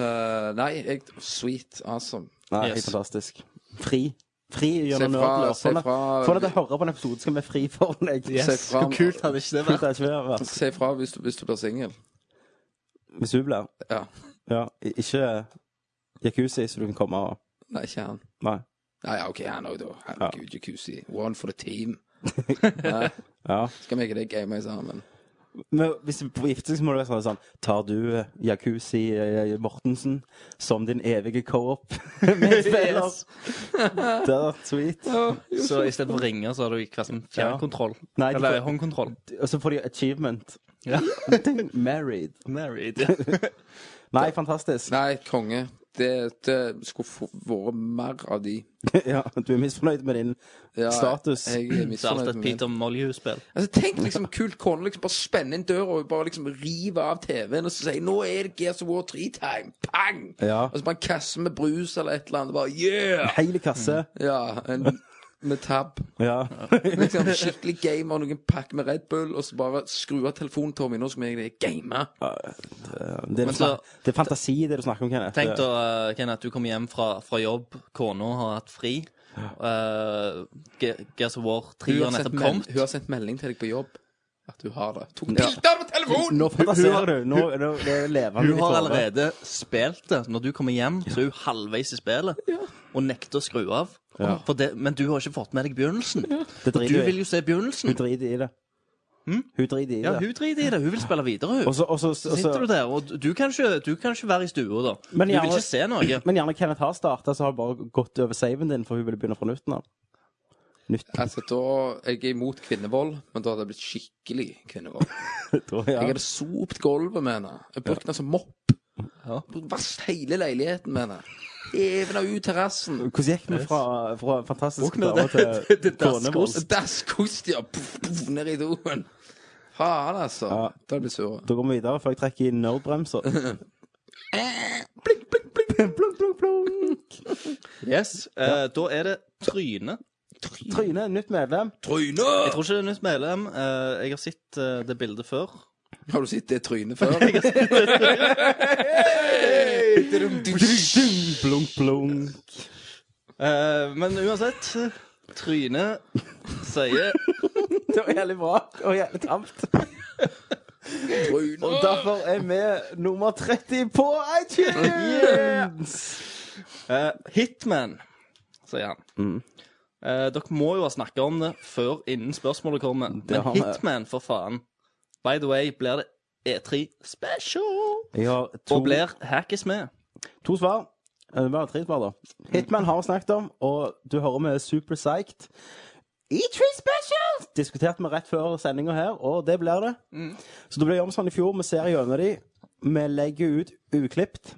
G: Eh, nei, jeg Sweet. Awesome.
F: Nei,
A: Yes.
F: Helt fantastisk. Fri. Fri gjennom
G: Se fra-
F: nerdløp.
G: se fra-
F: Få deg til å høre på en episode, så skal vi fri for deg.
G: Se fra-
A: Hvor kult hadde ikke det vært?
F: Kult er ikke det, vet.
G: Si ifra hvis, du- hvis du blir singel.
F: Hvis du blir
G: Ja.
F: ja, i- ikke jacuzzi, så du kan komme og
G: Nei, ikke han.
F: Nei.
G: Nei, ja, OK, han òg, da. Herregud, jacuzzi. One for the team. nei,
F: Ja.
G: skal vi ikke det game sammen?
F: Men hvis du på gifte så må det være sånn, sånn Tar du eh, jacuzzi eh, Mortensen som din evige co-op medspiller?
A: Yes.
F: Det er sweet.
A: Så i stedet for ringer, så har du hver sin fjernkontroll.
F: Nei, de
A: Eller
F: får-
A: håndkontroll.
F: Og så får de achievement.
A: Ja.
F: Ding, Married.
A: Married.
F: Nei, fantastisk.
G: Nei, konge. Det, det skulle få- vært mer av de.
F: ja, du er misfornøyd med din
G: Ja,
F: status.
G: Jeg,
A: Så
F: Sånn
G: jeg er
A: alt
G: misfornøyd
A: et
G: med min.
A: Peter Molyneux-spill.
G: Altså, tenk liksom kult kone liksom bare spenne inn døra og bare liksom rive av TV-en og så si 'Nå er det Gears of War 3-time'. Pang!
F: Ja.
G: Og så bare en kasse med brus eller et eller annet. Bare yeah!
F: Hele kasse.
G: Ja, en, med tab.
A: Mm.
F: Ja.
G: Liksom Skikkelig gamer, noen pakke med Red Bull, og så bare skru av telefonen, Tommy. Nå skal vi egentlig game.
F: Det er,
A: Men så-
F: det er fantasi, det du snakker om, Kenneth.
A: Tenk da, eh, Ken, at du kommer hjem fra, fra jobb, kona har hatt fri. Uh, Gears of War 3 har
G: Hun har, sendt
A: nettopp
G: mel-
A: kommet.
G: hun har sendt melding til deg på jobb at hun har det. Tok bilder med telefonen!
F: Nå
A: har-
F: fantaserer du. Nå, nå det er levende. i
A: Hun
F: ditt
A: har
F: hode.
A: allerede spilt det. Når du kommer hjem, så er hun halvveis i spillet og nekter å skru av.
F: Ja.
A: For det, men du har ikke fått med deg begynnelsen.
F: Det
A: Du
F: driter
A: vil
F: jo
A: jo se
F: Hun
A: begynnelsen.
F: driter i det. Hun driter i
A: Hm? Ja,
F: det.
A: hun driter i det. Hun vil spille videre,
F: Og
A: hun.
F: så- og så- og
A: Så sitter
F: så
A: du der, og du- du kan ikke, du kan ikke være i stua da. Du
F: Altså- Men
A: vil
F: jeg har-
A: ikke se noe.
F: Men gjerne Kenneth har starta, så har hun bare gått over saven din, for hun ville begynne fra nytten av. Nytt,
G: Altså, da, Jeg er imot kvinnevold, men da hadde det blitt skikkelig kvinnevold.
F: tror jeg.
G: Jeg hadde sopt gulvet med henne. Jeg brukte den som mopp.
A: Ja.
G: Vask hele leiligheten med henne. Hevna ut terrassen.
F: Hvordan gikk vi fra, fra fantastisk
A: Våkner
F: dame
A: det-
F: til
A: det- det dasskost.
F: konevold?
G: Dasskost, ja. Puff, puff, ned i doen. Faen, altså.
F: Ja.
G: Da blir jeg sur.
F: Da går vi videre, før jeg trekker i nerdbremser.
G: Blink, blink, blink. blunk, blunk, blunk.
A: Yes, eh, Da er det trynet.
F: Tryne, nytt medlem.
G: Tryne!
A: Jeg tror ikke det er nytt medlem. Eh, jeg har sett eh, det bildet før.
G: Har du sett det trynet før?
F: Blunk, blunk.
A: Eh, men uansett Trynet sier
F: Det var jævlig bra og jævlig tamt. Og
G: Tryne.
F: derfor er vi nummer 30 på iTunes!
A: eh, Hitman, sier han.
F: Mm.
A: Eh, dere må jo ha snakka om det før innen spørsmålet kommer. Men
F: har vi.
A: Hitman, for faen. By the way, blir det E3 special?
F: Jeg har
A: Og blir hackes med.
F: To svar. Eh, Det var tre svar, da. Hitman har vi snakket om, og du hører vi er super psyched. E3 Special! Diskuterte vi rett før sendinga her, og det blir det. Så det ble gjort sånn i fjor. Vi ser gjennom de. Vi legger ut uklipt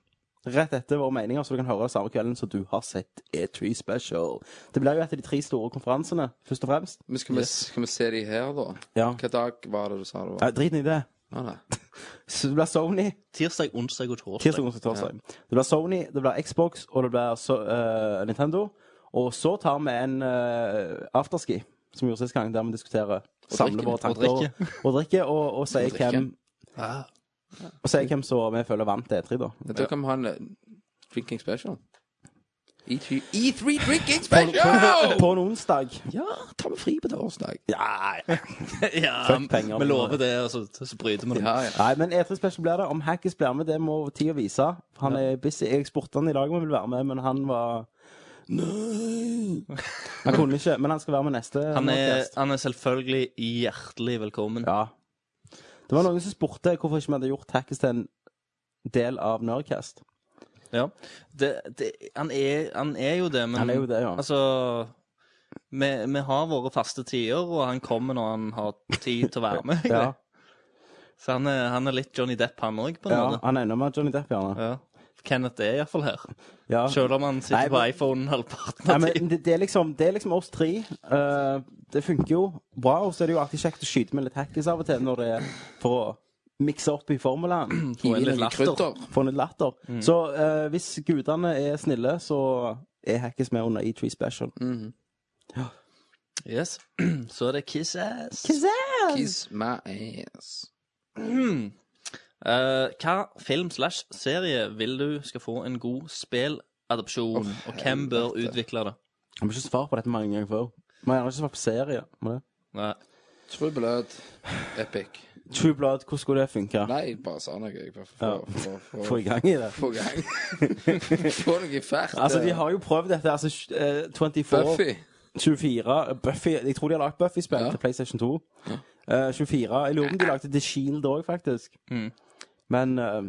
F: rett etter våre meninger, så du kan høre det samme kvelden som du har sett E3 Special. Det blir jo etter de tre store konferansene, først og fremst.
G: Men skal vi, skal vi se de her, da?
F: Ja.
G: Hva dag var det du sa det var?
F: Nei, Drit i det.
G: Ah, nei.
F: Så det blir Sony.
A: Tirsdag, onsdag og torsdag.
F: Tirsdag, onsdag, torsdag. Det blir Sony, det blir Xbox, og det blir så, eh, Nintendo. Og så tar vi en eh, afterski, som vi gjorde sist gang, der vi diskuterer samler
G: drikker.
F: våre tanker
A: Og
F: og drikker, og, drikker, og, og sier
G: drikker.
F: hvem
A: Ah.
F: Og sier hvem som vi føler vant E3, da.
G: Da kan vi ha en eh, drinking special. E E3, E3 drinking special!
F: På en onsdag.
G: Ja, tar vi fri på torsdag.
F: Ja, ja.
A: ja,
F: Fuck penger.
A: vi lover det, og så, så bryter vi det.
G: Ja, ja.
F: Nei, men E3 Special blir det. Om Hackis blir med, det må tida vise. Han er busy. Jeg spurte han i dag om han ville være med, men han var Nei! Han kunne ikke, men han skal være med neste.
A: Han er,
F: podcast.
A: han er selvfølgelig hjertelig velkommen.
F: Ja. Det var noen som spurte hvorfor ikke vi hadde gjort Hackers til en del av Nerdcast.
A: Ja. Det, det, han, er, han er jo det, men
F: Han er jo det, ja.
A: Altså vi, vi har våre faste tider, og han kommer når han har tid til å være med.
F: Ja.
A: Så han er, han er litt Johnny Depp, han òg, på en
F: Ja,
A: måte.
F: han ender med Johnny Depp, gjerne.
A: Ja. Kenneth er iallfall her.
F: Ja.
A: Selv om han sitter
F: Nei,
A: på
F: men-
A: iPhone halvparten
F: Nei,
A: av tiden.
F: men det, det, er liksom, det er liksom oss tre. Eh, det funker jo bra. Og så er det jo alltid kjekt å skyte med litt hackis av og til når det er for å mikse opp i formelen.
A: Få en
G: Gi
A: litt
G: noe
A: latter. Mm.
G: krydder.
F: Få litt latter. Så eh, hvis gudene er snille, så er hackis med under E3 Special.
A: Mm. Yes. Så er det Kiss Ass.
G: Kiss my ass.
A: Eh, hva film slash serie vil du skal få en god spilladopsjon, og hvem bør utvikle det?
F: Jeg må ikke svare på dette mange ganger før. Men jeg har ikke svart på serie. Må det?
A: Nei.
G: True Blood. Epic.
F: True Blood, hvordan skulle det funke?
G: Nei, bare sa noe. Jeg bare
F: Ja.
G: for, for, for,
F: Få i gang i det.
G: Få gang. Få noe fælt.
F: Altså, de
G: eh,
F: har jo prøvd dette. Altså, sj- eh, 24
G: Buffy.
F: 24 Buffy, Jeg tror de har lagt Buffy-spill
G: Ja.
F: til PlayStation 2. Eh, 24 Jeg lurer på om de lagde The Shield òg, faktisk.
G: Mm.
F: Men eh,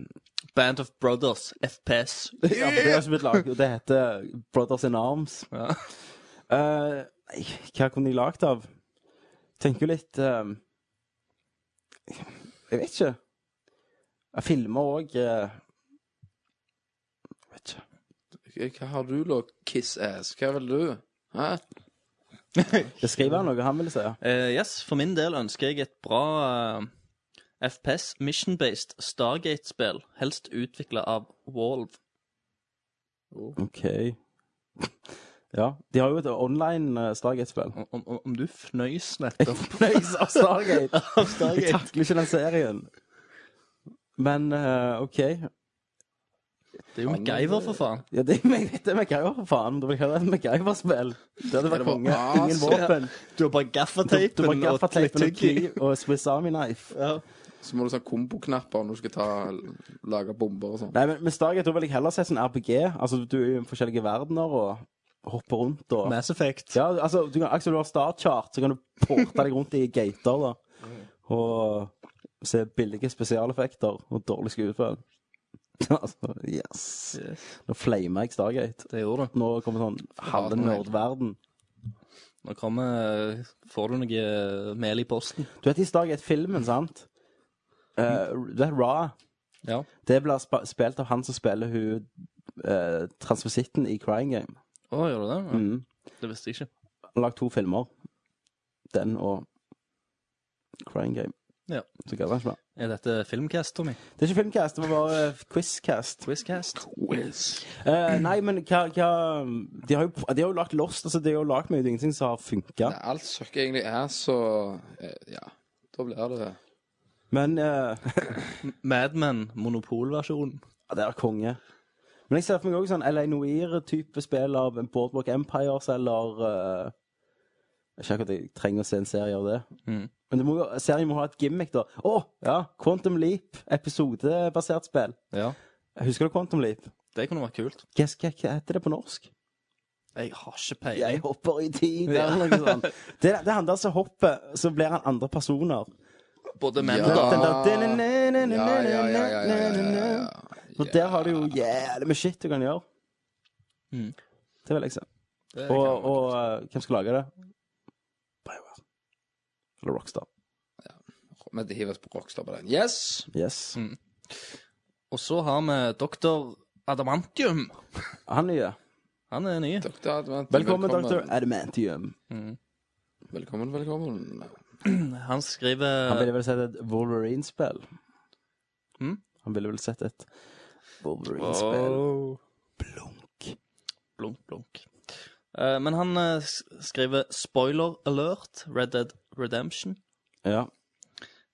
A: Band of Brothers, FPS.
F: ja, men det er som et lag, og det heter Brothers in Arms.
A: Ja.
F: Eh, nei, hva kunne de lagd av? Tenker jo litt eh, Jeg vet ikke. Jeg filmer eh, òg Vet ikke.
G: Hva har du, da? Kiss ass. Hva vil du? Hæ?
F: Det skriver han noe han ville si.
A: Eh, yes, for min del ønsker jeg et bra eh, FPS mission-based Stargate-spill, helst utvikla av Valve.
F: OK. Ja. De har jo et online eh, Stargate-spill.
A: Om, om, om du fnøys nettopp
F: Nice av Stargate.
A: av
F: Jeg
A: Stargate
F: takler ikke den serien. Men eh, OK.
A: Det er jo MacGyver, for faen.
F: Ja, det, jeg vet det er MacGyver, for faen. Da vil jeg ha et MacGyver-spill. Det hadde vært
G: var
F: konge.
G: awesome.
F: Ingen våpen.
A: Du har bare
F: Du
A: gaffateipen
F: bare gaffateipen og
A: tyggi.
F: kniv og Swiss Army knife.
A: Ja.
G: Så må du sånn komboknapper når du skal ta, lage bomber og sånn.
F: Nei, men med Stargate da vil jeg heller se sånn RPG. Altså, du er jo i forskjellige verdener og hopper rundt og
A: Mass Effect.
F: Ja, altså, du kan, Aksel, du har Starchart, så kan du porte deg rundt i gater, da. Og se billige spesialeffekter og dårlig skuespill. altså, yes. Nå flamer jeg Stargate.
A: Det gjorde du.
F: Nå kommer sånn halve nerdverden.
A: Nå kommer eh, Får du noe eh, mel i posten?
F: Du vet i Stargate-filmen, sant? Eh, det er Ra.
A: Ja.
F: Det blir sp spilt av han som spiller hun eh, transvisitten i Crying Game.
A: Å, gjør du det? Ja.
F: Mm.
A: Det visste jeg ikke.
F: Han har lagd to filmer. Den og Crying Game.
A: Ja.
F: Så gadd han ikke mer.
A: Er dette filmcast, Tommy?
F: Det er ikke filmcast, det var bare eh, quizcast.
A: Quizcast?
F: Eh, nei, men hva, hva De har jo, de har jo lagt Lost. Altså, de har jo lagt mye ingenting som har funka.
G: Nei, alt søkker egentlig er, så eh, Ja. Da blir det
F: Men eh,
A: Madman monopolversjonen.
F: det er konge. Men jeg ser for meg òg sånn LA Noir-type spill av Boardwalk Empires eller eh, Jeg ser ikke at jeg trenger å se en serie av det.
A: Mhm.
F: Men det må, jo- serien må ha et gimmick, da. Å! ja, Quantum Leap. Episodebasert spill.
A: Ja.
F: Husker du Quantum Leap?
A: Det kunne vært kult.
F: Hva, hva hva heter det på norsk?
A: Jeg har ikke
F: Jeg
A: peiling.
F: hopper i tid,
A: Ja.
F: eller noe sånt. Det, det er han der som hopper, så blir han andre personer.
A: Både menn
G: Ja.
A: og
F: Den
A: damer.
F: der
G: Ja, ja, ja, ja, ja, ja, ja, ja.
F: For der har du jo jævlig mye shit du kan gjøre.
A: Mm.
F: Det vil jeg si.
A: Det
F: Og,
A: kan-
F: og eh, hvem skal lage det? BioWare. Eller Rockstar.
G: Men det hives på Rockstar på den. Yes!
F: Yes.
A: Og så har vi doktor Adamantium.
F: Han nye.
A: Han er ny.
G: Dr. Advent.
F: Velkommen, Dr. Adamantium.
G: Velkommen, velkommen.
A: Han
F: Han
A: skriver
F: ville vel sett et Wolverine-spill.
A: Mm.
F: Han ville vel sett et Wolverine-spill.
A: Blunk. Blunk, blunk. Eh, Men han eh, s- skriver 'spoiler alert', Red Dead Redemption.
F: Ja.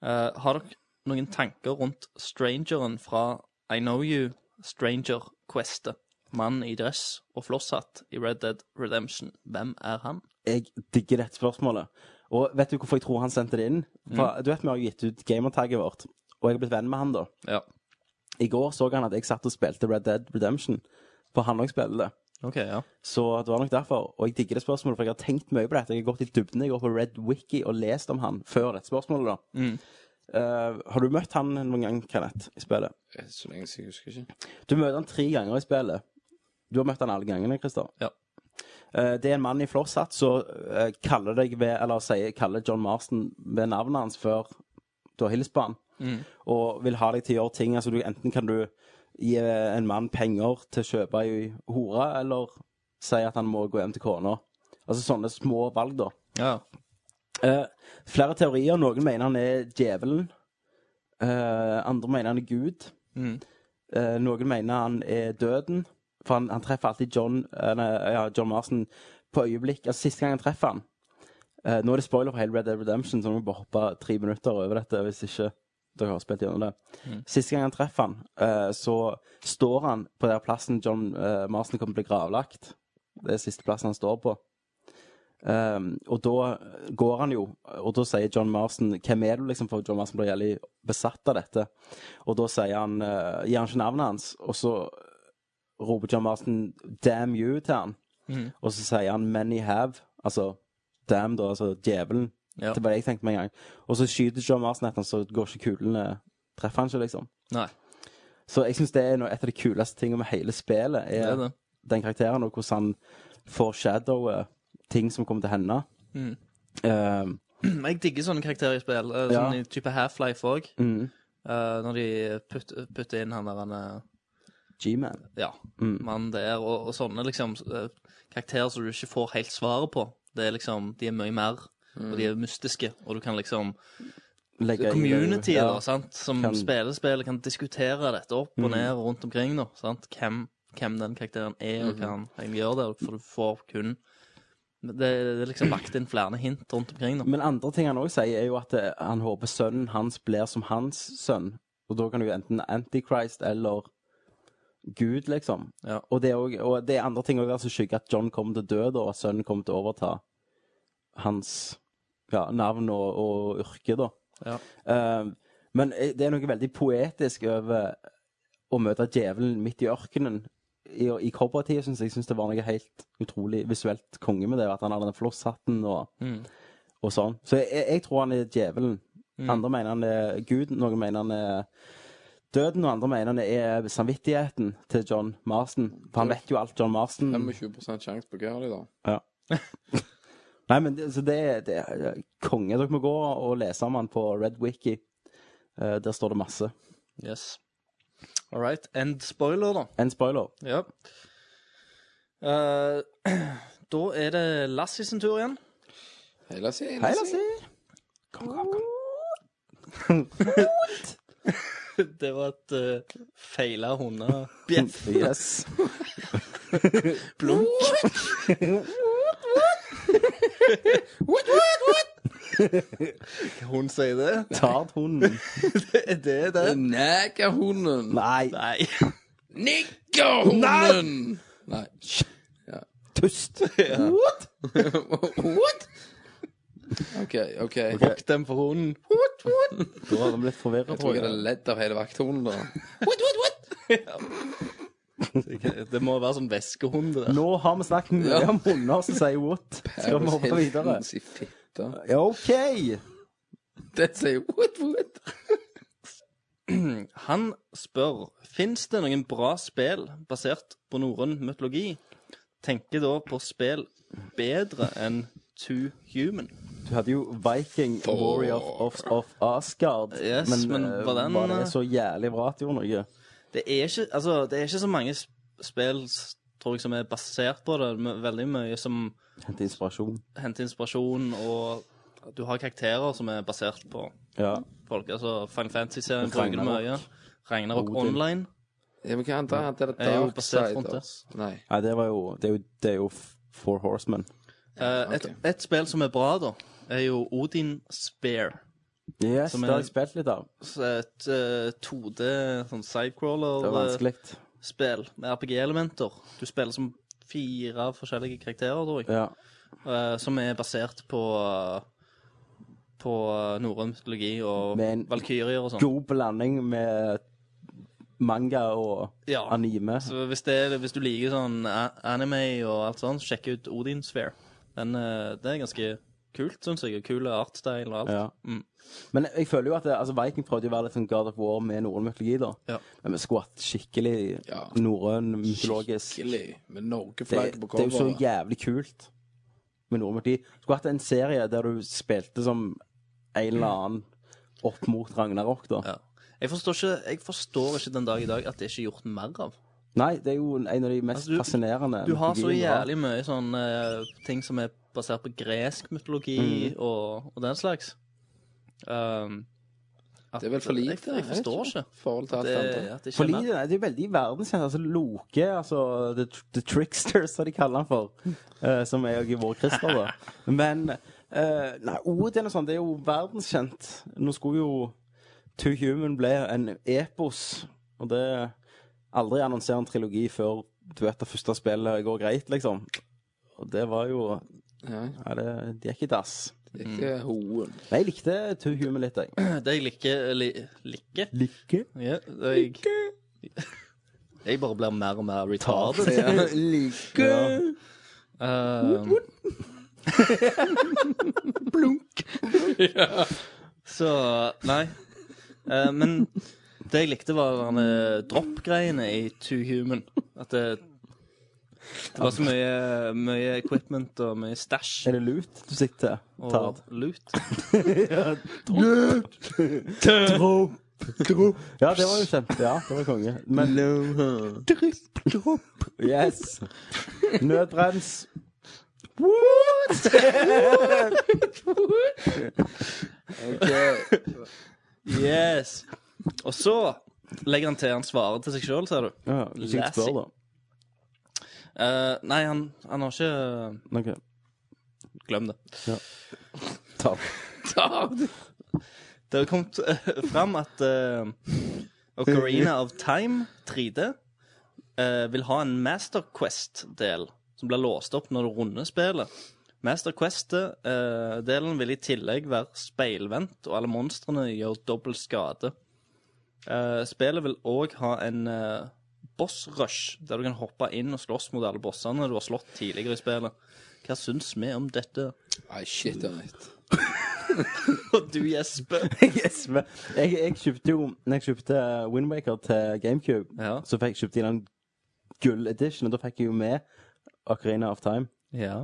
A: Eh, har dere noen tanker rundt strangeren fra I Know You, Stranger Questet? Mann i dress og flosshatt i Red Dead Redemption. Hvem er han?
F: jeg digger dette spørsmålet. Og vet du hvorfor jeg tror han sendte det inn? For, Du vet vi har jo gitt ut gamertagget vårt, og jeg har blitt venn med han da.
A: Ja.
F: I går så han at jeg satt og spilte Red Dead Redemption, for han òg spiller det.
A: OK, ja.
F: Så det var nok derfor. Og jeg digger det spørsmålet, for jeg har tenkt mye på dette. Jeg har gått i dybden. Jeg går på Red Wiki og lest om han før dette spørsmålet, da. Eh, har du møtt han noen gang, Kenneth, i spillet?
G: Eh, Så lenge siden jeg husker ikke.
F: Du møter han tre ganger i spillet. Du har møtt han alle gangene, Christer.
A: Ja.
F: Eh, Det er en mann i flosshatt som eh, kaller deg ved, eller sier, kaller John Marston ved navnet hans før du har hilst på han. og vil ha deg til å gjøre ting. Altså, du, enten kan du gi eh, en mann penger til å kjøpe ei hore, eller si at han må gå hjem til kona. Altså sånne små valg, da.
A: Ja.
F: Eh, flere teorier. Noen mener han er djevelen. Eh, andre mener han er Gud.
A: Mm.
F: Eh, noen mener han er døden. For han, han treffer alltid John, eh, nei, ja, John Marsen på øyeblikk. Altså, siste gang han treffer han eh, Nå er det spoiler for hele Red Dead Redemption, så nå må vi bare hoppe tre minutter over dette hvis ikke dere har spilt gjennom det. Siste gang han treffer han, eh, så står han på den plassen John eh, Marsen kommer til å bli gravlagt. Det er siste plassen han står på. Um, og da går han jo, og da sier John Marston Hvem er du, liksom? For John Marston blir jævlig besatt av dette. Og da sier han, eh, gir han ikke navnet hans, og så roper John Marston 'damn you' til han.
A: Mm.
F: Og så sier han 'many have', altså 'damn', da, altså djevelen.
A: Ja.
F: Det var det jeg tenkte med en gang. Og så skyter John Marston etter han, så går ikke kulene Treffer han ikke, liksom.
A: Nei.
F: Så jeg syns det er noe, et av de kuleste tingene med hele spillet. Er,
A: Det er det.
F: Den karakteren, og hvordan han foreshadower ting som kommer til å hende.
A: Mm.
F: Eh,
A: Men Jeg digger sånne karakterer i spill. eh,
F: Ja.
A: Sånn i type Half-Life òg.
F: Mm.
A: når de putter, putter inn han der han eh,
F: G-Man.
A: Ja,
F: Mm.
A: mannen der, og, og sånne liksom eh, karakterer som du ikke får helt svaret på. Det er liksom, De er mye mer, og de er mystiske, og du kan liksom
F: Legge i-
A: Community, altså.
F: ja.
A: da, sant? som
F: Kan-
A: spiller spillet, kan diskutere dette opp og ned og rundt omkring. Da, sant? Hvem, hvem den karakteren er, og hva han egentlig gjør der. For du får kun Men det, det er liksom lagt inn flere hint rundt omkring. Da.
F: Men andre ting han òg sier, er jo at eh, han håper sønnen hans blir som hans sønn. Og da kan du jo enten Antichrist eller Gud, liksom.
A: Ja.
F: Og, det er også, og det er andre ting også der som skygger at John kommer til å dø, da, og at sønnen kommer til å overta hans ja, navn og, og yrke, da.
A: Ja.
F: Eh, men eh, det er noe veldig poetisk over å møte djevelen midt i ørkenen. I, i kobbertida syns jeg synes det var noe helt utrolig visuelt konge med det. At han hadde den flosshatten og, og sånn. Så jeg, jeg tror han er djevelen. Andre mener han er Gud, noen mener han er døden, og andre mener han er samvittigheten til John Marston. For han vet jo alt John Marston
G: 25 sjanse på hva de da?
F: Nei, men det, så det, det er eh, konge. Dere må gå og lese om han på Red Wiki. Eh, der står det masse.
A: Yes. All right. End spoiler, da.
F: En spoiler.
A: Ja. Eh, da er det Lassie sin tur igjen.
G: Hele siden.
F: Hei, Lassie.
A: Det var et uh, feila hundebjeff.
F: Yes.
A: Hun sier det?
F: Tardhunden.
A: Er det det?
G: Negerhunden.
F: Nei,
A: Nei.
G: Nikkerhunden! Nei.
F: tust.
G: What? OK, OK.
A: Vokk dem for hunden.
F: Da har de blitt forvirra,
G: Jeg tror jeg hadde ledd av hele vakthunden da.
A: Det må være sånn væskehund. det der.
F: Nå har vi snakket mye
G: Ja.
F: om hunder som sier what. Skal vi hoppe videre?
G: Hiltons i fitta.
F: Ja, OK.
G: Det sier what, what?
A: Han spør Fins det noen bra spill basert på norrøn mytologi. Tenker da på spill bedre enn Two Human.
F: Du hadde jo Viking Warrior of, of Asgard.
A: Yes, men
F: eh,
A: var den-
F: var det så jævlig bra at det gjorde noe?
A: Det er ikke, altså, det er ikke så mange sp- spill s- tror jeg, som er basert på det. men Veldig mye som
F: Hente inspirasjon.
A: henter inspirasjon, og du har karakterer som er basert på
F: Ja.
A: folk. Altså, Final Fantasy-serien bruker det
F: Ragnarok.
A: mye. Ragnarok
F: Odin.
A: Online.
G: Jeg må ikke anta at det
A: Jeg er
G: er
A: jo
G: Dark
A: basert rundt
G: Siders. Nei.
F: Nei, det var jo Det er jo, det er jo Four Horsemen.
A: Eh, et,
G: ok.
A: et spill som er bra, da, er jo Odin Spear.
F: Yes,
A: Som
F: det har
A: er-
F: jeg spilt litt av.
A: Så Et eh, 2D sånn
F: Det var
A: sidecrawler-spill
F: vanskelig.
A: med RPG-elementer. Du spiller som fire forskjellige karakterer, tror jeg,
F: Ja.
A: eh, som er basert på eh, på eh, norrøn mytologi og
F: Med en-
A: valkyrier og sånn.
F: God blanding med manga og
A: Ja.
F: anime.
A: Så hvis, det, er- hvis du liker sånn a- anime og alt sånt, sjekk ut Odin Sphere. Den, eh, det er ganske kult, syns jeg. og Kule artstyle og alt. Mm,
F: Ja. Men jeg føler jo at det, altså Viking prøvde jo å være litt sånn God of War med norrøn mytologi. da
A: Ja.
F: Men vi skulle hatt skikkelig
G: Ja.
F: norrøn mytologisk det,
G: Skikkelig.
F: det
G: Med Norge-flagget på
F: er jo så
G: coveret.
F: jævlig kult med norrøn mytologi. Skulle hatt en serie der du spilte som en eller annen opp mot Ragnarok, da.
A: Ja. Jeg forstår, ikke, jeg forstår ikke den dag i dag at det ikke er gjort mer av.
F: Nei, det er jo en av de
A: Altså,
F: mest
A: du-
F: fascinerende
A: Du har så
F: mytologiene har.
A: jævlig mye sånn eh, ting som er basert på gresk mytologi og, og den slags. Um, at-
G: Det er vel for lite?
A: Jeg, jeg forstår
G: vet
A: ikke.
G: I forhold til alt
A: Det,
G: annet.
A: at det ikke
F: For
A: er
F: lite,
A: mer.
F: nei, det er veldig verdenskjent. Altså Loke, altså The, the Trickster, som de kaller han for. eh, som er jo vår Christer, da. Men eh, nei, Odin og sånn, det er jo verdenskjent. Nå skulle jo To Human bli en epos, og det Aldri annonsere en trilogi før du vet det første spillet går greit, liksom. Og det var jo
G: Nei,
F: Nei, det det gikk i dass.
G: det
A: Mm.
G: er ikke hoen.
F: Men jeg likte To Human litt, jeg.
A: Det jeg liker li, Liker?
F: Like?
A: Ja, det jeg, jeg bare blir mer og mer retarded.
G: Like
A: Um, Blunk. ja. Så Nei. Eh, men det jeg likte, var denne drop-greiene i Too Human. At det, det var så mye, mye equipment og mye stæsj
F: Er det lut du sikter til? Tard?
A: og loot.
F: Dropp, dropp. Ja, det var jo kjempe... Ja, det var konge. Men Dripp, dropp. Yes. Nødbrems. What?
A: Yes. Og så legger han til han svarer til seg sjøl, ser du.
F: Ja, hvis jeg spør, da.
A: Eh, nei, han, han har ikke
F: Ok.
A: Glem det.
F: Ta.
A: Det har kommet eh, fram at eh, Ocarina of Time 3D eh, vil ha en Master Quest-del som blir låst opp når du runder spillet. Master Quest-delen vil i tillegg være speilvendt, og alle monstrene gjør dobbel skade. Eh, spillet vil òg ha en eh, boss rush, der du kan hoppe inn og slåss mot alle bossene du har slått tidligere i spillet. Hva syns vi om dette?
G: Nei, shit on it.
A: Og du gjesper.
F: Yes, men jeg, jeg kjøpte jo Når jeg kjøpte Windwaker til GameCube,
A: Ja.
F: så fikk jeg kjøpt i den gull edition, og da fikk jeg jo med Ocarina of Time.
A: Ja.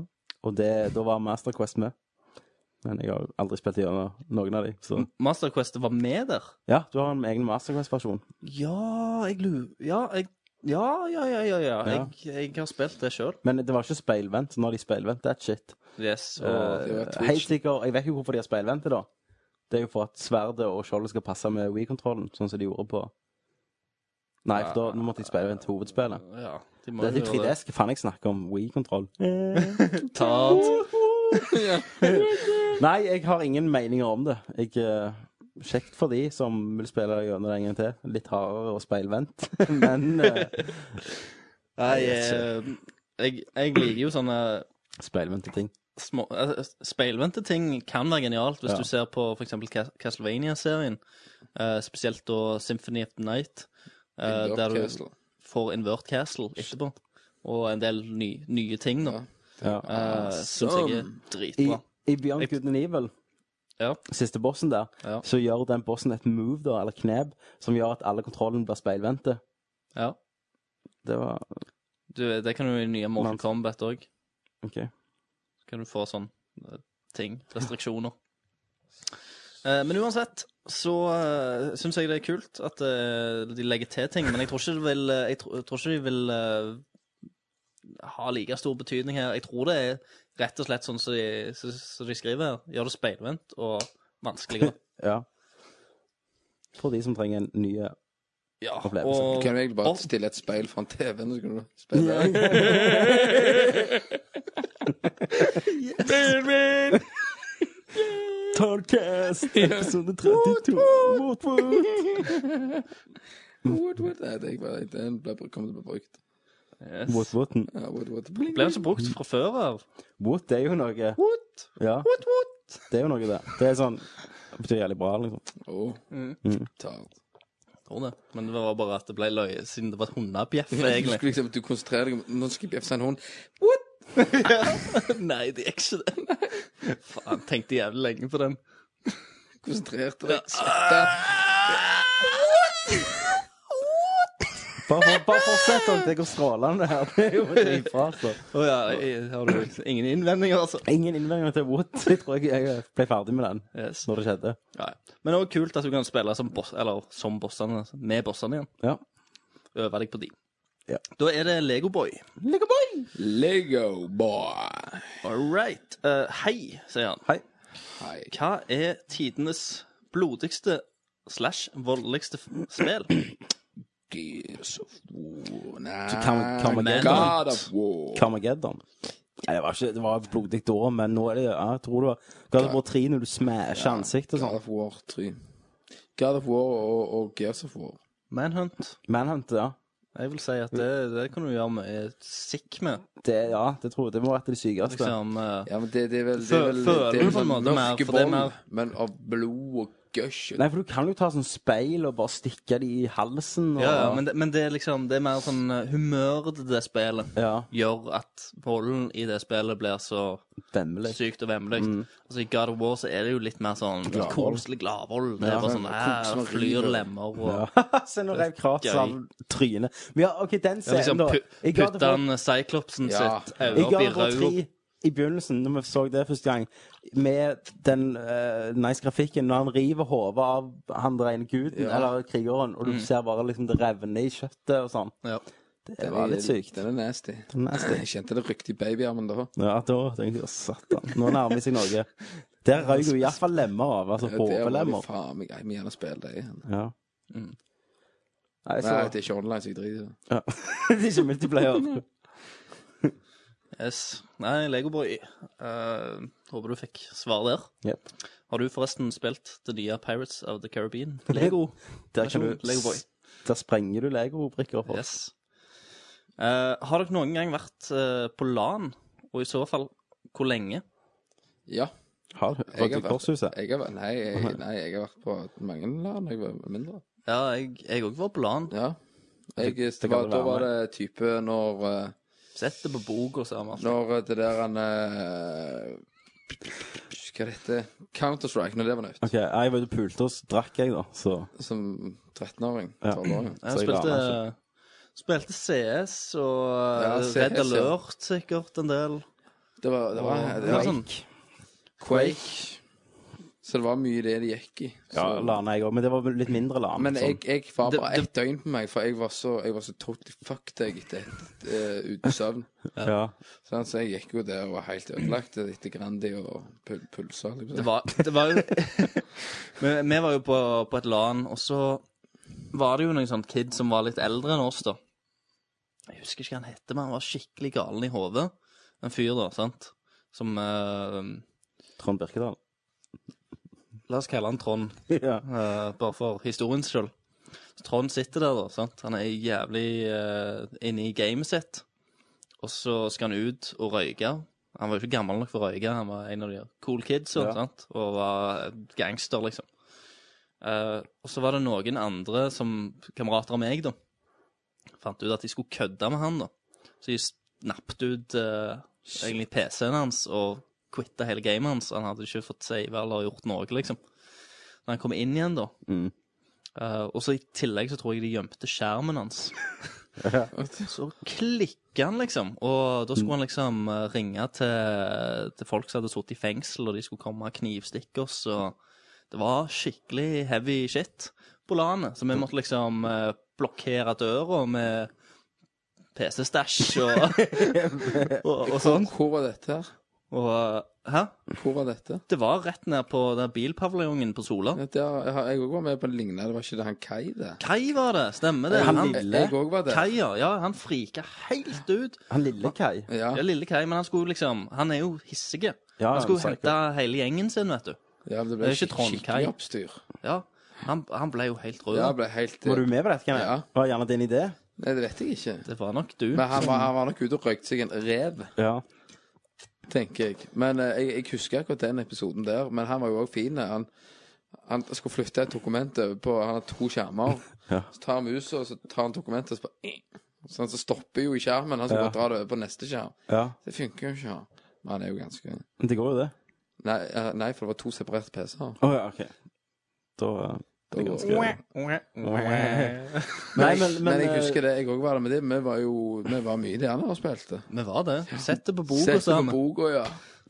F: Og det, da var Master Quest med. Men jeg har aldri spilt gjennom noen av de, så
A: Master Quest var med der.
F: Ja, du har en egen Master Quest-versjon.
A: Ja, jeg lurer Ja, jeg ja, ja, ja, ja, ja.
F: Ja.
A: Jeg, jeg har spilt det sjøl.
F: Men det var ikke speilvendt. Når de speilvendt, that shit.
A: Yes, og
F: Eh,
G: det var Twitch.
F: helt sikkert, Jeg vet jo hvorfor de har speilvendt det, da. Det er jo for at sverdet og skjoldet skal passe med Wii-kontrollen, sånn som de gjorde på Nei, for da nå måtte de speilvendte hovedspillet.
A: ja, de må
F: Det
A: jo
F: er de
A: gjøre
F: 3DS. Hva faen jeg snakker om? Wii-kontroll?
A: Tart.
F: Nei, jeg har ingen meninger om det. Jeg eh, Kjekt for de som vil spille gjennom det en gang til. Litt hardere og speilvendt. Men eh,
A: Nei, eh, jeg, jeg liker jo sånne
F: speilvendte ting.
A: små eh, Speilvendte ting kan være genialt, hvis
F: Ja.
A: du ser på f.eks. Castlevania-serien. eh, spesielt da Symphony of the Night, eh,
G: Dark
A: der du
G: Castle.
A: får Invert Castle etterpå. Og en del ny, nye ting, da.
F: Ja.
A: Uh, Syns jeg er
F: I,
A: dritbra.
F: I Beyond Good and Evil,
A: Ja.
F: siste bossen der,
A: Ja.
F: så gjør den bossen et move, da, eller kneb, som gjør at alle kontrollene blir speilvendte.
A: ja.
F: Det var
A: Du, det kan du i nye Mortal
F: Men-
A: Kombat òg.
F: OK.
A: kan du få sånn eh, ting, restriksjoner. Eh, Men uansett så uh, syns jeg det er kult at eh, de legger til ting, men jeg tror ikke, det vil, eh, jeg tro, jeg tror ikke de vil eh, ha like stor betydning her. Jeg tror det er rett og slett sånn som de, som- som de skriver her. Gjør det speilvendt og vanskeligere.
F: Ja. For de som trenger en ny eh,
A: Ja,
F: Opplevelse.
G: Du
A: og
G: kan jo egentlig bare
A: Boss.
G: stille et speil foran TV-en, så kan du speile.
F: Tallcast episode 32.
G: Woodwood. Nei, det er ikke bare Den ble, kommer til å bli brukt.
A: yes.
F: Woodwooden.
G: Ja, Woodwood. Bling.
A: Ble den så brukt fra før av?
F: Wood det er jo noe.
A: What?
F: Ja,
A: What, what?
F: det er jo noe, det. Det er sånn det betyr jævlig bra, liksom.
G: Åh.
A: Mm.
G: Tart.
A: Tror det. Men det var bare at det ble løye, siden det var et hundebjeff,
G: Du
A: egentlig.
G: skulle liksom, du konsentrerer deg om Nå skal jeg bjefse en hund.
A: Nei, det er ikke det. Faen, tenkte jævlig lenge på den.
G: Konsentrerte deg. Svette.
F: Bare, bare fortsett, Tom. Det går strålende her. Det er jo dritbra, altså.
A: Å ja, jeg- har du ingen innvendinger, altså?
F: Ingen innvendinger til Wood. Jeg tror jeg, jeg ble ferdig med den
A: Yes.
F: når det skjedde.
A: Ja, ja. Men det er også kult at du kan spille som, boss, eller, som bossene, altså, med bossene igjen.
F: Ja.
A: Øve deg på de.
F: Ja.
A: Da er det Legoboy.
G: Lego boy.
A: All right. Eh, hei, sier han.
F: Hei.
G: Hei.
A: Hva er tidenes blodigste slash voldeligste f- spill?
G: Gears of War. Nei.
F: Car- Carmageddon.
G: God of War.
F: Carmageddon. Nei, det var ikke det var et blodig da, men nå er det ja, jeg tror det var God of War 3 når du smasher ansiktet og
G: God
F: sånn.
G: of War 3. God of War og, og Gears of War.
A: Manhunt.
F: Manhunt, ja.
A: Jeg vil si at det, det kan du gjøre mye sikk med.
F: Det, ja, det tror jeg. Det må være det sykeste.
A: Liksom, eh,
G: Ja, men det, det er vel Det
A: Fø-
G: er vel,
A: føler
G: det er
A: du
G: vel
A: på en måte mer- for det er mer-
G: men av blod og gush.
F: Nei, for du kan jo ta sånn speil og bare stikke det i halsen. Og,
A: ja, ja, men, det, men det er liksom Det er mer sånn eh, humøret til det spillet
F: Ja,
A: gjør at volden i det spillet blir så
F: vemmelig.
A: sykt og vemmelig.
F: Mm.
A: Altså, I God of War så er det jo litt mer sånn koselig gladvold. Det er
F: Ja.
A: bare sånn
G: Kos
A: her
G: og
A: flyr
G: river.
A: lemmer og
F: Ja. Se, nå rev Kratz
A: Gøy.
F: av trynet. Men ja, OK, den
A: Det er
F: scenen,
A: liksom
F: da.
A: pu
F: I God of
A: putte
F: War-
A: han eh, cyclopsen
G: Ja.
A: sitt øye
F: I
A: opp i
F: God of War
A: rauda.
F: 3 i begynnelsen, når vi så det første gang, med den eh, nice grafikken, når han river hodet av han der ene guden, eller krigeren, og du ser bare liksom det revner i kjøttet og sånn.
A: Ja.
F: Det, var litt sykt.
G: Den er nasty.
F: nasty.
G: Jeg kjente det rykte i babyarmen da.
F: Ja, da tenkte jeg satan, nå nærmer vi seg noe. Der røyk jo iallfall lemmer av, altså
G: Ja, der var det
F: hodelemmer.
G: faen meg Jeg må gjerne spille det igjen.
F: Ja. Nei,
G: Nei,
F: så,
G: det er ikke online, så jeg driter i det.
F: ja. det er ikke multiplayer.
A: Yes. Nei, Legoboy. Eh, håper du fikk svar der.
F: Jep.
A: Har du forresten spilt det nye Pirates of the Caribbean? Lego.
F: Der, kan
A: Versjon Lego
F: du,
A: Boy.
F: der sprenger du legobrikker opp.
A: Yes. Eh, har dere noen gang vært eh, på LAN, og i så fall hvor lenge?
G: Ja.
F: Har du
G: Jeg har
F: Røde
G: vært-
F: Korshuset?
G: Jeg har, vært- nei, jeg, nei, jeg har vært på mange land da jeg var mindre.
A: Ja, jeg òg var på LAN.
G: Ja. Jeg, det,
F: det kan
G: var,
F: det
G: da
F: være
G: var det type når eh,
A: Sett det på bok og sånn. alt.
G: Når eh, det der han eh, Hva det heter Counter-Strike, når det var nytt.
F: Ok, jeg var ute og pulte, og så drakk jeg, da. Så
G: Som 13-åring.
F: Ja.
G: 12-åring.
A: Jeg altså.
F: Så jeg
A: spilte,
F: aner
A: spilte CS og
G: Ja,
A: eh,
G: CS,
A: Red
G: ja.
A: Alert sikkert en del.
G: Det var, det var, det
A: Det
G: var
A: var sånn,
G: Quake. Så det var mye det det gikk i. Så,
F: Ja, sånn. lana jeg òg, men det var litt mindre lana. liksom.
G: men jeg, jeg var
A: Det-
G: bare ett døgn på meg, for jeg var så, jeg var så totally fucked jeg etter et, eh, uten søvn.
F: sånn. ja.
G: Sånn, Så jeg gikk jo der og var helt ødelagt etter Grandi og pul pulser. Liksom.
A: Det var, det var jo vi, vi var jo på, på et LAN, og så var det jo noen sånn kid som var litt eldre enn oss, da. Jeg husker ikke hva han hette, men han var skikkelig galen i hodet. En fyr, da, sant. Som eh,
F: Trond Birkedal.
A: La oss kalle han Trond,
F: ja.
A: eh, bare for historiens skyld. Så Trond sitter der, da. sant? Han er jævlig eh, inne i gamet sitt. Og så skal han ut og røyke. Han var jo ikke gammel nok for å røyke, han var en av de cool kidsa.
F: Ja.
A: sant? Og var gangster, liksom. Eh, og så var det noen andre som kamerater av meg, da. Fant ut at de skulle kødde med han, da. Så de snappet ut eh, egentlig PC-en hans og quitta hele gamet hans. Han hadde ikke fått save eller gjort noe, liksom. Når han kom inn igjen, da.
F: Mm.
A: Eh, og så i tillegg så tror jeg de gjemte skjermen hans. Så klikka han, liksom. Og da skulle han liksom eh, ringe til, til folk som hadde sittet i fengsel, og de skulle komme og knivstikke oss. og Det var skikkelig heavy shit på landet. Så vi måtte liksom eh, blokkere døra med PC-stæsj og, og, og sånn.
G: Hvor var dette her?
A: Og eh, Hæ?
G: Hvor var dette?
A: Det var rett ned på den bilpaviljongen på Sola.
G: Ja, der, jeg har- jeg òg var med på en lignende. Det var ikke det han Kai, det?
A: Kai var det, stemmer det.
F: Han
A: Han,
F: lille.
G: Jeg òg var det.
A: Kai, ja. ja, Han frika helt ut.
F: Han lille Kai.
G: Ja,
A: Ja, lille Kai, men han skulle liksom Han er jo hissig.
F: Ja,
A: Han skulle
F: psycho.
A: hente hele gjengen sin, vet du.
G: ja men
A: Det
G: det ble
A: er ikke
G: skik-
A: Trond Kai.
G: skikkelig oppstyr.
A: Ja, Han, han ble jo helt rød.
G: Ja, det ble helt
F: Var du med på dette? Kan jeg?
G: Ja.
F: Var gjerne din idé?
G: Nei, det vet jeg ikke.
A: Det var nok du.
G: Men han var, han var nok ute og røykte seg en rev,
F: Ja.
G: tenker jeg. Men eh, jeg, jeg husker akkurat den episoden der. Men han var jo òg fin. eh, Han, han skulle flytte et dokument over på Han har to skjermer.
F: Ja.
G: Så tar han musa, og så tar han dokumentet, og så bare Sånn, så stopper jo i skjermen. Han skal
F: Ja.
G: bare dra det over på neste skjerm.
F: ja.
G: Det funker jo ikke. han. Men han er jo ganske
F: Men det går jo, det.
G: Nei, eh, nei for det var to separerte PC-er.
F: Å ja, OK. Da eh,
G: Det er ganske...
F: Nei, eh,
G: men, men, jeg husker det, jeg òg var det med det. Vi var jo vi var mye der nede og spilte.
A: Vi var det. Sett det på
G: Sett
A: bordet,
G: på
A: sa vi.
G: boka, ja.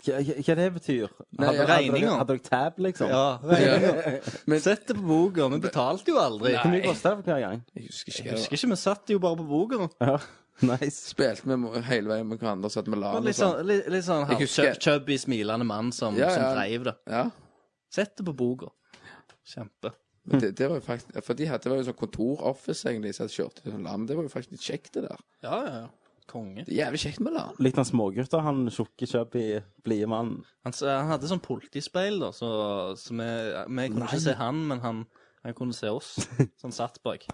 F: hva, hva det betyr
G: Nei,
F: hadde, hadde, dere,
A: regninger.
F: hadde dere tab, liksom?
A: Ja, regninger.
G: Men-
A: Sett det på boka. Vi betalte jo aldri.
F: Hvor mye koster det for hver gang?
G: Jeg husker ikke
A: Jeg
G: hva det
A: husker
G: var.
A: ikke, vi satt jo bare på boka.
F: Ja. Nice.
G: Spilte vi mo- hele veien med hverandre, satt med
A: Det var
G: lag og
A: Litt sånn,
G: sånn.
A: litt, litt sånn
G: Jeg husker-
A: halv- chubby, smilende mann som,
G: Ja, ja.
A: som dreiv det.
G: Ja.
A: Sett det på boka. Kjempe.
G: Men det, det var jo faktisk, for de hadde det var jo sånn kontoroffice, egentlig, som kjørte sånn lam. Det var jo faktisk litt kjekt, det der.
A: Ja, ja, ja. Konge.
G: Det er jævlig kjekt med lam.
F: Litt av smågutter, han tjukke, chubby, blide mannen.
A: Han, s- han hadde sånn politispeil, da, så, så vi, vi kunne ikke se han, men han, han kunne se oss. Så han satt bak.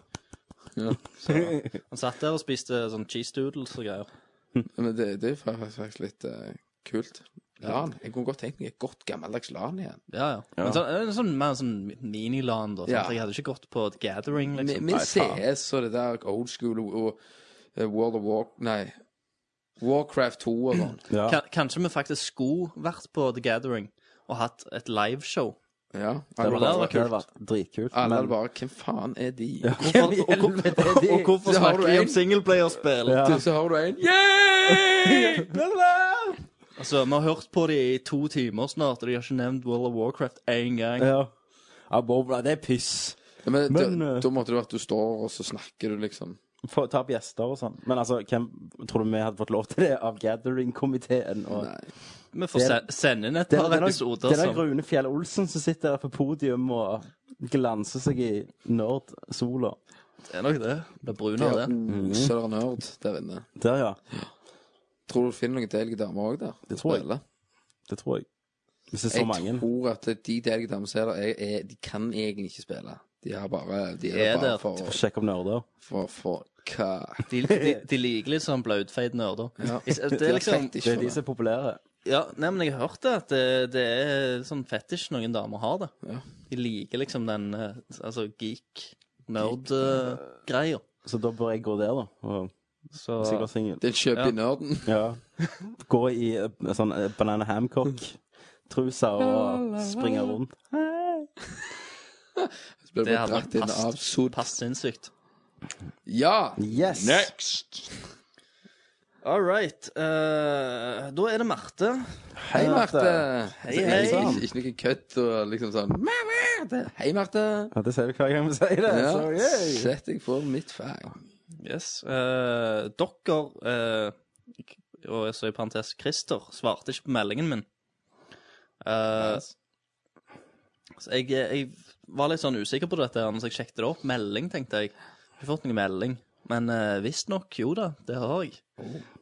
G: Ja.
A: Så han satt der og spiste sånn cheese doodles og greier.
G: Men det, det var faktisk litt eh, kult. LAN. Jeg kunne godt tenkt meg et godt gammeldags LAN igjen.
A: Ja, ja. Men sånn, en sånn, mer sånn miniland, da. Sånn.
G: Ja.
A: at Jeg hadde ikke gått på et gathering,
G: Med,
A: liksom.
G: med CS og det der old school og, og eh, World of War... Nei. Warcraft 2 og sånn.
F: Ja.
A: Ka- Kanskje vi faktisk skulle vært på The Gathering og hatt et liveshow.
G: Ja.
A: var
G: Alle
A: det var
G: bare,
A: kult.
F: hadde vært dritkult.
G: alle
F: men-
G: hadde bare Hvem faen er de?
F: Hvem i helvete er de?
A: Og hvorfor
G: Det har
A: snakker
G: du
A: vi
G: en.
A: om singleplayerspill?
F: Ja.
G: Du, Så har du en Yeah!
A: Altså, vi har hørt på det i to timer snart, og de har ikke nevnt World of Warcraft én gang.
F: Ja. ja, Bobla, det er piss.
G: Ja, men da,
F: Men, eh,
G: da måtte det vært du står, og så snakker du, liksom.
F: Få ta opp gjester og sånn. Men altså, hvem tror du vi hadde fått lov til det av gathering-komiteen? og-
G: Nei.
A: Vi får
F: Det-
A: se sende inn et
F: Det,
A: par
F: det er nok-
A: episoder
F: det er nok
A: som
F: Rune Fjell Olsen som sitter der på podium og glanser seg i nerdsola.
A: Det er nok det. Blir brun av
G: Ja,
A: det.
G: Mm.
F: Mm.
G: Så er det nerd der inne.
F: Der, ja.
G: Tror du du finner noen deilige damer òg der?
F: Det tror jeg. Det tror jeg. Hvis det er så
G: Jeg
F: mange.
G: tror at de deilige damene som er der, er, er, de kan egentlig ikke spille. De er bare, de er
A: Er
G: der bare
A: der.
G: for,
F: For å sjekke om nerder.
G: for, for hva
A: De, de, de liker litt sånn blautfeit nerder.
G: Ja.
A: Det
G: De
A: er
G: har
A: liksom
F: Det
G: fetish for
F: er de som er populære.
A: Ja, nei, men jeg har hørt det, at eh, det, det er sånn fetisj noen damer har det.
G: Ja.
A: De liker liksom den eh, altså eh,
F: eh,
A: geek-nerd-greia.
F: Så da bør jeg gå der, da. Og
A: Så
F: sikkert singel.
G: Den kjøper i nerden.
F: Ja. Gå i eh, sånn eh, banana hamcock-truser og springe rundt.
G: Så blir
A: det
G: det
A: hadde
G: dratt inn av
A: vært
G: sod.
A: pass sinnssykt.
G: Ja!
F: Yes!
A: All right. eh, da er det Marte.
G: Hei, Marte.
A: Hei, hei.
G: Ikke, ikke noe kødd og liksom sånn «Mamma!» Det- Hei, Marte.
F: Ja, det sier du hver gang vi sier det.
G: Ja,
F: Så, yay.
G: sett deg for mitt fag.
A: Yes. eh, dere eh, Og så i parentes Christer svarte ikke på meldingen min. Eh, så jeg, jeg var litt sånn usikker på dette, her, så jeg sjekket det opp. Melding, tenkte jeg. Jeg har ikke fått noen melding. Men uh, visstnok, jo da, det har jeg.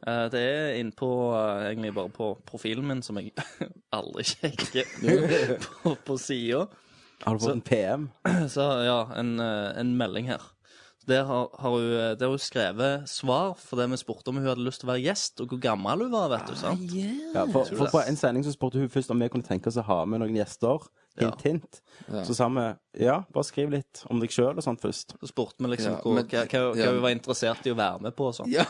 A: Eh, det er innpå eh, egentlig bare på profilen min, som jeg aldri sjekker på, på sida.
F: Har du fått en PM?
A: Så ja, en, eh, en melding her. Der har, har hun, eh, der har hun skrevet svar for det vi spurte om hun hadde lyst til å være gjest, og hvor gammel hun var, vet du. sant?
F: Ja, for, for på en sending så spurte hun først om vi kunne tenke oss å ha med noen gjester. Hint, hint. Så sa vi ja, bare skriv litt om deg sjøl og sånt først.
A: Så spurte vi liksom
G: Ja,
A: hvor,
G: men-
A: hva, hva, hva
G: ja.
A: hun var interessert i å være med på og sånn.
G: Ja.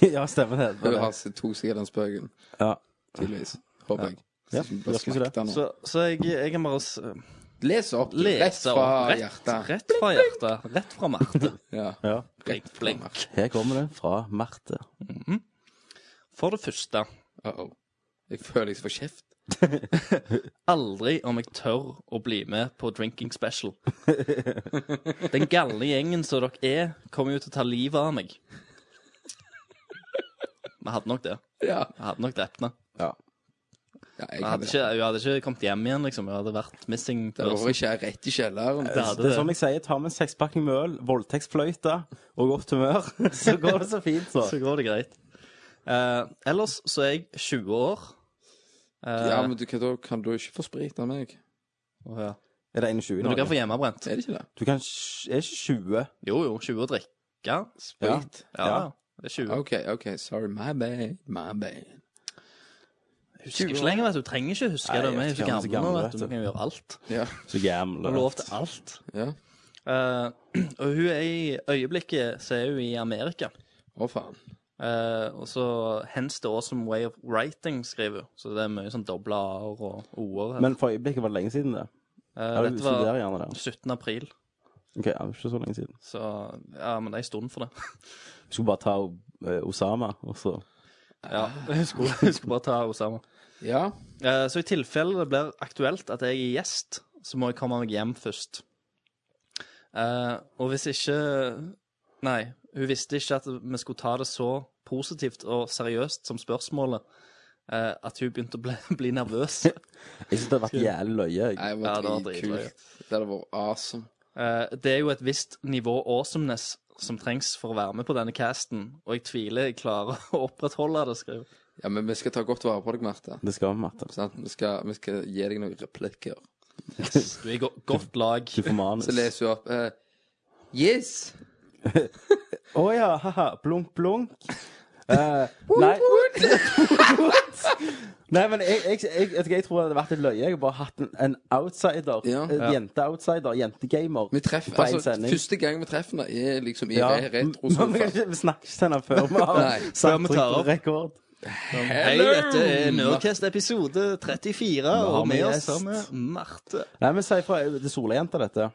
F: ja, stemmer det.
G: Hun
F: det.
G: har tok sikkert den spøken,
F: Ja.
G: tydeligvis. Håper jeg.
F: Ja,
G: Så
F: virker ikke det.
G: slakter nå.
A: Så, så jeg, jeg kan bare s-
G: Les opp. du. Rett
A: lese opp.
G: fra
A: Rett,
G: hjertet.
A: rett fra hjertet. Rett fra Marte.
G: Ja.
F: Ja.
A: Blink, blink.
F: Her kommer det fra Marte.
A: For det første,
G: Uh-oh. Jeg føler jeg får kjeft.
A: aldri om jeg tør å bli med på drinking special. Den galne gjengen som dere er, kommer jo til å ta livet av meg. Vi hadde nok det.
G: Ja.
A: Jeg hadde nok drept henne.
G: ja jeg
A: Hun hadde,
G: hadde
A: ikke, hun hadde ikke kommet hjem igjen, liksom. Hun hadde vært missing
G: Det var
A: person.
G: ikke rett i kjelleren.
A: Det hadde
F: Det er
A: det.
F: som jeg sier, ta med en sekspakning med øl, voldtektsfløyte og godt humør, så går det så fint, så.
A: Så går det greit. Eh, ellers så er jeg 20 år. Eh,
G: Ja, men du, kan, da kan du ikke få sprit av meg.
A: å, ja.
F: Er det 21
A: Men du kan
F: nå?
A: få hjemmebrent.
G: Er det ikke det?
F: Du kan sj- Er ikke 20?
A: Jo, jo. 20 og drikke. Ja,
G: Sprit?
A: ja.
F: Ja.
A: Det er 20.
G: OK, OK. Sorry. My bad. My bad.
A: Jeg husker ikke lenger, vet du. Du trenger ikke huske
F: Nei,
A: det.
F: jeg
A: Vi er
F: vet
A: jo så
F: ikke, vi er så
A: gamle nå,
F: gamle,
A: vet du.
F: vet
A: Vi kan gjøre alt.
G: Ja.
F: Så
A: Vi
F: gamle.
A: har lov til alt.
G: ja.
A: Eh, og hun er i øyeblikket så er hun i Amerika.
G: Å, faen.
A: Eh, og så hens the awesome way of writing, skriver hun. Så det er mye sånn doble a-er og o-er. her.
F: Men for øyeblikket var det lenge siden det.
A: Eh,
F: Ja, du
A: dette
F: studerer
A: var
F: gjerne der.
A: 17. april,
F: Ok, ja, ikke så lenge siden.
A: så ja, men det er en stund for det.
F: Vi skulle bare ta eh, Osama, og så
A: Ja, jeg skulle, jeg skulle bare ta Osama.
G: Ja.
A: Eh, Så i tilfelle det blir aktuelt at jeg er gjest, så må jeg komme meg hjem først. Eh, og hvis ikke Nei, hun visste ikke at vi skulle ta det så positivt og seriøst som spørsmålet eh, at hun begynte å bli, bli nervøs.
F: Jeg syns det hadde vært jævlig løye. jeg.
G: Nei, det
A: Ja,
G: var
A: det var dritløye.
G: dritkult. Det hadde vært awesome.
A: Eh, det er jo et visst nivå awesomeness som trengs for å være med på denne casten, og jeg tviler jeg klarer å opprettholde det, skrev hun.
G: Ja, men vi skal ta godt vare på deg, Marte.
F: Det skal vi, Marte.
G: Sant? Vi, skal, vi skal gi deg noen replikker.
A: Du er i go- godt lag.
F: Du får manus.
G: Så leser hun opp eh, Yes!
F: Å ja, haha. Blunk, blunk. Eh, nei. nei, men jeg, jeg, jeg, vet ikke, jeg tror det hadde vært en løye. Jeg har bare hatt en, en outsider.
G: Ja.
F: En Jente-outsider. Jentegamer.
G: Vi treffer,
F: På en
G: altså,
F: sending.
G: første gang vi treffer henne, er liksom i
F: Ja.
G: re-
F: Men vi, kan
G: retrosofaen.
F: ikke, vi snakker ikke til henne før vi har
G: Nei.
A: Før
F: satt
A: vi tar opp.
F: rekord.
A: Hei, dette er Nerdcast episode 34, og
F: vi
A: med oss
F: gjest.
A: har vi Marte.
F: Nei, men si fra. Det er solejenta, dette.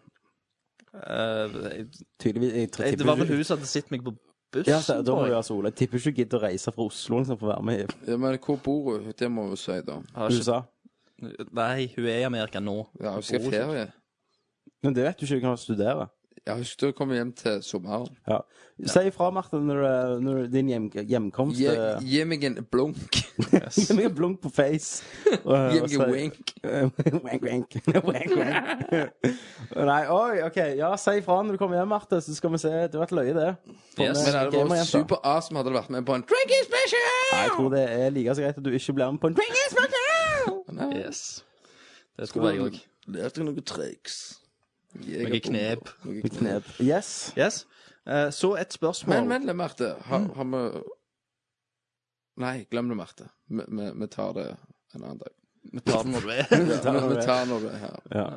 A: Eh,
F: Tydeligvis. Jeg, tror-
A: jeg, Eh, det var vel
F: tipper-
A: hun som hadde sett meg på bussen.
F: Ja, så, da må
A: tror
F: hun
A: jeg.
F: ha sole. Jeg Tipper ikke hun gidder å reise fra Oslo liksom, for å være med i
G: Ja, men hvor bor hun? Det må hun si, da.
A: Har ikke-
F: USA.
A: Nei, hun er i Amerika nå.
G: Ja, hun skal
A: Hun bor ikke-
G: ferie.
F: Men det vet du ikke. Hun kan studere.
G: Ja, hun skal komme hjem til sommeren.
F: Ja. Si ifra, Martin, når, du- når din hjem, hjemkomst
G: Gi,
F: eh,
G: gi meg en blunk.
F: Gi meg en blunk på face. og-
G: Gi
F: og
G: meg
F: si-
G: en wink.
F: wank, wank. wank, wank. Nei, oi, OK. Ja, si ifra når du kommer hjem, Marte, så skal vi se. Det har vært løye, det. Sånn, eh, For
A: Yes.
F: vi-
G: Men det hadde
F: gamerjenter.
G: vært super awesome hadde det vært med på en Drinking Special!
F: Nei, jeg tror det er like så greit at du ikke blir med på en drink.
G: Nei,
A: Yes. Det tror jeg òg.
G: Lærte noen triks.
A: Noen knep.
G: Noen knep.
F: Knep. Yes.
A: Yes. Eh, Så et spørsmål.
G: Men, men, Marte, har,
F: Mm.
G: har vi Nei, glem det, Marte. Vi- Vi vi tar det en annen dag.
A: Vi tar den når du er
G: Ja,
F: tar
G: vi,
F: det.
G: vi tar når det er her.
F: Ja.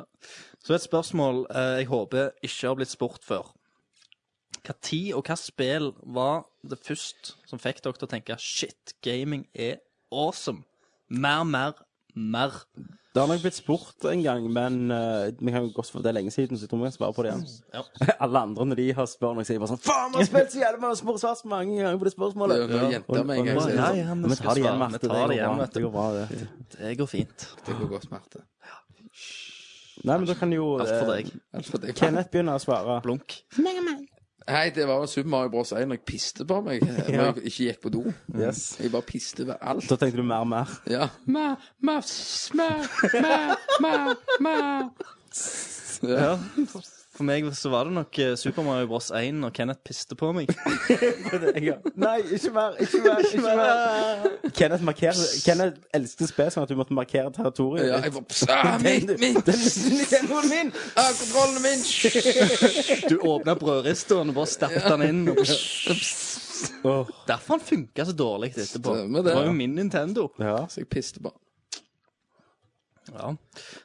A: Så et spørsmål eh, jeg håper ikke har blitt spurt før. Hva tid og hva spill var det først som fikk dere til å tenke shit, gaming er awesome? Mer, mer, mer.
F: Det har nok blitt spurt en gang, men eh, vi kan jo godt for det er lenge siden, så jeg tror vi kan svare på det igjen.
A: Ja.
F: Alle andre når de har spør noe, sier bare sånn Faen, vi har spilt så jævlig mange spør svart så mange ganger på det spørsmålet.
G: Det er noen jenter med en gang,
F: og-
G: sier
A: Ja,
G: sånn.
A: ja,
F: Ja,
A: vi
F: men
A: skal
F: ta det igjen,
A: svare.
F: Marte.
A: Vi tar det igjen, vet
F: Det
A: du.
F: går bra, det.
A: Det går fint.
G: Det går godt, Marte.
F: Nei, men da kan jo eh,
A: Alt for deg.
G: Alt for deg.
F: Kenneth begynner å svare.
A: Blunk.
G: Hei, det var jo Super Mario Bros. 1 når jeg piste på meg. eh, Når jeg ikke gikk på do.
F: Yes.
G: Jeg bare piste ved alt.
F: Da tenkte du mer og mer.
G: Ja. Ma, ma, sma, ma, ma, ma.
A: Ja. For meg så var det nok eh, Super Mario Bros. 1 når Kenneth piste på meg.
F: Nei, ikke mer, ikke mer, ikke mer. Kenneth, markerer, Kenneth elsket spill sånn at du måtte markere territoriet.
G: Ja, jeg bare pss, ah, Mitt, mitt!
F: Kjennoen min!
G: Ah, kontrollen min!
A: Du åpna brødristeren og bare stappet den inn. Og
F: Åh,
A: Derfor han funka så dårlig etterpå.
G: Stemmer
A: Det
G: det.
A: var jo min Nintendo.
F: ja.
G: Så jeg piste på.
A: Ja.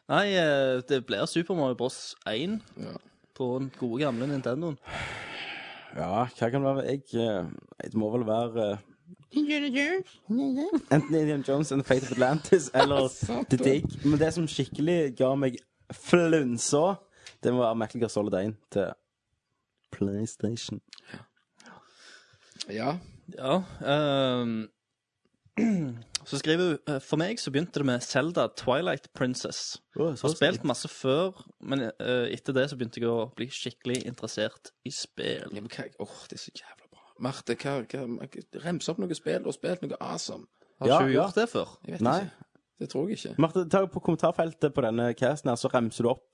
A: Nei, eh, det blir Super Mario Bros. 1
G: Ja.
A: på den gode gamle Nintendoen.
F: ja, hva kan det være? Jeg, eh, det må vel være eh, Enten Indian Jones and the Fate of Atlantis eller The Dig. Men det som skikkelig ga meg flunsa, det var Metal Gear Solid 1 til PlayStation.
G: Ja.
A: Ja. ehm, så skriver hun eh, For meg så begynte det med Zelda Twilight Princess.
F: Åh,
A: Jeg
F: så
A: har spilt masse før, men eh, etter det så begynte jeg å bli skikkelig interessert i spill.
G: Ja, men hva Åh, det er så jævla bra. Marte, hva, hva Rems opp noe spill. Du har spilt noe awesome.
A: Har
F: Ja,
A: ikke hun
F: ja.
A: gjort det før?
G: Jeg vet
F: Nei.
G: ikke. Det tror jeg ikke.
F: Marte, ta på kommentarfeltet på denne casten her, så remser du opp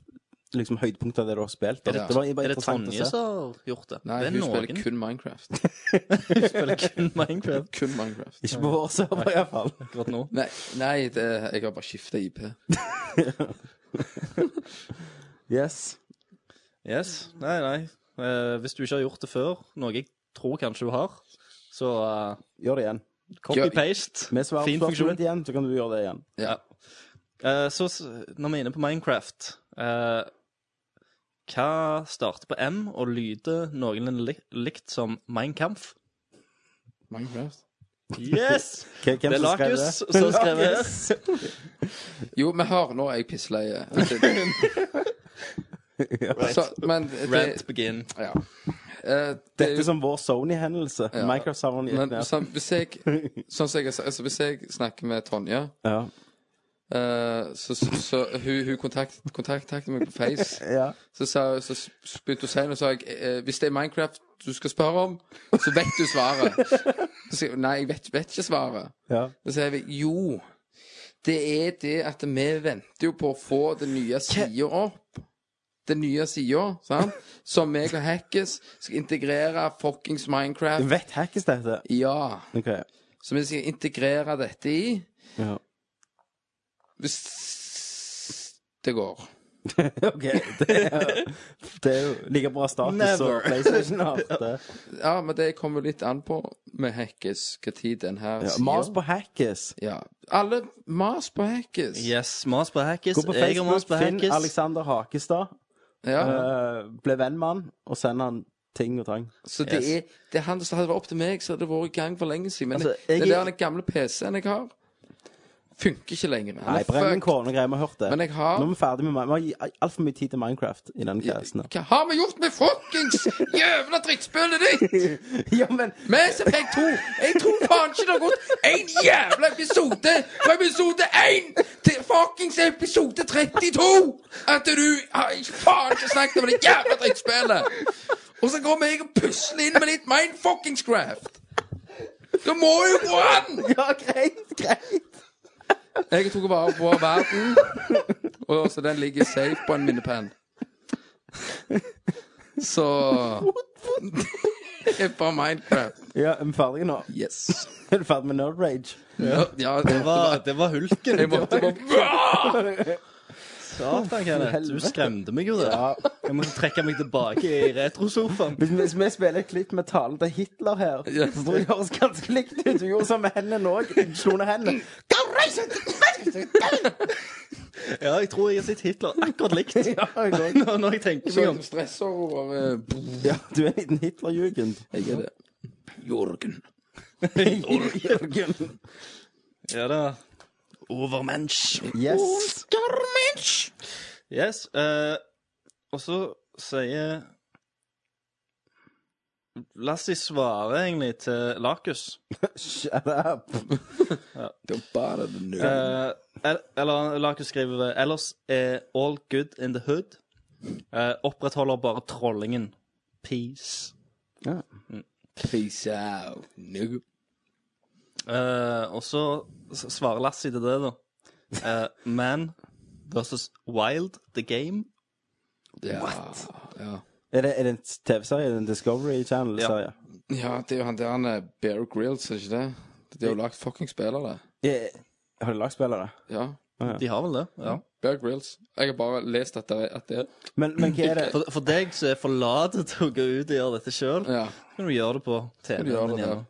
F: liksom høydepunktet av det du har spilt.
A: Er det,
F: Det var bare
A: er det
F: interessant å
A: Tonje
F: se.
A: som har gjort det?
G: Nei,
A: det er
G: hun
A: noen.
G: spiller kun Minecraft.
A: Hun spiller kun Minecraft
G: Kun Minecraft.
F: Ikke på vår server, iallfall.
A: akkurat nå.
G: Nei, nei det, jeg har bare skifta IP.
F: Yes.
A: Yes, nei, nei. Eh, hvis du ikke har gjort det før, noe jeg tror kanskje hun har, så eh,
F: Gjør det igjen.
A: copy-paste.
F: Vi svarer
A: Fin
F: på
A: funksjon.
F: spørsmålet igjen, så kan du gjøre det igjen.
A: Ja. Eh, så s- når vi er inne på Minecraft eh, Hva starter på M og lyder noenlunde li likt som Mein Kampf?
G: Minecraft.
A: Yes!
F: Hvem
A: Det er
F: som skrev det?
A: Lakus som har skrevet
G: Jo, vi hører nå er jeg pissleie. Altså, det- Så, men
A: Rant
G: det,
A: begin.
G: ja. Eh, det er
F: Dette
G: jo
F: er som vår Sony-hendelse.
G: Ja.
F: Microsoft har den gitt
G: men,
F: ned.
G: sånn, hvis, jeg, sånn som jeg, har sagt, altså, hvis jeg snakker med Tonje
F: Ja.
G: eh, Så, så, så hun, hun kontakt, kontaktet meg på Face.
F: Ja.
G: Så, sa, så s- s- begynte hun å si noe, så sa jeg eh, Hvis det er Minecraft du skal spørre om, så vet du svaret. Så sier hun nei, jeg vet, vet ikke svaret.
F: Ja.
G: Så sier vi jo, det er det at vi venter jo på å få den nye sida opp. Den nye sida, sant? Som meg og Hackes skal integrere fuckings
F: Du
G: Minecraft.
F: vet hackes dette.
G: Ja.
F: Ok.
G: Som vi skal integrere dette i.
F: Ja.
G: Hvis det går.
F: Ok, Det er, det er jo like bra status som
A: Never.
F: PlayStation har hatt. det.
G: Ja, men det kommer jo litt an på med Hackes når den her
F: Ja.
G: siden-
F: Mas på hackes.
G: Ja. Alle mas på Hackes.
A: Yes, mas på hackis.
F: Gå på
A: Jeg og mas
F: Facebook,
A: på
F: finn
A: hackis.
F: Alexander Hakestad.
G: Ja.
F: eh, ble venn med han, og send han ting og tang.
G: Så det
A: Yes.
G: er, det er han som hadde det vært opp til meg, så hadde det vært i gang for lenge siden. Men
A: Altså,
G: det,
A: jeg
G: det
A: er-
G: er den gamle PC-en jeg har, funker ikke lenger. Han
F: Nei,
G: er
F: brenn en
G: fucked.
F: kone og greier, vi har hørt det.
G: Men jeg har-
F: Nå er vi ferdig med Vi har altfor mye tid til Minecraft i denne casten.
G: Hva har vi gjort med fuckings jævla drittspillet ditt?
F: ja, men
G: Mass Effect 2! Jeg tror faen ikke det har gått én jævla episode fra episode 1 til fuckings episode 32 at du har ikke- faen ikke snakket om det jævla drittspillet! Og så kommer jeg og pusler inn med litt mindfuckingscraft. Det må jo gå an!
F: Ja, greit, greit.
G: Jeg tok vare på verden, og så den ligger safe på en minnepenn. Så Det er bare Minecraft.
F: Ja, er vi ferdige nå?
G: Yes.
F: Er du ferdig med Nerd Rage?
G: Ja, ja jeg
A: Det var,
G: måtte bare,
A: det var hulken.
G: jeg måtte bare
A: Satan, Kenneth. Du
F: Helvete.
A: skremte meg jo der. Jeg måtte trekke meg tilbake i retrosofaen.
F: Hvis, hvis vi spiller et klipp med talen til Hitler her,
G: Ja.
F: så tror jeg det høres ganske likt ut. Du gjorde som med hendene òg. Slo ned hendene.
A: Ja, jeg tror jeg har sett Hitler akkurat likt.
F: Ja, jeg òg.
A: Når, når jeg tenker meg
G: Så
A: om.
G: stressord og eh,
F: Ja, du er en liten Hitlerjugend.
G: Jeg er det. Jorgen.
F: Jürgen.
A: Ja da. Overmensch.
F: Yes.
A: Yes. eh, og så sier Lassi svarer egentlig til Lakus.
F: Shut up.
G: Det er bare det nå.
A: Eh, el- eller Lakus skriver Ellers er all good in the hood. Eh, opprettholder bare trollingen. Peace.
G: Peace out. Nå.
A: Eh, og så s- svarer Lassie til det, da. Eh, man versus Wild, the game.
G: Ja. Ja.
F: Er det, er det en TV-serie? Er det En Discovery Channel-serie?
G: ja, det er jo han der han er Bear Grills, er ikke det? De har jo lagd fuckings spillere.
F: Eh, Har de lagspillere?
G: Ja.
A: De har vel det? ja.
G: Bear Grills. Jeg har bare lest at det er at det er
F: Men, men hva er det?
A: For, for deg som er for lat til å gå ut og gjøre dette sjøl,
G: Ja.
A: kan du gjøre det på
G: Du gjør
A: TV-en din
G: det der.
A: hjemme.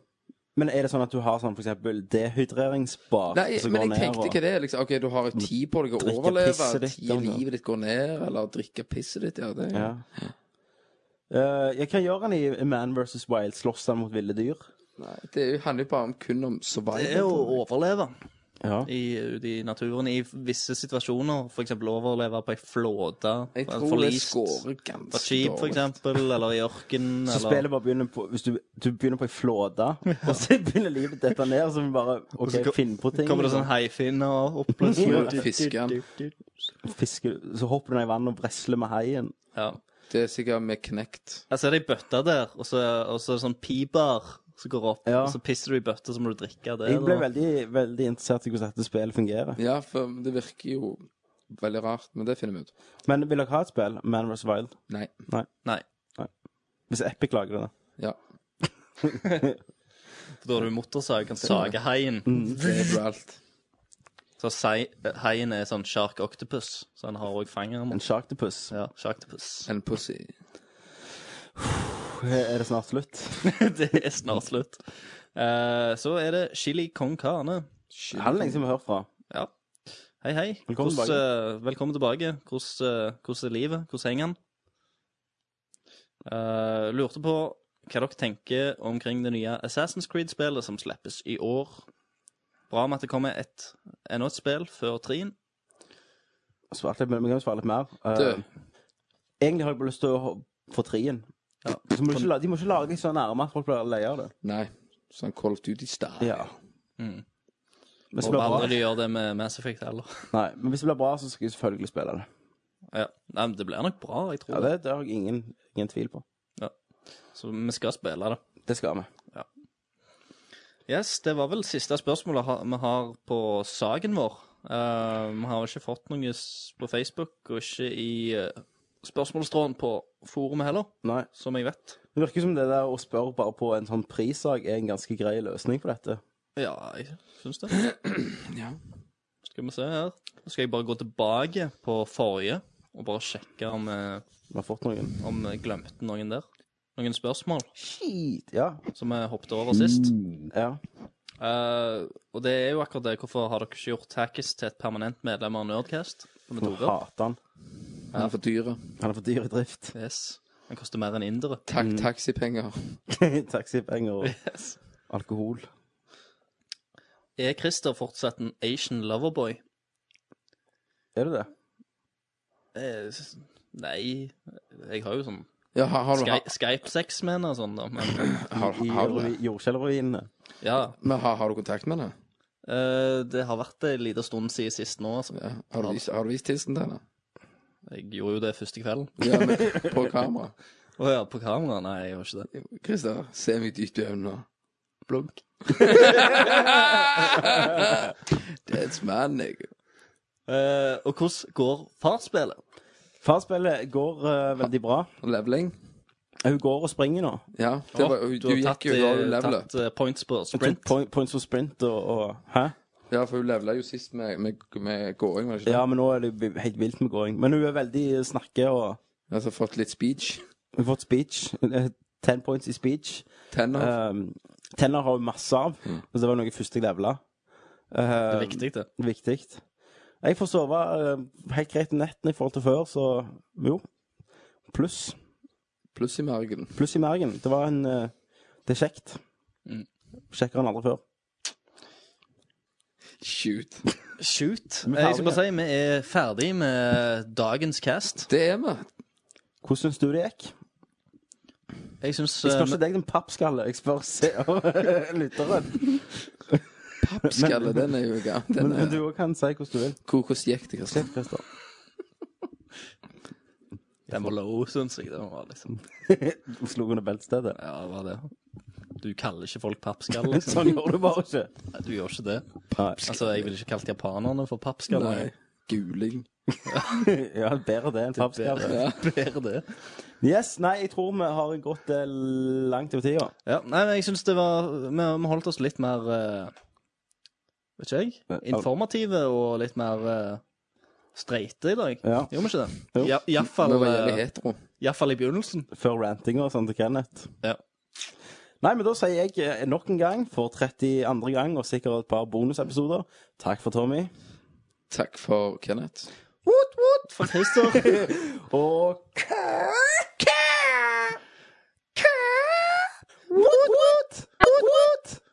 F: Men er det sånn at du har sånn for eksempel dehydreringsbar
G: Nei, men jeg tenkte ikke det. Liksom, ok, du har jo tid på deg å
F: Drikke
G: overleve.
F: pisset ditt,
G: Tid
F: altså.
G: livet ditt går ned, eller drikke pisset ditt. Ja, det
F: Ja. Eh, jeg kan gjøre han i Man vs. Wild. Slåss han mot ville dyr?
G: Nei, det er jo- handler jo bare om kun om survival.
A: Det er å overleve
F: Ja.
A: i, ute i naturen i visse situasjoner. F.eks. overleve på ei flåte.
G: jeg
A: en
G: tror det scorer ganske
A: På et skip, for
G: dårlig.
A: eksempel, eller i ørkenen.
F: Så
A: Eller...
F: spillet bare begynner på Hvis du, du begynner på ei flåte, og så begynner livet å dette ned, og så må du bare OK,
A: så ko-
F: finne på ting. liksom.
A: Kommer det sånn haifinner opp plutselig?
G: Fiskeren.
A: sånn-
F: Fisker, så hopper du ned i vannet og vresler med haien.
A: Ja.
G: Det er sikkert med knekt.
A: Jeg ser det i bøtta der, og så, og så er det sånn pibar som går opp.
F: Ja.
A: Og så pisser du i bøtta, så må du drikke av det.
F: Jeg ble
A: da.
F: veldig, veldig interessert i hvordan dette spillet fungerer.
G: Ja, for det virker jo veldig rart, men det finner vi ut.
F: Men vil dere ha et spill? Man vs. Wild?
G: Nei.
A: Nei,
F: Hvis Epic lager det.
G: Ja.
A: for da har du motorsag, kan sage haien.
F: Mm.
G: Det er jo alt.
A: Så sei, haien er sånn shark octopus, så han har òg
F: En
A: fangermot.
F: sharktopus.
A: Ja, sharktopus.
G: En pussy.
F: Er det snart slutt?
A: det er snart slutt. Eh, så er det chili con carne.
F: Han er lenge siden vi har hørt fra.
A: Ja. Hei, hei.
F: Velkommen
A: Hvordan, eh, velkommen tilbake. Hvordan, eh, hvordan er livet? Hvordan henger han? Eh, lurte på hva dere tenker omkring det nye Assassin's Creed-spillet som slippes i år. Bra med at det kommer et, enda et spill før trien.
F: Svart litt, men vi kan jo svare litt mer. Eh,
G: Du.
F: egentlig har jeg bare lyst til å ho- få trien. Så må du ikke, la- de må ikke lage deg så nærme at folk blir lei av det. Mm.
G: Nei. Sånn Call of Duty-style.
F: Men, hvis
A: Og
F: det blir bra,
A: aldri de gjør det med Mass Effect heller.
F: nei, men hvis det blir bra, så skal jeg selvfølgelig spille det.
A: Ja. Nei, men det blir nok bra, jeg tror
F: Ja,
A: det.
F: Det, det har jeg ingen, ingen tvil på.
A: Så vi skal spille det.
F: Det skal vi.
A: Yes, det var vel siste spørsmålet ha- vi har på saken vår. Eh, vi har ikke fått noe s- på Facebook, og ikke i eh, spørsmålstråden på forumet heller,
F: Nei.
A: som jeg vet.
F: Det virker som det der å spørre bare på en sånn prissak er en ganske grei løsning på dette.
A: Ja, jeg syns det. Skal vi se her. Nå skal jeg bare gå tilbake på forrige, og bare sjekke om, eh,
F: Vi har fått noen.
A: om jeg glemte noen der. Noen spørsmål
F: Shit, Mm. ja.
A: som vi hoppet over sist.
F: ja.
A: Eh, og det er jo akkurat det. Hvorfor har dere ikke gjort Hackis til et permanent medlem av Nerdcast? Som vi
F: Jeg
A: tok opp?
F: hater han.
G: Han er for dyre.
F: Han er for dyr i drift.
A: Yes. Den koster mer enn indere.
G: Tak
F: Mm.
G: Taxipenger.
F: Taxipenger og
A: Yes.
F: alkohol.
A: Er Christer fortsatt en Asian loverboy?
F: Er du det?
A: Eh, s- nei Jeg har jo sånn
G: Ja, har, har du
A: Sky- Skype-sex med henne og sånn, da. Men
G: har,
F: I
G: har, du det?
F: ruin- jordskjelvruinene.
A: ja.
G: Men har, har du kontakt med henne?
A: Eh, det har vært en liten stund siden sist nå, altså.
G: Ja. Har du vist, har du vist tissen til henne?
A: Jeg gjorde jo det første kvelden.
G: Ja, men på kamera.
A: Å ja, på kamera? Nei, jeg gjorde ikke det.
G: Christer, se meg dypt i øynene nå. Blunk. That's my nigga.
A: Eh, og hvordan går farsspillet?
F: Farspillet går eh, veldig bra.
G: Leveling?
F: Hun går og springer nå.
G: Ja. Det var, du,
A: du har
G: gikk
A: tatt,
G: jo over
A: eh,
G: levelet.
A: tatt eh, points på
F: Hun tok
A: sprint.
F: point, points for sprint og, og Hæ?
G: Ja, for hun levela jo sist med, med, med gåing, var det ikke det?
F: Ja, men nå er det jo helt vilt med gåing. Men hun er veldig snakke og
G: Altså fått litt speech.
F: Hun har fått speech. Eh, Ten points i speech.
G: Tenner.
F: Um, tenner har hun masse av, så det var noe første jeg levela.
A: Det er viktig, det.
F: Viktig. Jeg får sove eh, helt greit om netten i forhold til før, så jo. Pluss.
G: Pluss i margen.
F: Pluss i mergen. Det var en eh, Det er kjekt. Mm. Kjekkere enn aldri før.
G: Shoot.
A: Shoot. Jeg skal bare si vi er ferdig med dagens cast.
G: Det er vi.
F: Hvordan syns du det gikk?
A: Jeg eh, syns
F: Jeg spør ikke deg, din pappskalle. Jeg spør se- lytteren.
G: Pappskalle, den er jo gammel. Den
F: Men, men
G: er-
F: du også kan si hvordan du vil.
G: Hvor- Hvordan gikk det, Christer?
F: Slipp, Christer.
A: Den var low, syns jeg. Den var liksom
F: Du Slo under beltestedet.
A: Ja, det var det. Du kaller ikke folk pappskall, liksom.
F: Sånn gjør du bare ikke.
A: Nei, du gjør ikke det.
F: Nei.
A: Altså, jeg ville ikke kalt japanerne for
G: Nei.
A: pappskaller.
G: Guling.
F: Ja, bedre det enn pappskalle.
A: Bedre, bedre det.
F: Yes, nei, jeg tror vi har gått eh, langt over tida.
A: Ja, nei, men jeg syns det var Vi vi holdt oss litt mer eh, Vet ikke jeg. Informative og litt mer eh, streite i dag.
F: Ja.
A: Gjorde vi ikke det?
F: Jo.
A: Ja, Iallfall
G: Vi var jævlig hetero.
A: eh, i begynnelsen.
F: Før rantinga og sånn til Kenneth.
A: Ja.
F: Nei, men da sier jeg eh, nok en gang, for 32. gang, og sikkert et par bonusepisoder, takk for Tommy.
G: Takk for Kenneth.
F: Woot, woot!
A: For Christer
F: Og Kai!